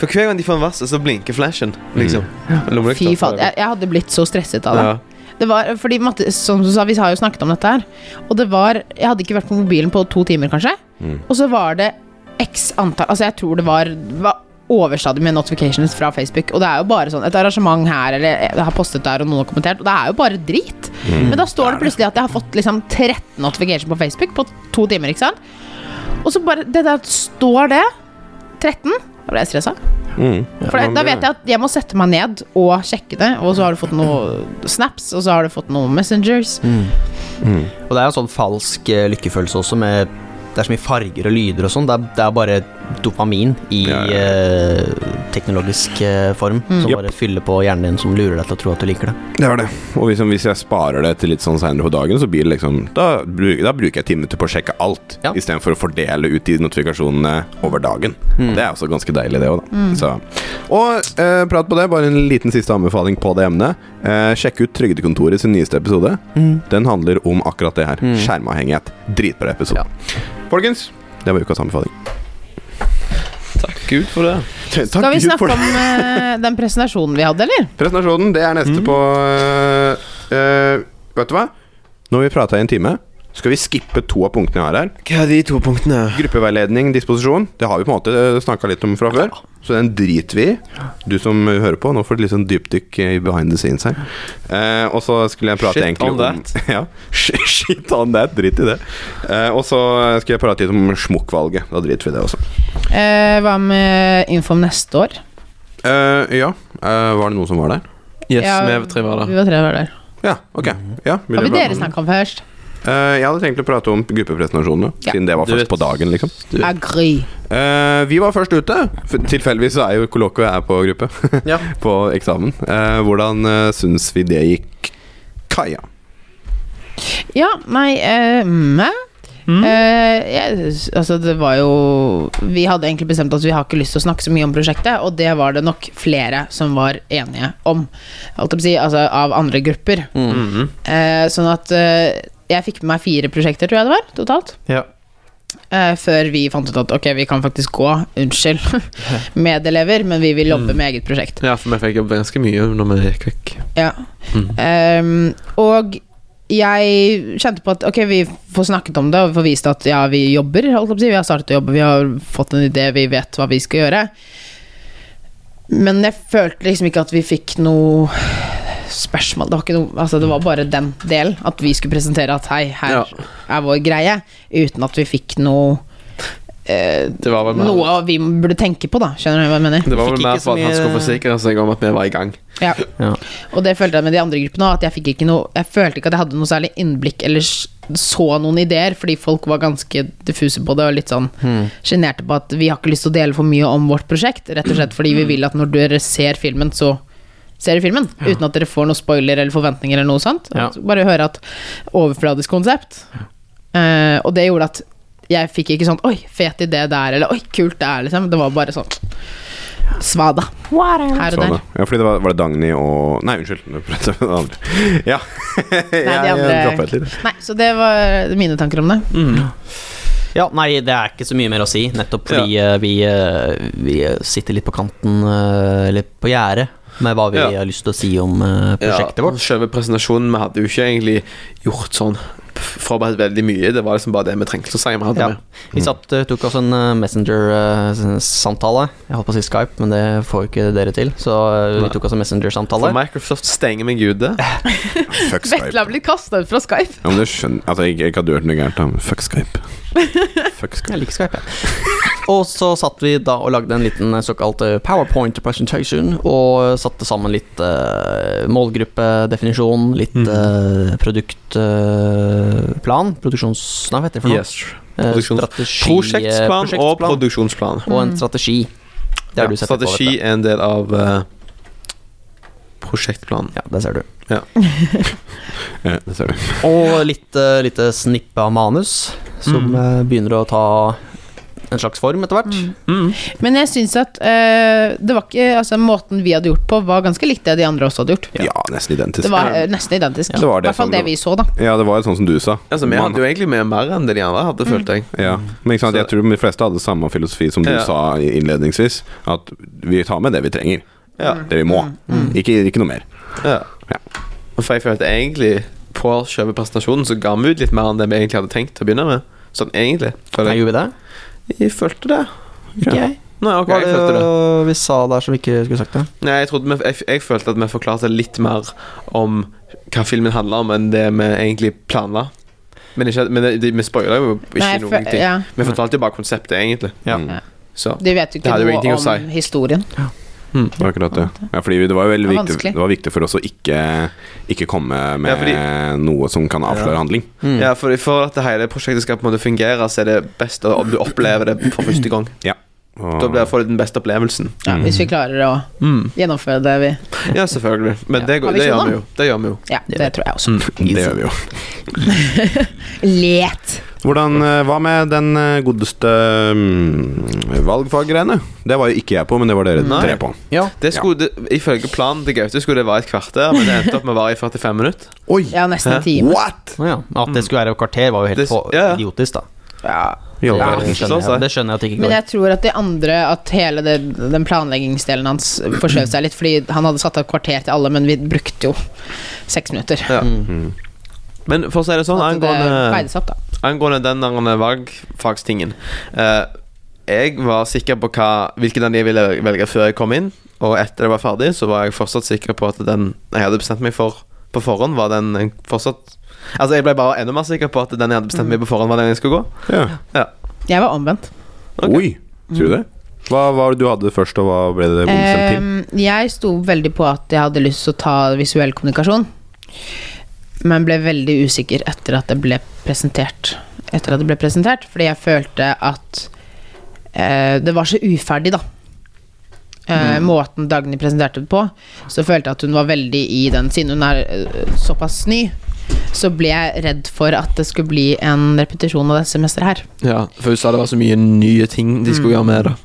Speaker 3: For hver gang de får en varsel, så blinker flashen. Liksom.
Speaker 1: Mm.
Speaker 2: Fy faen, jeg, jeg hadde blitt så stresset av det.
Speaker 3: Ja.
Speaker 2: Det var, fordi Matte, som du sa, Vi har jo snakket om dette her. Og det var Jeg hadde ikke vært på mobilen på to timer, kanskje. Og så var det x antall Altså, jeg tror det var, det var overstadig med notifications fra Facebook. Og det er jo bare sånn et arrangement her, eller jeg har postet der, og noen har kommentert. Og det er jo bare drit. Men da står det plutselig at jeg har fått liksom 13 notifications på Facebook på to timer, ikke sant. Og så bare Det der står det. 13. Da ble jeg stressa. For det, da vet jeg at jeg må sette meg ned og sjekke det, og så har du fått noe snaps, og så har du fått noen messengers.
Speaker 1: Mm.
Speaker 4: Og det er jo sånn falsk eh, lykkefølelse også, med det er så mye farger og lyder og sånn. Det, er- det er bare dopamin i
Speaker 1: Ja, ja, ja.
Speaker 4: eh, teknologisk eh, form som
Speaker 1: Yep.
Speaker 4: bare fyller på hjernen din, som lurer deg til å tro at du liker det.
Speaker 1: Det var det. Og liksom, hvis jeg sparer det til litt sånn seinere på dagen, så blir det liksom Da, bru- da bruker jeg ti minutter på å sjekke alt,
Speaker 4: Ja.
Speaker 1: istedenfor å fordele ut de notifikasjonene over dagen. Mm.
Speaker 4: Mm.
Speaker 2: Mm.
Speaker 1: Det er også ganske deilig, det òg, da. Så. Og eh, prat på det, bare en liten siste anbefaling på det emnet. Eh, sjekk ut Trygdekontoret sin nyeste episode.
Speaker 2: Mm.
Speaker 1: Den handler om akkurat det her. Skjermavhengighet. Dritbra episode. Folkens, det var ukas anbefaling.
Speaker 3: Takk Gud for det.
Speaker 2: Skal vi snakke om eh, den presentasjonen vi hadde, eller?
Speaker 1: Presentasjonen, det er
Speaker 2: Mm.
Speaker 1: neste på øh, øh, Vet du hva? Nå har vi prata i en time. Skal vi skippe to av punktene jeg har her?
Speaker 3: Hva er de to punktene?
Speaker 1: Gruppeveiledning, disposisjon. Det har vi på en måte snakka litt om fra før, så den driter vi i. Du som hører på, nå får du litt sånn dypdykk i behind the scenes her. Eh, og så skulle jeg prate
Speaker 3: Shit
Speaker 1: egentlig
Speaker 3: on
Speaker 1: om ja, Shit on that. Drit i det. Eh, og så skulle jeg prate litt om smokkvalget. Da driter vi i det også.
Speaker 2: Eh, hva med info om neste år?
Speaker 1: Eh, ja, eh, var det noen som var der?
Speaker 3: Yes,
Speaker 2: Ja,
Speaker 3: vi tre var
Speaker 2: Vi
Speaker 3: der.
Speaker 2: var tre var der.
Speaker 1: Ja, ok. Ja, vil
Speaker 2: Hva
Speaker 1: du
Speaker 2: vil
Speaker 1: prate
Speaker 2: dere
Speaker 1: om-
Speaker 2: snakke om først?
Speaker 1: Eh, jeg hadde tenkt å prate om gruppepresentasjonene,
Speaker 2: Ja.
Speaker 1: siden det var
Speaker 3: Du
Speaker 1: først
Speaker 3: vet.
Speaker 1: på dagen. liksom
Speaker 2: Agri.
Speaker 1: Eh, Vi var først ute. F- Tilfeldigvis så er jo Koloko her på gruppe.
Speaker 3: Ja.
Speaker 1: på eksamen. Eh, hvordan uh, syns vi det gikk? Kaja.
Speaker 2: Ja, nei eh, mm, eh. Eh, jeg, altså det var jo Vi hadde egentlig bestemt at vi har ikke lyst til å snakke så mye om prosjektet, og det var det nok flere som var enige om. Holdt jeg på å si, altså av andre grupper.
Speaker 3: Mm.
Speaker 2: Eh, sånn at eh, jeg fikk med meg fire prosjekter, tror jeg det var, totalt.
Speaker 3: Ja.
Speaker 2: Eh, før vi fant ut at ok, vi kan faktisk gå, unnskyld, medelever, men vi vil jobbe med eget prosjekt.
Speaker 3: ja, for vi fikk jobb ganske mye når vi gikk vekk.
Speaker 2: Ja. Ehm, og jeg kjente på at ok, vi får snakket om det, og vi får vist at ja, vi jobber. Holdt jeg på å si. Vi har startet å jobbe, vi har fått en idé, vi vet hva vi skal gjøre. Men jeg følte liksom ikke at vi fikk noe spørsmål. Det var, ikke noe, altså det var bare den delen. At vi skulle presentere at hei, her
Speaker 3: Ja.
Speaker 2: er vår greie. Uten at vi fikk noe eh,
Speaker 3: Det var vel mer,
Speaker 2: Noe vi burde tenke på, da. Skjønner du hva jeg mener?
Speaker 3: det var
Speaker 4: Fikk
Speaker 3: vel
Speaker 4: ikke
Speaker 3: mer
Speaker 4: så
Speaker 3: for at han
Speaker 4: mye-
Speaker 3: skulle forsikre seg om at vi var i gang.
Speaker 2: Ja.
Speaker 4: Ja.
Speaker 2: Og det følte jeg med de andre gruppene òg, at jeg fikk ikke noe Jeg følte ikke at jeg hadde noe særlig innblikk eller s- så noen ideer, fordi folk var ganske diffuse på det og litt sånn sjenerte på at vi har ikke lyst til å dele for mye om vårt prosjekt, rett og slett fordi vi vil at når dere ser filmen, så ser dere filmen, uten at dere får noen spoiler eller forventninger eller noe sånt.
Speaker 3: Ja.
Speaker 2: Altså, Bare høre at overfladisk konsept. Eh, og det gjorde at jeg fikk ikke sånn Oi, fet idé der, eller Oi, kult det er, liksom. Det var bare sånn Svada. Her og
Speaker 1: Så
Speaker 2: der.
Speaker 1: da. Ja, fordi det var, var det Dagny og Nei, unnskyld. nå prater jeg med den andre. Ja.
Speaker 2: Nei, de
Speaker 1: Jeg- jeg
Speaker 2: andre-
Speaker 1: droppet litt.
Speaker 2: Nei, så det var mine tanker om det.
Speaker 4: Ja, nei, det er ikke så mye mer å si, nettopp fordi eh, vi, eh, vi eh, sitter litt på kanten, eh, eller på gjerdet, med hva vi
Speaker 3: Ja.
Speaker 4: har lyst til å si om eh, prosjektet
Speaker 3: ja,
Speaker 4: vårt.
Speaker 3: Selve presentasjonen Vi hadde jo ikke egentlig gjort sånn f- forberedt veldig mye. Det var liksom bare det vi trengte å si. Vi hadde
Speaker 4: Ja.
Speaker 3: med.
Speaker 4: Vi satt, eh, tok oss en Messenger-samtale. Jeg holdt på å si Skype, men det får jo ikke dere til. Så eh,
Speaker 3: Nei.
Speaker 4: vi tok oss en
Speaker 3: For
Speaker 4: Messenger-samtale.
Speaker 3: Microsoft stenger meg ute.
Speaker 4: Eh,
Speaker 1: Fuck
Speaker 2: Vetle
Speaker 1: Skype.
Speaker 2: har blitt kasta ut fra Skype.
Speaker 1: Ja, men du skjønner Altså, jeg, jeg hadde gjort noe gærent, da, men fuck Skype. Fuck Skype.
Speaker 4: Jeg liker Skype, jeg. og så satt vi da og lagde en liten eh, såkalt eh, powerpoint presentation, og eh, satte sammen litt eh, målgruppedefinisjon, litt
Speaker 3: Mm.
Speaker 4: eh, produktplan, produksjons... Nei, hva heter det for noe?
Speaker 3: Yes.
Speaker 4: Eh,
Speaker 3: Produksjons-
Speaker 4: strategi, eh,
Speaker 3: Prosjektsplan og
Speaker 4: prosjektsplan,
Speaker 3: produksjonsplan.
Speaker 4: og en strategi. Det har
Speaker 3: Ja,
Speaker 4: du sett på,
Speaker 3: Strategi
Speaker 4: vet du.
Speaker 3: er en del av eh, prosjektplanen.
Speaker 4: Ja, det ser du.
Speaker 1: Ja, det ser du.
Speaker 4: Og litt, eh, lite snippe av manus, som eh, begynner å ta en slags form etter hvert. Mm.
Speaker 2: Men jeg syns at eh, det var ikke Altså, måten vi hadde gjort på, var ganske likt det de andre også hadde gjort.
Speaker 1: Ja, nesten identisk.
Speaker 2: Det var eh, nesten identisk.
Speaker 1: Ja.
Speaker 2: I
Speaker 1: Det var det
Speaker 2: hvert fall
Speaker 1: som-
Speaker 2: det vi så, da.
Speaker 1: Ja, det var jo sånn som du sa.
Speaker 3: Altså, vi
Speaker 1: Man-
Speaker 3: hadde jo egentlig med mer enn det de andre
Speaker 4: Mm.
Speaker 3: hadde, følte jeg.
Speaker 1: Ja, men ikke sant? jeg
Speaker 3: Så-
Speaker 1: tror de fleste hadde samme filosofi som du
Speaker 3: Ja.
Speaker 1: sa i- innledningsvis. At vi tar med det vi trenger.
Speaker 3: Ja.
Speaker 1: Det vi må.
Speaker 2: Mm.
Speaker 1: Ikke, ikke noe mer.
Speaker 3: Ja.
Speaker 1: Ja.
Speaker 3: For jeg følte egentlig på selve presentasjonen så ga vi ut litt mer enn det vi egentlig hadde tenkt til å begynne med. Sånn egentlig.
Speaker 4: Nei,
Speaker 3: Føler jeg.
Speaker 4: Gjorde vi det?
Speaker 3: jeg følte det.
Speaker 4: Ikke jeg.
Speaker 3: Nei, ok,
Speaker 4: Hva var
Speaker 3: jeg
Speaker 4: det,
Speaker 3: følte det.
Speaker 4: vi sa der som vi ikke skulle sagt det?
Speaker 3: Nei, jeg, trodde vi, jeg, jeg følte at vi forklarte litt mer om hva filmen handler om, enn det vi egentlig planla. Men, ikke, men det, vi spoila jo ikke
Speaker 2: Nei, for-
Speaker 3: noen ting.
Speaker 2: ja.
Speaker 3: Vi fortalte jo bare konseptet, egentlig.
Speaker 4: Ja.
Speaker 1: Mm.
Speaker 3: Så
Speaker 2: De vet jo ikke
Speaker 3: Det hadde jo
Speaker 2: noe
Speaker 3: ingenting å
Speaker 2: om
Speaker 3: si.
Speaker 2: historien.
Speaker 1: Det var akkurat det. Ja, fordi det var jo veldig
Speaker 2: Det var
Speaker 1: viktig,
Speaker 2: vanskelig.
Speaker 1: det var viktig for oss å ikke, ikke komme med
Speaker 3: Ja, fordi-
Speaker 1: noe som kan avsløre handling.
Speaker 4: Mm.
Speaker 3: Ja, for, for at det hele prosjektet skal på en måte fungere, så er det best om du opplever det for første gang.
Speaker 1: Ja.
Speaker 4: Mm.
Speaker 3: Da blir jeg får du den beste opplevelsen.
Speaker 2: Ja, hvis vi klarer å gjennomføre det vi
Speaker 3: Ja, selvfølgelig. Men
Speaker 2: Ja.
Speaker 3: det, går-
Speaker 2: Har vi
Speaker 3: det gjør
Speaker 2: visjoner?
Speaker 3: vi jo. Det gjør vi jo.
Speaker 2: Ja, det tror jeg også.
Speaker 1: Det gjør vi jo.
Speaker 2: Let!
Speaker 1: Hvordan, eh, hva med den eh, godeste mm, valgfaggreiene? Det var jo ikke jeg på, men det var dere
Speaker 3: Nei.
Speaker 1: tre på.
Speaker 4: Ja.
Speaker 3: Det skulle, det, ifølge planen til Gaute skulle det være et kvarter, men det endte opp med å vare i 45 minutter.
Speaker 1: Oi!
Speaker 2: Ja, nesten
Speaker 3: Hæ?
Speaker 2: en time.
Speaker 1: What?!
Speaker 4: Å ja. At det skulle være et kvarter, var jo helt
Speaker 3: Det-
Speaker 4: på-
Speaker 3: ja, sånn, ja.
Speaker 4: idiotisk, da.
Speaker 2: Ja.
Speaker 1: Jo,
Speaker 4: Det,
Speaker 2: Ja.
Speaker 1: det-
Speaker 4: skjønner jeg, det skjønner jeg at det ikke
Speaker 2: Men
Speaker 4: går.
Speaker 2: jeg tror at de andre At hele det, den planleggingsdelen hans forskjøv seg litt, fordi han hadde satt av et kvarter til alle, men vi brukte jo seks minutter.
Speaker 3: Ja.
Speaker 4: Mm.
Speaker 3: Men for å si det sånn,
Speaker 2: At det
Speaker 3: angående,
Speaker 2: veides opp, da.
Speaker 3: angående den der valgfagstingen eh, Jeg var sikker på hva, hvilken den jeg ville velge før jeg kom inn, og etter det var ferdig, så var jeg fortsatt sikker på at den jeg hadde bestemt meg for på forhånd, var den jeg fortsatt Altså, jeg ble bare enda mer sikker på at den jeg hadde bestemt meg på forhånd, var den jeg skulle gå.
Speaker 1: Ja.
Speaker 2: Jeg var omvendt.
Speaker 3: Ok.
Speaker 1: Oi! Tror du det? Hva var det du hadde først, og hva ble det omstemt til?
Speaker 2: Ehm, jeg sto veldig på at jeg hadde lyst til å ta visuell kommunikasjon, men ble veldig usikker etter at det ble presentert. Etter at det ble presentert Fordi jeg følte at eh, det var så uferdig, da. Eh, Måten Dagny presenterte det på. Så følte jeg at hun var veldig i den. Siden hun er eh, såpass ny, så ble jeg redd for at det skulle bli en repetisjon av dette semesteret her.
Speaker 3: Ja, for hun sa det var så mye nye ting de skulle gjøre med det.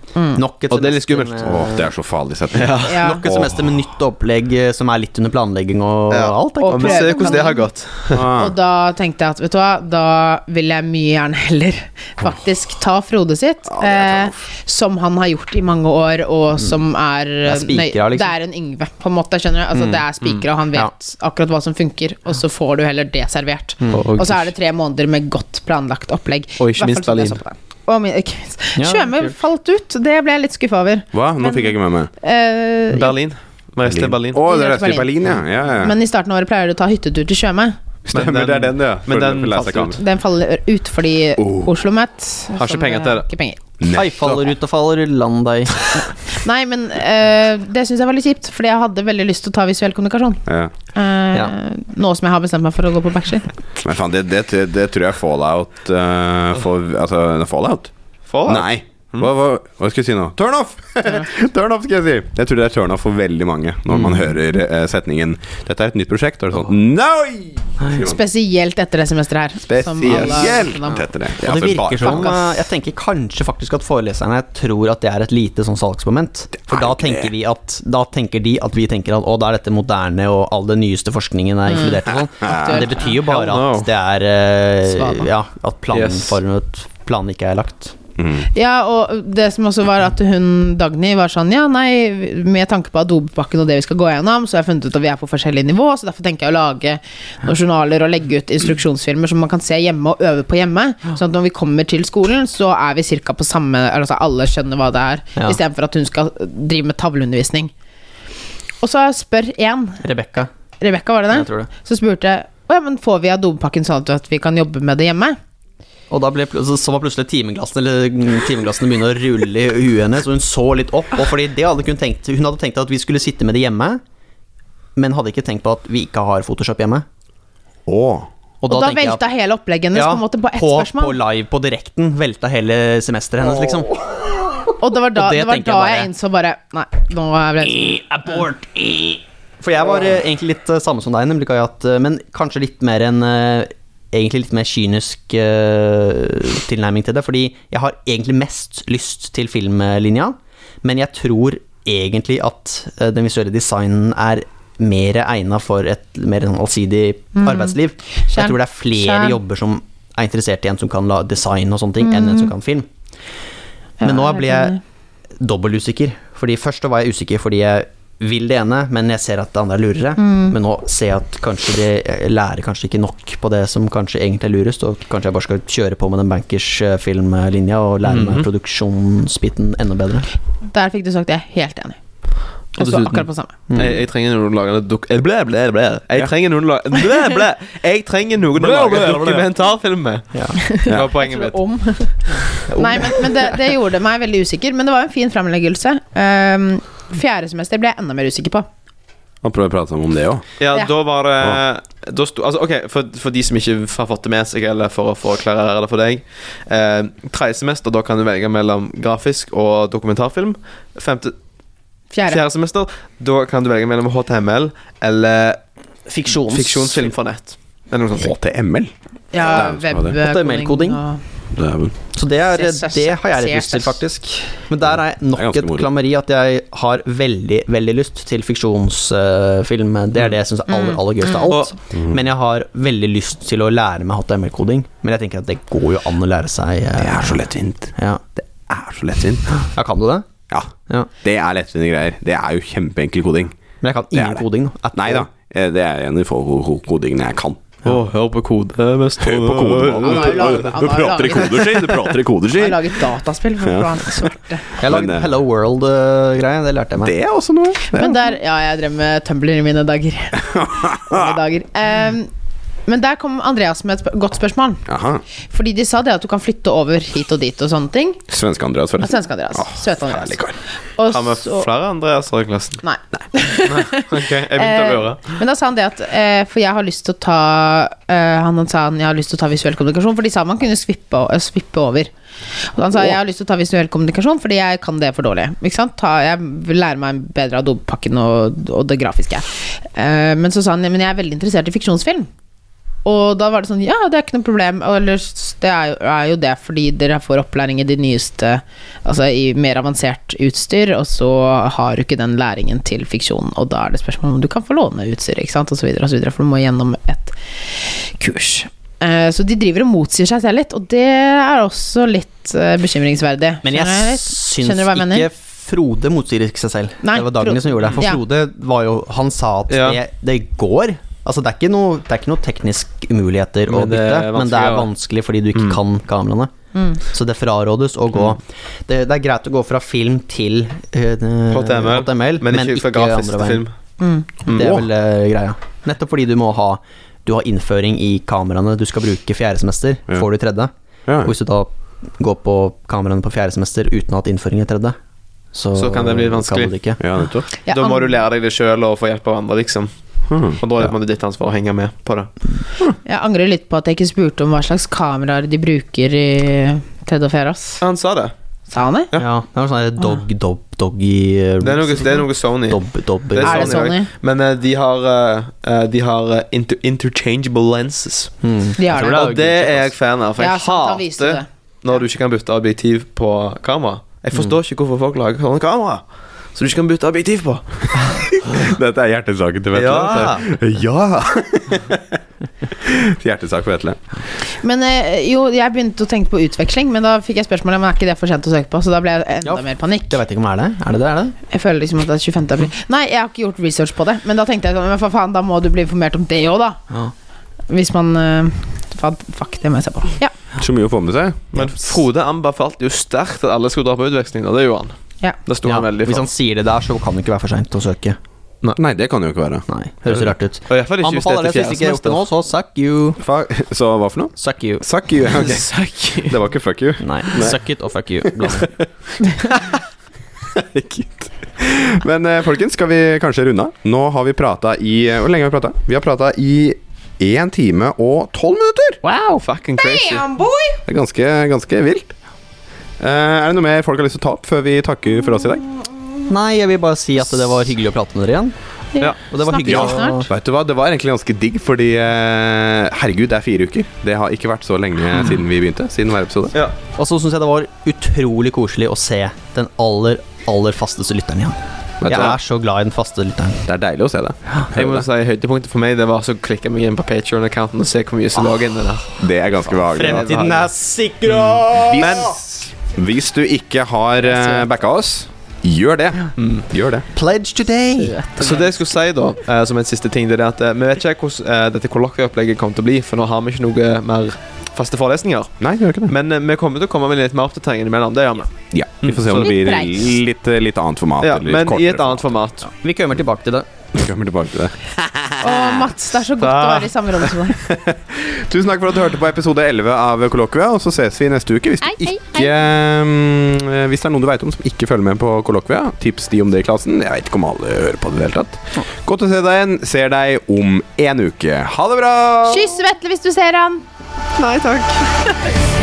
Speaker 4: Nok et
Speaker 3: Og det er litt
Speaker 4: semester
Speaker 3: skummelt.
Speaker 4: med-
Speaker 1: Åh, det er så farlig sett.
Speaker 2: Mm. Ja.
Speaker 4: Nok et semester med nytt opplegg eh, som er litt under planlegging og
Speaker 3: Ja.
Speaker 4: alt. da.
Speaker 2: Og
Speaker 3: Og vi
Speaker 2: prøve
Speaker 3: ser hvordan det har gått.
Speaker 1: Ah.
Speaker 2: Og da tenkte jeg at vet du hva, da vil jeg mye gjerne heller faktisk ta Frode sitt, eh, som han har gjort i mange år, og som er
Speaker 4: er spikra,
Speaker 2: nøy-
Speaker 4: liksom.
Speaker 2: Det er en Yngve, på en måte. skjønner du? Altså, Det er spikra, og han
Speaker 4: Ja.
Speaker 2: vet akkurat hva som funker, og så får du heller det servert. Og så er det tre måneder med godt planlagt opplegg.
Speaker 3: Og ikke
Speaker 2: I hvert
Speaker 3: minst
Speaker 2: fall sånn jeg
Speaker 3: Berlin.
Speaker 2: så på det. Og min, ikke minst.
Speaker 4: Ja,
Speaker 2: Tjøme
Speaker 4: kult.
Speaker 2: falt ut, det ble jeg litt skuffa over.
Speaker 1: Hva? Nå fikk jeg ikke med meg.
Speaker 2: Eh, ja.
Speaker 3: Berlin. Vi reiste til Berlin.
Speaker 1: Å,
Speaker 2: Vi
Speaker 1: det er
Speaker 2: drar til
Speaker 1: rett i Berlin, ja. ja, ja.
Speaker 2: Men i starten av året pleier du å ta hyttetur til Tjøme.
Speaker 1: Stemmer,
Speaker 3: Men den-
Speaker 1: det er den, ja. For-
Speaker 3: men den
Speaker 1: for leser
Speaker 3: falt
Speaker 1: ikke
Speaker 3: ut.
Speaker 1: han.
Speaker 2: Den faller ut fordi
Speaker 1: Oh.
Speaker 2: Oslo Met
Speaker 3: Har ikke penger til det.
Speaker 2: Ikke penger.
Speaker 4: Nei, faller ut og faller, land deg.
Speaker 2: Nei, men eh, det syns jeg var litt kjipt, fordi jeg hadde veldig lyst til å ta visuell kommunikasjon.
Speaker 1: Ja.
Speaker 2: Eh,
Speaker 4: Ja.
Speaker 2: Nå som jeg har bestemt meg for å gå på bachelor.
Speaker 1: Men faen, det, det, det tror jeg Fallout eh, for, Altså, Fallout?
Speaker 3: Fallout? Mm.
Speaker 1: Nei. Hva, hva, hva skal jeg si nå? Turn off! turn off, skal jeg si. Jeg tror det er turn off for veldig mange når
Speaker 3: Mm.
Speaker 1: man hører eh, setningen 'Dette er et nytt prosjekt', og det er sånn Nei! sier man.
Speaker 2: Spesielt etter det semesteret her. som alle- sånn
Speaker 1: Spesielt etter det.
Speaker 4: Og det
Speaker 1: bare-
Speaker 4: virker som
Speaker 2: fuck, ass.
Speaker 4: eh, Jeg tenker kanskje faktisk at foreleserne tror at det er et lite sånn salgsmoment. For da tenker, vi at, da tenker de at vi tenker at å, da er dette moderne, og all den nyeste forskningen er inkludert og sånn. Men det betyr jo bare
Speaker 3: Hell no.
Speaker 4: at det er eh,
Speaker 2: Svada.
Speaker 4: Ja, at
Speaker 3: Yes.
Speaker 4: planformet planen ikke er lagt.
Speaker 2: Ja, og det som også var at hun Dagny var sånn Ja, nei, med tanke på adobepakken og det vi skal gå gjennom, så har jeg funnet ut at vi er på forskjellig nivå, så derfor tenker jeg å lage noen journaler og legge ut instruksjonsfilmer som man kan se hjemme og øve på hjemme. Sånn at når vi kommer til skolen, så er vi cirka på samme Altså alle skjønner hva det er,
Speaker 4: Ja.
Speaker 2: istedenfor at hun skal drive med tavleundervisning. Og så spør én,
Speaker 4: Rebekka,
Speaker 2: Rebekka var det
Speaker 4: jeg
Speaker 2: det,
Speaker 4: tror det.
Speaker 2: så spurte jeg Å ja, men får vi adobepakken sånn at vi kan jobbe med det hjemme?
Speaker 4: Og da ble, pl- så, så var plutselig timeglassene Eller timeglassene begynne å rulle i huet hennes, og hun så litt opp. Og fordi det hadde hun, tenkt, hun hadde tenkt at vi skulle sitte med det hjemme, men hadde ikke tenkt på at vi ikke har Photoshop hjemme.
Speaker 1: Å.
Speaker 2: Og da,
Speaker 4: tenker jeg at-
Speaker 2: velta hele opplegget hennes
Speaker 4: Ja,
Speaker 2: på en måte på ett
Speaker 4: på,
Speaker 2: spørsmål.
Speaker 4: På live, på direkten. Velta hele semesteret hennes, liksom.
Speaker 2: Og det var da,
Speaker 4: Og det
Speaker 2: det var
Speaker 4: tenker
Speaker 2: da
Speaker 4: jeg
Speaker 2: jeg,
Speaker 4: bare-
Speaker 2: innså bare Nei, nå ble jeg
Speaker 4: Abort! For jeg var eh, egentlig litt eh, samme som deg, nemlig, Kai, at, eh, men kanskje litt mer en eh, Egentlig litt mer kynisk eh, tilnærming til det. Fordi jeg har egentlig mest lyst til filmlinja, men jeg tror egentlig at eh, den visuelle designen er mer egna for et mer sånn allsidig arbeidsliv.
Speaker 2: Mm. Skjønn.
Speaker 4: Jeg tror det er flere
Speaker 2: Skjønn.
Speaker 4: jobber som er interessert i en som kan la design og sånne ting, enn en som kan film. Men nå
Speaker 2: Mm. jeg
Speaker 4: blir jeg dobbelt usikker. Fordi først da var jeg usikker fordi jeg vil det ene, men jeg ser at det andre er lurere. Men nå ser jeg at kanskje de jeg lærer kanskje ikke nok på det som kanskje egentlig er lurest, og kanskje jeg bare skal kjøre på med den bankers eh, filmlinja og lære meg produksjonsbiten enda bedre.
Speaker 2: Der fikk du sagt det. Jeg er helt enig.
Speaker 3: Og
Speaker 2: Jeg står
Speaker 3: dessuten-
Speaker 2: akkurat på samme.
Speaker 1: Mm.
Speaker 3: Jeg, jeg trenger noen å lage en dok... eh, Blæ, blæ, blæ. Jeg trenger noen å lage Blæ, blæ. Jeg trenger noen å
Speaker 1: Blæ,
Speaker 3: lage
Speaker 1: blæ, blæ.
Speaker 3: dokumentarfilm med.
Speaker 4: Ja.
Speaker 3: Det var poenget mitt.
Speaker 2: Om. Nei, men, men det, det gjorde meg Ehm, veldig usikker. Men det var en fin fremleggelse. Um, fjerde semester ble jeg enda mer usikker på.
Speaker 1: Man prøver å prate sammen om det òg.
Speaker 3: Ja,
Speaker 2: Ja.
Speaker 3: da var det da sto, altså, Ok, for, for de som ikke har fått det med seg, eller for å få klarere det for deg. Eh, tredje semester, da kan du velge mellom grafisk og dokumentarfilm. Femte,
Speaker 2: Fjerde.
Speaker 3: fjerde semester, da kan du velge mellom HTML eller
Speaker 4: Fiksjons...
Speaker 3: fiksjonsfilm fra nett. Eller
Speaker 1: Sånn
Speaker 3: noe sånt.
Speaker 1: HTML.
Speaker 2: Ja,
Speaker 1: Det er jo som
Speaker 4: HTML-koding.
Speaker 2: webkoding. og-
Speaker 1: Dæven.
Speaker 4: Så det, er,
Speaker 2: CSS.
Speaker 4: det har jeg litt lyst til, faktisk. Men der er
Speaker 1: Det er
Speaker 4: nok
Speaker 1: ganske
Speaker 4: et
Speaker 1: moro.
Speaker 4: klammeri at jeg har veldig veldig lyst til fiksjonsfilm. det er det jeg syns er aller, aller gøyest av alt.
Speaker 1: Mm.
Speaker 4: Men jeg har veldig lyst til å lære meg HTML-koding. Men jeg tenker at det går jo an å lære seg eh,
Speaker 1: Det er så lettvint.
Speaker 4: Ja.
Speaker 1: Det er så lettvint.
Speaker 4: ja, kan du det?
Speaker 1: Ja,
Speaker 4: Ja.
Speaker 1: det er lettvinte greier. Det er jo kjempeenkel koding.
Speaker 4: Men jeg kan
Speaker 1: er
Speaker 4: ingen
Speaker 1: det.
Speaker 4: koding. at-
Speaker 1: Nei da, eh, det er en av de få ko- ko- kodingene jeg kan.
Speaker 3: Å, hør på kode mest.
Speaker 1: Hør på koden.
Speaker 2: Han har jo
Speaker 1: Du
Speaker 2: laget- han har jo
Speaker 1: prater i
Speaker 2: laget-
Speaker 1: koder, si! Du prater i koder,
Speaker 2: Jeg har
Speaker 1: si!
Speaker 2: laget dataspill. For
Speaker 1: Ja.
Speaker 2: faen, svarte.
Speaker 4: Jeg
Speaker 1: Men, eh,
Speaker 4: lagde Hello World-greie. det lærte jeg meg.
Speaker 1: Det er også noe. Det er-
Speaker 2: Men der, ja, jeg drev med Tumblr i mine dager. Mine dager. Ehm, men der kom Andreas med et sp godt spørsmål.
Speaker 1: Aha.
Speaker 2: Fordi de sa det at du kan flytte over hit og dit og sånne ting.
Speaker 1: Svenske Andreas,
Speaker 2: Ja,
Speaker 1: forresten.
Speaker 2: Svenske Andreas.
Speaker 1: Åh,
Speaker 2: Søte Andreas.
Speaker 1: Herlig kar.
Speaker 2: Og
Speaker 3: Har vi
Speaker 2: så-
Speaker 3: flere Andreaser i klassen?
Speaker 2: Nei.
Speaker 3: Ok, jeg begynte å lure.
Speaker 2: Eh, men da sa han det at eh, For jeg har lyst til å ta eh, Han sa han, jeg har lyst til å ta visuell kommunikasjon, for de sa man kunne svippe, o- eh, svippe over. Og han sa jeg har lyst til å ta visuell kommunikasjon fordi jeg kan det for dårlig. Ikke sant? Ta, jeg vil lære meg bedre av dopakken og, og det grafiske. Eh, men så sa han men jeg er veldig interessert i fiksjonsfilm. Og da var det sånn Ja, det er ikke noe problem. Og ellers, det er jo, er jo det fordi dere får opplæring i de nyeste Altså i mer avansert utstyr, og så har du ikke den læringen til fiksjon. Og da er det spørsmål om du kan få låne utstyr, ikke sant, og så videre, og så videre, for du må gjennom et kurs. Eh, Så de driver og motsier seg selv litt, og det er også litt eh, bekymringsverdig.
Speaker 4: Men
Speaker 2: Skjønner
Speaker 4: jeg
Speaker 2: litt?
Speaker 4: syns
Speaker 2: Skjønner du hva jeg mener?
Speaker 4: ikke Frode motsier seg selv.
Speaker 2: Nei,
Speaker 4: det var Dagny
Speaker 2: Frode-
Speaker 4: som gjorde det. For
Speaker 2: Ja.
Speaker 4: Frode var jo Han sa at
Speaker 3: Ja.
Speaker 4: det, det går. Altså det er ikke noe, det er ikke noe teknisk umuligheter å
Speaker 3: Men det
Speaker 4: bytte,
Speaker 3: er
Speaker 4: men det er
Speaker 3: vanskelig, Mm.
Speaker 4: vanskelig fordi du ikke kan kameraene.
Speaker 2: Mm,
Speaker 4: Så det frarådes å gå det, det er greit å gå fra film til eh,
Speaker 3: HTML,
Speaker 4: HTML,
Speaker 3: men ikke for grafisk
Speaker 4: andre
Speaker 3: til
Speaker 4: veien.
Speaker 3: film.
Speaker 2: mm.
Speaker 4: Det er vel eh, greia. Nettopp fordi du må ha Du har innføring i kameraene du skal bruke fjerde semester.
Speaker 1: Ja.
Speaker 4: Får du tredje.
Speaker 1: Ja.
Speaker 4: Og hvis du da går på kameraene på fjerde semester uten å ha hatt innføring i tredje, så,
Speaker 3: Så kan det bli vanskelig.
Speaker 4: kan du det ikke.
Speaker 1: Ja, nettopp.
Speaker 2: Ja,
Speaker 3: Da må
Speaker 2: an-
Speaker 3: du lære deg det sjøl og få hjelp av andre, liksom.
Speaker 1: Hmm.
Speaker 3: Og da er det ditt ansvar å henge med på det.
Speaker 2: Jeg angrer litt på at jeg ikke spurte om hva slags kameraer de bruker i tredje og fjerde, ass.
Speaker 3: Han sa det.
Speaker 2: Sa han det?
Speaker 4: Ja. det var sånn der dog, dob, doggy eh,
Speaker 3: Det er noe, det er noe Sony.
Speaker 4: Dob, dob,
Speaker 3: Det
Speaker 2: Er det
Speaker 3: Sony,
Speaker 2: Sony?
Speaker 3: Men eh, de har, eh, eh, de har eh, inter interchangeable lenses.
Speaker 4: Mm.
Speaker 2: De har
Speaker 4: Jeg tror
Speaker 2: det.
Speaker 4: er
Speaker 3: Og det er jeg fan av, for
Speaker 2: Hmm. Ja,
Speaker 3: jeg
Speaker 2: sant, han viste
Speaker 3: hater
Speaker 2: det.
Speaker 3: når du ikke kan bytte objektiv på kamera. Jeg forstår ikke hvorfor folk lager sånne kamera. Så du ikke kan bytte objektiv på.
Speaker 1: Dette er hjertesaken til Vetle.
Speaker 3: Ja.
Speaker 1: dette. ja. Hjertesak for Vetle.
Speaker 2: Men eh, jo, jeg begynte å tenke på utveksling, men da fikk jeg spørsmålet om er ikke det for sent å søke på, så da ble jeg enda
Speaker 4: Ja,
Speaker 2: mer panikk.
Speaker 4: Jeg vet ikke om det er det. Er det det? Er det?
Speaker 2: Jeg føler liksom at det er 25. april. Nei, jeg har ikke gjort research på det, men da tenkte jeg sånn, men for faen, da må du bli informert om det òg, da.
Speaker 4: Ja.
Speaker 2: Hvis man eh, faen, Fuck, det må jeg se på. Ja.
Speaker 1: Så mye å få med seg.
Speaker 3: Men Frode anbefalte jo sterkt at alle skulle dra på utveksling, og det gjorde han.
Speaker 2: Ja.
Speaker 3: Det sto han veldig
Speaker 4: hvis
Speaker 3: for.
Speaker 4: han sier det der, så kan det ikke være for seint å søke.
Speaker 1: Nei, det kan jo ikke være.
Speaker 4: Nei, Høres rart ut.
Speaker 3: Og i hvert fall ikke hvis det er
Speaker 4: Anbefaler det
Speaker 3: til
Speaker 4: hvis du ikke
Speaker 3: fjerde
Speaker 4: har gjort det
Speaker 3: semester.
Speaker 4: nå, så suck you.
Speaker 1: Fa så hva for noe?
Speaker 4: Suck you.
Speaker 1: Suck you. ok.
Speaker 4: Suck you.
Speaker 1: Det var ikke fuck you.
Speaker 4: Nei, suck it og fuck you.
Speaker 1: Herregud. Men eh, folkens, skal vi kanskje runde av? Nå har vi prata i eh, Hvor lenge har vi prata? Vi har prata i én time og tolv minutter!
Speaker 2: Wow!
Speaker 3: Fucking crazy.
Speaker 2: boy!
Speaker 1: Det er ganske, ganske vilt. Eh, er det noe mer folk har lyst til å ta opp før vi takker for oss i dag?
Speaker 4: Nei, jeg vil bare si at det var hyggelig å prate med dere igjen.
Speaker 3: Ja.
Speaker 4: Og det var
Speaker 2: Snakkes
Speaker 4: hyggelig
Speaker 2: vi snart?
Speaker 4: å
Speaker 1: Vet du hva, Det var egentlig ganske digg, fordi eh, herregud, det er fire uker. Det har ikke vært så lenge siden vi begynte. Siden hver episode.
Speaker 3: Ja.
Speaker 4: Og så syns jeg det var utrolig koselig å se den aller, aller fasteste lytteren igjen.
Speaker 1: Vet du
Speaker 4: Jeg
Speaker 1: hva?
Speaker 4: er så glad i den faste lytteren.
Speaker 1: Det er deilig å se det.
Speaker 3: Jeg må
Speaker 1: Hører det.
Speaker 3: si Høydepunktet for meg Det var så å klikke meg inn på Patreon-accounten og se hvor mye som lå inni der.
Speaker 1: Det er ganske behagelig. da.
Speaker 4: er sikra!
Speaker 1: Men hvis du ikke har eh, backa oss, gjør det. Gjør det.
Speaker 4: Pledge today!
Speaker 3: Så det jeg skulle si, da, eh, som en siste ting, det er det at eh, vi vet ikke hvordan eh, dette kollokvieopplegget kommer til å bli, for nå har vi ikke noe eh, mer faste forelesninger.
Speaker 1: Nei, gjør ikke det.
Speaker 3: Men eh, vi kommer til å komme med litt mer oppdatering innimellom. Det gjør vi.
Speaker 1: Ja, Vi får se om det
Speaker 2: Mm. Litt
Speaker 1: blir
Speaker 2: breit.
Speaker 1: litt, litt annet format.
Speaker 3: Ja,
Speaker 1: eller litt
Speaker 3: men i
Speaker 1: kortere
Speaker 3: et annet format.
Speaker 4: Vi kommer tilbake til det.
Speaker 1: format. Kommer tilbake til det.
Speaker 2: Å, Mats, det er så godt å være i samme rom som deg.
Speaker 1: Tusen takk for at du hørte på episode 11 av Kollokvia, og så ses vi neste uke. Hvis,
Speaker 2: Hei,
Speaker 1: du
Speaker 2: hei,
Speaker 1: ikke, mm, hvis det er noen du veit om som ikke følger med på Kollokvia, tips de om det i klassen. Jeg vet ikke om alle hører på det i det hele tatt. Godt å se deg igjen. Ser deg om en uke. Ha det bra!
Speaker 2: Kyss Vetle hvis du ser han.
Speaker 3: Nei takk.